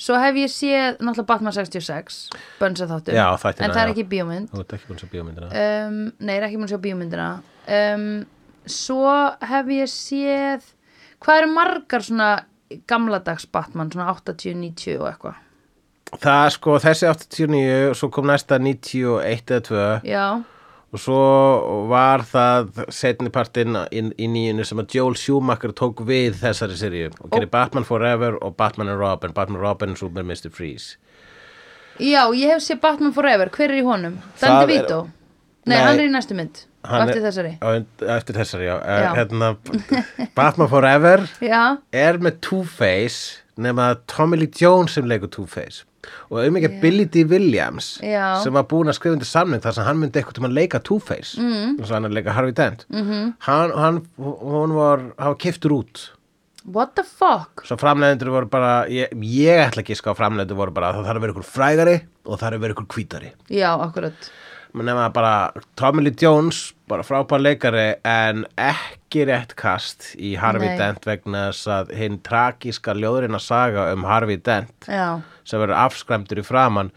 svo hef ég séð náttúrulega Batman 66 Bönsa þáttum, Já, þættina, en það já. er ekki bíómynd Þú ert ekki búin sem bíómyndina um, Nei, ég er ekki múin að sjá bíómyndina um, Svo hef ég séð Hvað eru margar svona gamladags Batman, svona 80, 90 og eitthvað Það sko, þessi 89, svo kom næsta 91 eða 2 Já, og svo var það setni partinn í, í nýjunu sem að Joel Schumacher tók við þessari seríu og gerir Batman Forever og Batman and Robin Batman Robin og Superman Mr. Freeze já, ég hef séð Batman Forever, hver er í honum? Það Dan er- DeVito Nei, Nei. hann er í næstu mynd hann eftir er- þessari? á und- eftir þessari, já, Já. já. Hérna, Batman Forever Já, er með Two-Face nema að Tommy Lee Jones sem leikur Two-Face og um ekki Billy D. Williams Já. sem var búin að skrifa undir samning þar sem hann myndi eitthvað til að leika Two-Face mm. og hann er að leika Harvey Dent mm -hmm. hann, hann, hún var, hann var kiftur út what the fuck? Svo framleiðendur voru bara, ég, ég ætla ekki sko að framleiðendur voru bara að það þarf að vera ykkur frægari og það þarf að vera ykkur hvítari. Já, akkurat. Menn nefna bara Tommy Lee Jones, bara frábær leikari en ekki rétt kast í Harvey Nei. Dent vegna þess að hinn tragíska ljóðurinn saga um Harvey Dent Já, sem verður afskræmdur í framann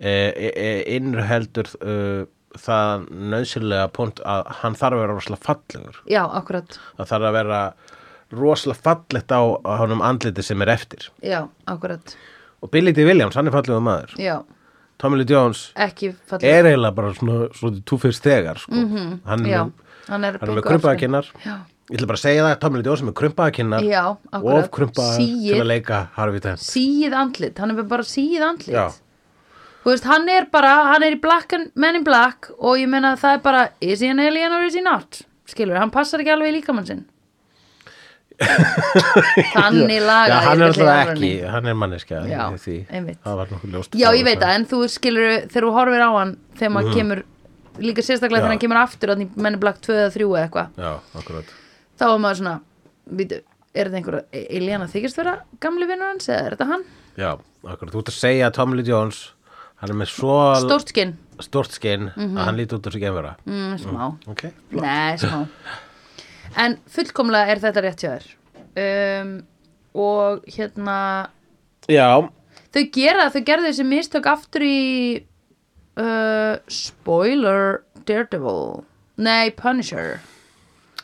e, e, e, innheldur e, það nöðsynlega punkt að hann þarf að vera rosalega fallegur. já, akkurat. Það þarf að vera rosalega fallegt á, á honum andliti sem er eftir. Já, akkurat. Og Billy D. Williams, hann er fallega maður. Já, Tommy Lee Jones ekki fallið. er eiginlega bara svona, svona túfyrst þegar, sko. hann, er Mhm, já, með- hann er hann er blinkur með krumpaða aftur. kinnar. Já. Ég ætla bara að segja það, Tommy Lee Jones er með krumpaða kinnar Já, akkurat. og krumpaða til Síið. að leika Harvey Dent. síð andlit, hann er bara síð andlit Já. þú veist, hann er bara hann er í black and, men in black og ég meina að það er bara, is he an alien or is he not skilur, hann passar ekki alveg í líkamann sinn þannig laga Já, ég hann er ætla í alltaf alvörunni. ekki, hann er manneskja. Já, í því. einmitt. Það var nokkuð ljóst. já, ég veit það, en þú skilur þegar þú horfir á hann þegar maður kemur líka sérstaklega Mhm. Já. þegar hann kemur aftur þannig menn in black 2 eða 3 eða eitthvað Já, akkurat. þá er maður svona, býtu er þetta einhver alien að þykist vera gamli vinnur hans eða er þetta hann? Já, akkurat. Þú ert að segja að Tommy Lee Jones, hann er með svo Stórt skinn? stórt skinn að hann líti út þessu genvera. Mm, smá Ok. Nei, smá En fullkomlega er þetta rétt hjá þér um, Og hérna Já, Þau gera, þau gerðu þessi mistök aftur í uh, Spoiler Daredevil Nei, Punisher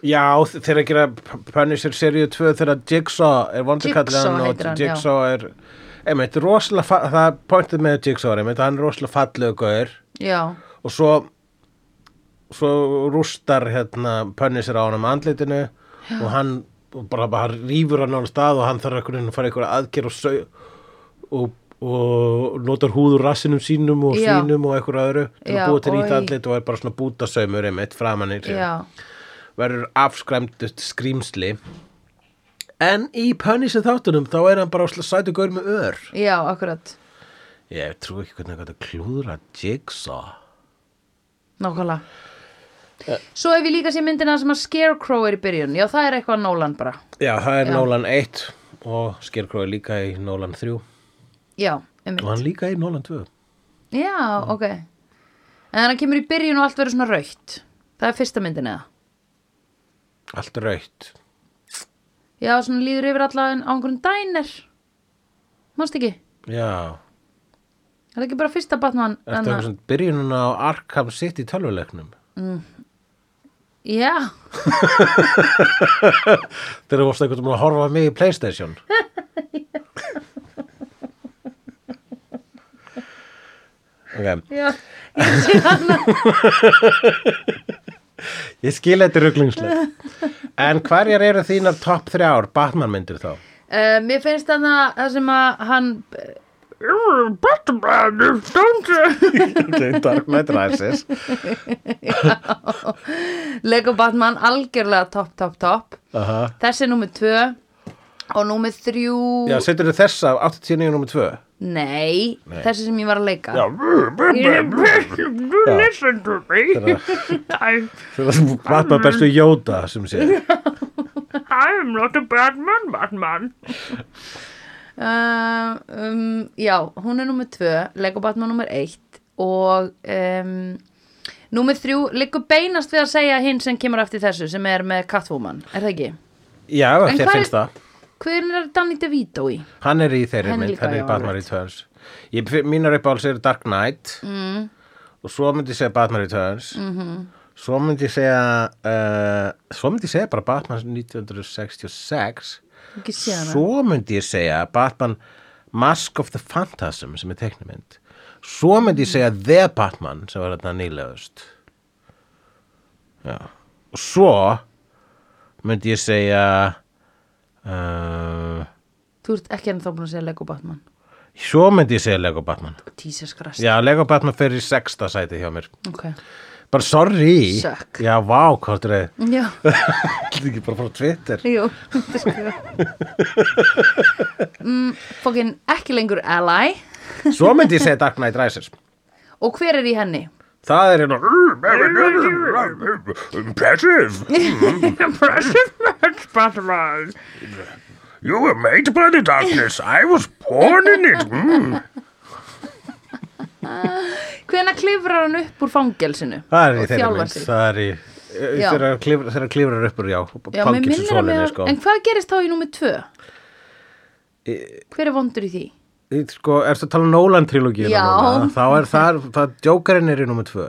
Já, þ- þeir að gera P- Punisher seríu 2 þegar Jigsaw er Jigsaw vondurkallan og heitir hann, já. Jigsaw er einmitt, rosalega, fa- það er pointið með Jigsaw er einmitt, hann er rosalega fallegu gaur Já, og svo svo rústar hérna Punisher á hann um andlitinu og hann og bara, bara rýfur hann á hann stað og hann þarf einhvern veginn að fara einhverja aðgerð og, sau, og, og notar húður rassinum sínum og Já. svínum og einhverju öðru til Já, að búa til nýtt oj. andlit og er bara svona bútasaumur einmitt framanir já, verður afskræmdust skrýmsli en í Punisher þáttunum þá er hann bara óslega sætu gaur með ör já, akkurat ég trú ekki hvernig hann gæti að klúðra Jigsaw Nákvæmlega Svo hef ég líka sér myndina sem að Scarecrow er í byrjun Já, það er eitthvað Nolan bara já það er Nolan 1 og Scarecrow er líka í Nolan 3 og Já, um mitt hann líka í Nolan 2 Já, ok En þannig að kemur í byrjun og allt verður svona raukt Það er fyrsta myndin eða allt rautt Já, svona líður yfir alla en á einhverjum dæner Mást ekki? já Er það ekki bara fyrsta Batman? Ertu um- þarna? eitthvað svona byrjununa á Arkham City tölvuleiknum? Já, Þeir eru vorst eitthvað að horfa á mig í Playstation Ok, já Ég sé hana Ég skil þetta ruglingslega. En hverjar eru þínar topp þrjár Batman myndir þá? uh, Mér finnst þarna það sem að hann Batman Dark Knight Rises. Lego Batman algjörlega topp, topp, topp Aha. Þessi er númer tvö og númer þrjú Já, setur þau þessa 89 nr. 2? Nei, þessi sem ég var að leika Listen to me. I, Þegar þú Batman bestu Yoda sem sé. I am not a bad man, Batman. um, um, já, hún er nummer tvö Lego Batman nummer eitt og um, nummer þrjú liggur beinast við að segja hinn sem kemur eftir þessu sem er með Catwoman, er það ekki? Já, En þér hvað finnst er- það. Hver er Danny DeVito í? Hann er í þeirri Hann mynd, líka, hann er já, í Batman Returns. Ég, mínar uppáhalds eru Dark Knight mm. og svo myndi ég segja Batman Returns. Mm Mhm. -hmm. Svo myndi ég segja, uh, svo myndi ég segja bara Batman 1966 Ekki sé hana Svo myndi ég segja Batman Mask of the Phantasm sem er teknimynd Svo myndi ég segja The Batman sem var þarna nýlegust Já Og svo myndi ég segja uh, Þú ert ekki ennþá búin að segja Lego Batman Svo myndi ég segja Lego Batman Jesus Christ Já, Lego Batman fer í sexta sæti hjá mér Ok, bara sorry Suck. já, vá, hvað þetta er já, þetta ekki bara frá Twitter jú þetta er sko. mm, fokkin ekki lengur ally svo myndi ég segja Dark Knight Rises og hver er í henni? það er hérna Impressive. Impressive match, Batman. You were made by the darkness. I was born in it. Mm. Hvena klifrar hann upp úr fangelsinu? það er í Og þeirra þjálfar mynd sig? það er í Já. þeirra klifrar- þeirra klifrar uppur, já, Já, mér pangilsum minnir að sólinni mér, sko. en hvað gerist þá í númið tvö? Hver er vondur í því? Í- sko, ertu að tala um Nolan trilógíu Já. þá er þar, það Jokerinn er í nummer 2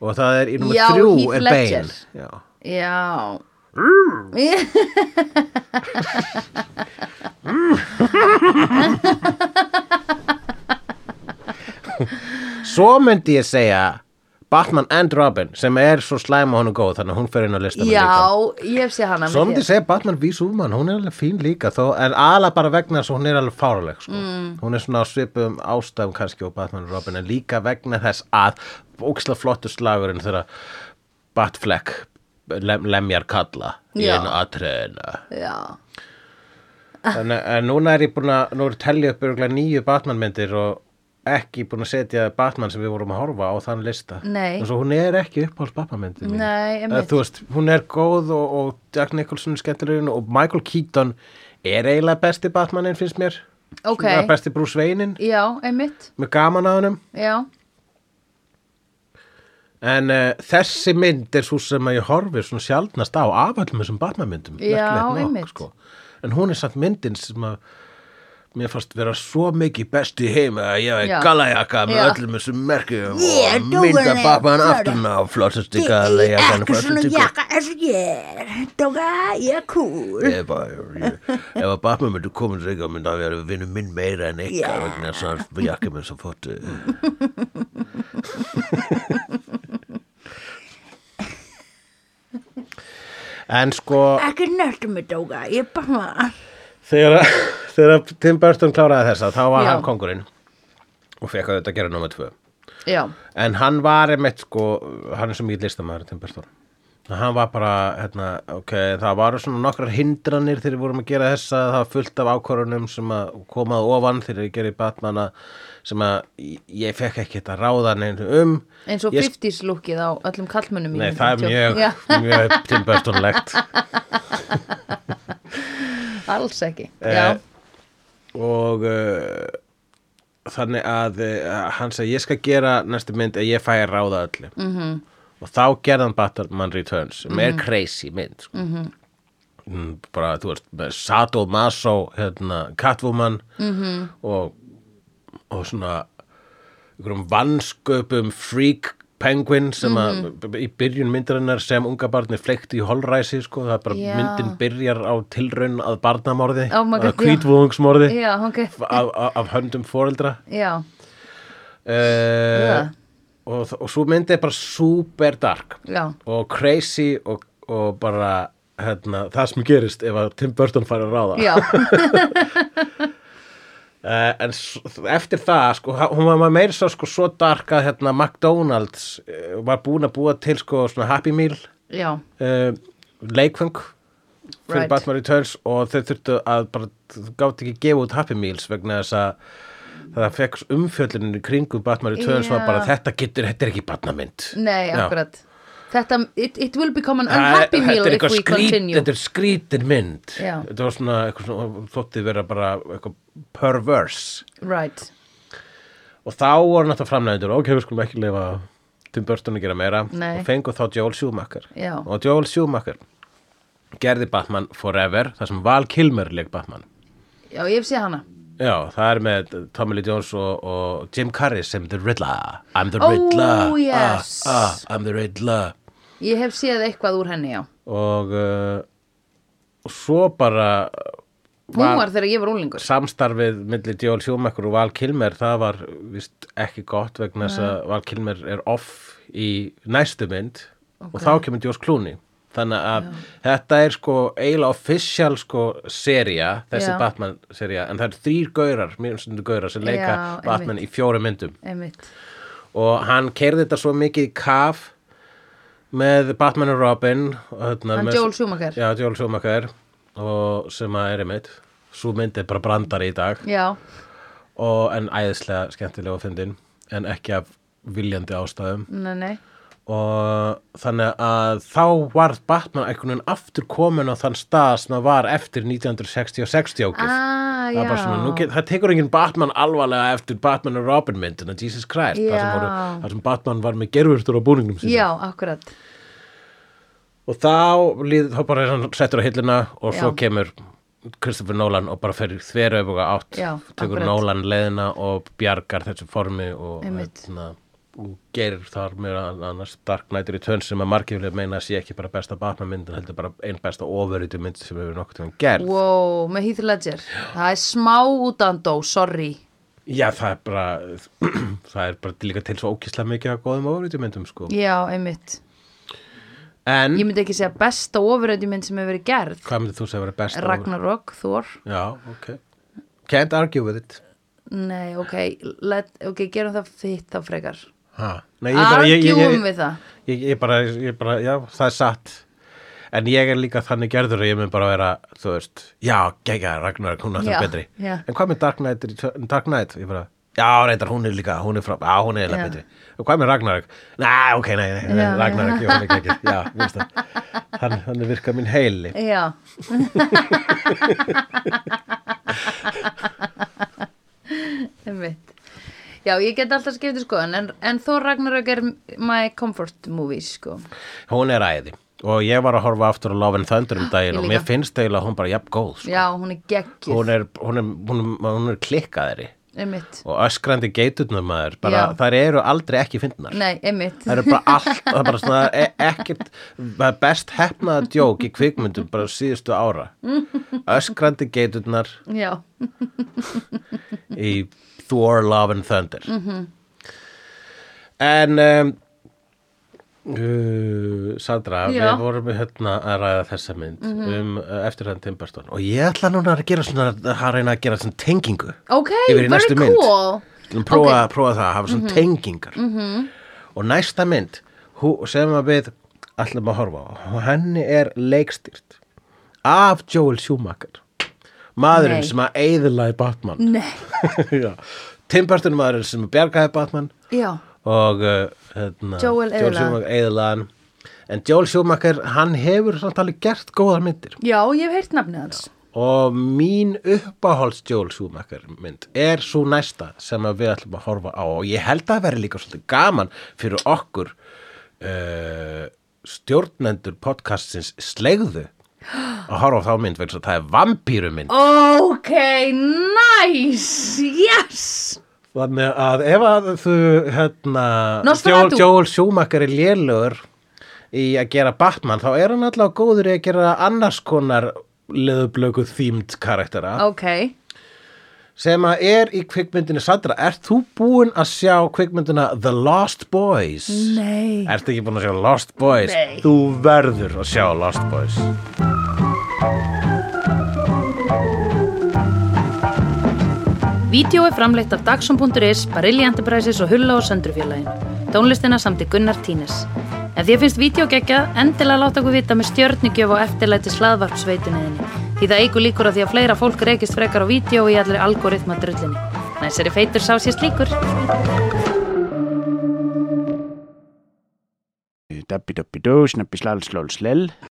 og það er í nummer Já, 3 Heath er Ledger. Bane já. Já, svo myndi ég segja Batman and Robin sem er svo slæm og hún er góð þannig að hún fer inn á listanum já, líka ég hef séð hana svo myndi ég segja Batman v Superman hún er alveg fín líka þó, en ala bara vegna þess að hún er alveg fáruleg sko. Mm. hún er svona á svipum ástæðum kannski og Batman and Robin en líka vegna þess að óksla flottu slagurinn þegar Batfleck lem, lemjar kalla í Já. einu atriðinu Já, Þannig að núna er ég búin að, nú er tellið upp örgulega nýju Batman myndir og ekki búin að setja Batman sem við vorum að horfa á þann lista. Nei. Og svo hún er ekki uppáhalds Batman myndin. mín. Nei, einmitt. Eða, Þú veist, hún er góð og, og Jack Nicholson er skemmtilegurinn og Michael Keaton er eiginlega besti Batmaninn finnst mér. Ok. Svona besti Bruce Wayneinn, já, einmitt, með gaman að honum. já, En uh, þessi mynd er svo sem að ég horfi svona sjaldnast á af öllum þessum barnamyndum. Já, merkilegt sko. einmitt. En hún er samt myndin sem að mér fannst vera svo mikið best í heim að ég Já. hef galajakka með Já. öllum þessum merkjum Yeah, og don't mynda worry, babban sorry. aftur með flottast Ég ekki að er leiða ekki svona jakka eins og ég er. Dóka, ég er cool. Ef að, ég- ef að Batman myndi komin sig að myndi að vera vinnu minn meira en ykkar Já. vegna þess að jakka minn svo fóttu En sko Ekki nertum mig, Dóka, ég er bara þegar, þegar Tim Burton kláraði þessa þá var Já. hann kongurinn og fekk að þetta gera nummer tvö já, En hann var einmitt sko, hann er svo mikið listamæður Tim Burton. Hann var bara, hérna, ok, það var svona nokkrar hindranir þegar við vorum að gera þessa, það var fullt af ákvarðunum sem að komað ofan þegar ég gerði Batmana sem að ég fekk ekki þetta ráða neinu um. eins og Ég- 50s lúkið á öllum kallmönnum Nei, mínum, það er 50. mjög, Já, mjög Tim Burtonlegt. alls ekki, Eh, já, og uh, þannig að uh, hann sagði ég skal gera næstu mynd að ég fæ að ráða öllu -hmm. Mhm. og þá gerði hann Batman Returns sem er crazy mynd sko. mm Mhm. -hmm. bara þú veist með Sato Maso hérna, Catwoman Mhm. -hmm. og, og svona einhverjum vansköpum freak penguin sem að Mhm. í byrjun myndarinnar sem unga barni fleikti í holræsi sko, það er bara Já. myndin byrjar á tilraun að barnamorði Oh my að God, já. kvítvúðungsmorði já, ok, af, af, af höndum foreldra já, uh, Yeah. og, þ- og svo myndið er bara super dark já, og crazy og, og bara hérna, það sem gerist ef að Tim Burton fær að ráða já, uh, en s- eftir það sko, ha- hún var meira svo, sko, svo dark að hérna, McDonalds uh, var búin að búa til sko, svona Happy Meal já, uh, leikfeng fyrir Right. Batman Returns og þeir þurftu að bara, þú gátt ekki gefa út Happy Meals vegna þess að það fekk umfjölluninu kringum Batman Returns Já. var bara þetta getur, þetta er ekki Batnamynd nei, Já. akkurat, þetta, it, it will become an Það- unhappy meal þetta er if eitthvað we skrít, continue, þetta er skrítin mynd Já. þetta var svona, eitthvað svona þótti vera bara eitthvað perverse right, og þá voru náttúrulega framleiðindur ok, við skulum ekki lifa Tim Burton að gera meira Nei. og fengu þá Joel Schumacher Já. og Joel Schumacher gerði Batman Forever þar sem Val Kilmer leik Batman já, ég hef séð hana, já, það er með Tommy Lee Jones og, og Jim Carrey sem The Riddler I'm the Oh, Riddler yes. ah, ah, I'm the Riddler ég hef séð eitthvað úr henni, já, og uh, og svo bara eh, hún var þegar ég var úlingur, samstarfið millir Joel Schumacher og Val Kilmer það var vist ekki gott vegna þess að Val Kilmer er off í næstu mynd og þá kemur Joss Clooney þannig að þetta er sko eiginlega official sko seria þessi Já. Batman seria en það eru þrýr gaurar, mjög stundu gaurar sem leika Já, Batman í fjórum myndum einmitt, og hann keirði þetta svo mikið í kaf með Batman og Robin og hérna, Hann með- Joel Schumacher. já, Joel Schumacher og sem að er einmitt svo myndið bara brandar í dag Já, og, en æðislega skemmtilega og fyndin en ekki af viljandi ástæðum nei, nei. og þannig að þá varð Batman einhvern veginn aftur komin á þann stað sem það var eftir 1960 og 60 ákvöf Ah, það, er bara já. svona, nú get, það tekur enginn Batman alvarlega eftir Batman og Robin myndina Jesus Christ, það sem, Já. voru, það sem Batman var með gerfurtur á búningnum sínum Já, akkurat. og þá, líð, þá bara er hann settur á hilluna og svo Já. kemur Christopher Nolan og bara fer þveru öfuga átt Já, tekur akkurat. Nolan leiðina og bjargar þessu formi og, Einmitt. og gerir þar meira annars Dark Knight Returns sem að margiflega meina að sé ekki bara besta Batman myndin heldur bara einn besta overrýtu mynd sem hefur nokkuð til hann gerð Wow, með Heath Ledger. Það er smá útandó, sorry. Já, það er bara það er bara líka til svo ókíslega mikið að góðum overrýtu myndum sko Já, einmitt. en Ég myndi ekki segja besta ofuröndi mynd sem hefur verið gerð. hvað myndið þú segja að vera besta Ragnarok, Thor. over- Já, ok Can't argue with it Nei, ok, let, ok, gerum það þitt þá frekar. Ha. Nei, ég bara, ég, ég, Argjúum ég, við það. ég, ég, bara, ég bara, já, það er satt En ég er líka þannig gerður að ég mun bara vera, þú veist Já, gegja, Ragnar, hún er Já, alltaf betri já. En hvað með Dark Knight, Return- Dark Knight? Ég bara, já, reyndar, hún er líka, hún er frá, já, hún er Já. eiginlega betri Og hvað með Ragnar? Nei, ok, nei, nei, nei Já, Ragnar, já, hún er gegja Já, veist það, hann, hann er virkað minn heili Já. einmitt. Já, ég get alltaf skiptið skoðan, en, en Thor Ragnarök er my comfort movie, sko. Hún er æði Og ég var að horfa aftur á Love and Thunder um daginn Ah, Ég Og mér líka. finnst eiginlega hún bara jafn góð sko. Já, hún er geggjur. hún, er, hún, er, hún, er, hún er klikkaðari Einmitt. og öskrandi geiturnar maður bara, Já. þær eru aldrei ekki fyndnar Nei, einmitt. það eru bara allt það er bara svona e ekkert það er best hefnaða djók í kvikmyndum bara síðustu ára öskrandi geiturnar Já, í Thor, Love and Thunder Mhm. en um, Uh, Sandra, Já. við Mhm. vorum hérna að ræða þessa mynd um uh, eftir hann Timberstone og ég ætla núna að gera svona að reyna að gera svona tengingu ok, Yfir í very næstu mynd. cool. Skulum prófa, prófa það, hafa Mhm. svona tengingar og næsta mynd hú- sem að við ætlum að horfa á og henni er leikstýrt af Joel Schumacher maðurinn Nei. sem að eiðlaði Batman Nei, Já. Tim Burton maðurinn sem bjargaði Batman já, og uh, hérna, Joel eyðilagði hann. Schumacher eiðlaðan en Joel Schumacher hann hefur samt alveg gert góðar myndir já, ég hef heyrt nafnið hans. og mín uppáhalds Joel Schumacher mynd er svo næsta sem að við ætlum að horfa á og ég held að það veri líka svolítið gaman fyrir okkur uh, stjórnendur podcastins slegðu að horfa á þá mynd vegna þess að það er vampíru mynd Ok, nice, yes þannig að ef að þú hérna, Joel, Nosferatu. Joel Schumacher er lélögur í að gera Batman þá er hann allavega góður í að gera annars konar leðublöku þýmd karaktera Ok, sem að er í kvikmyndinu Sandra, ert þú búin að sjá kvikmyndina The Lost Boys? nei Ertu ekki búin að sjá Lost Boys? Nei. Þú verður að sjá Lost Boys. Vídeó er framleitt af Dagsum.is, Barilli Enterprises og Hulla og Söndrufjörlægin Tónlistina samt í Gunnar Tínes Ef þér finnst vídeo geggja, endilega láta okkur vita með stjörnugjöf og eftirlæti slaðvarpsveituninni Því það eigur líkur að því að fleira fólk reykist frekar á vídeo í allri algoritma drullinni Næsari feitur sá sér slíkur Dabbi dabbi dó, snabbi slal slól slell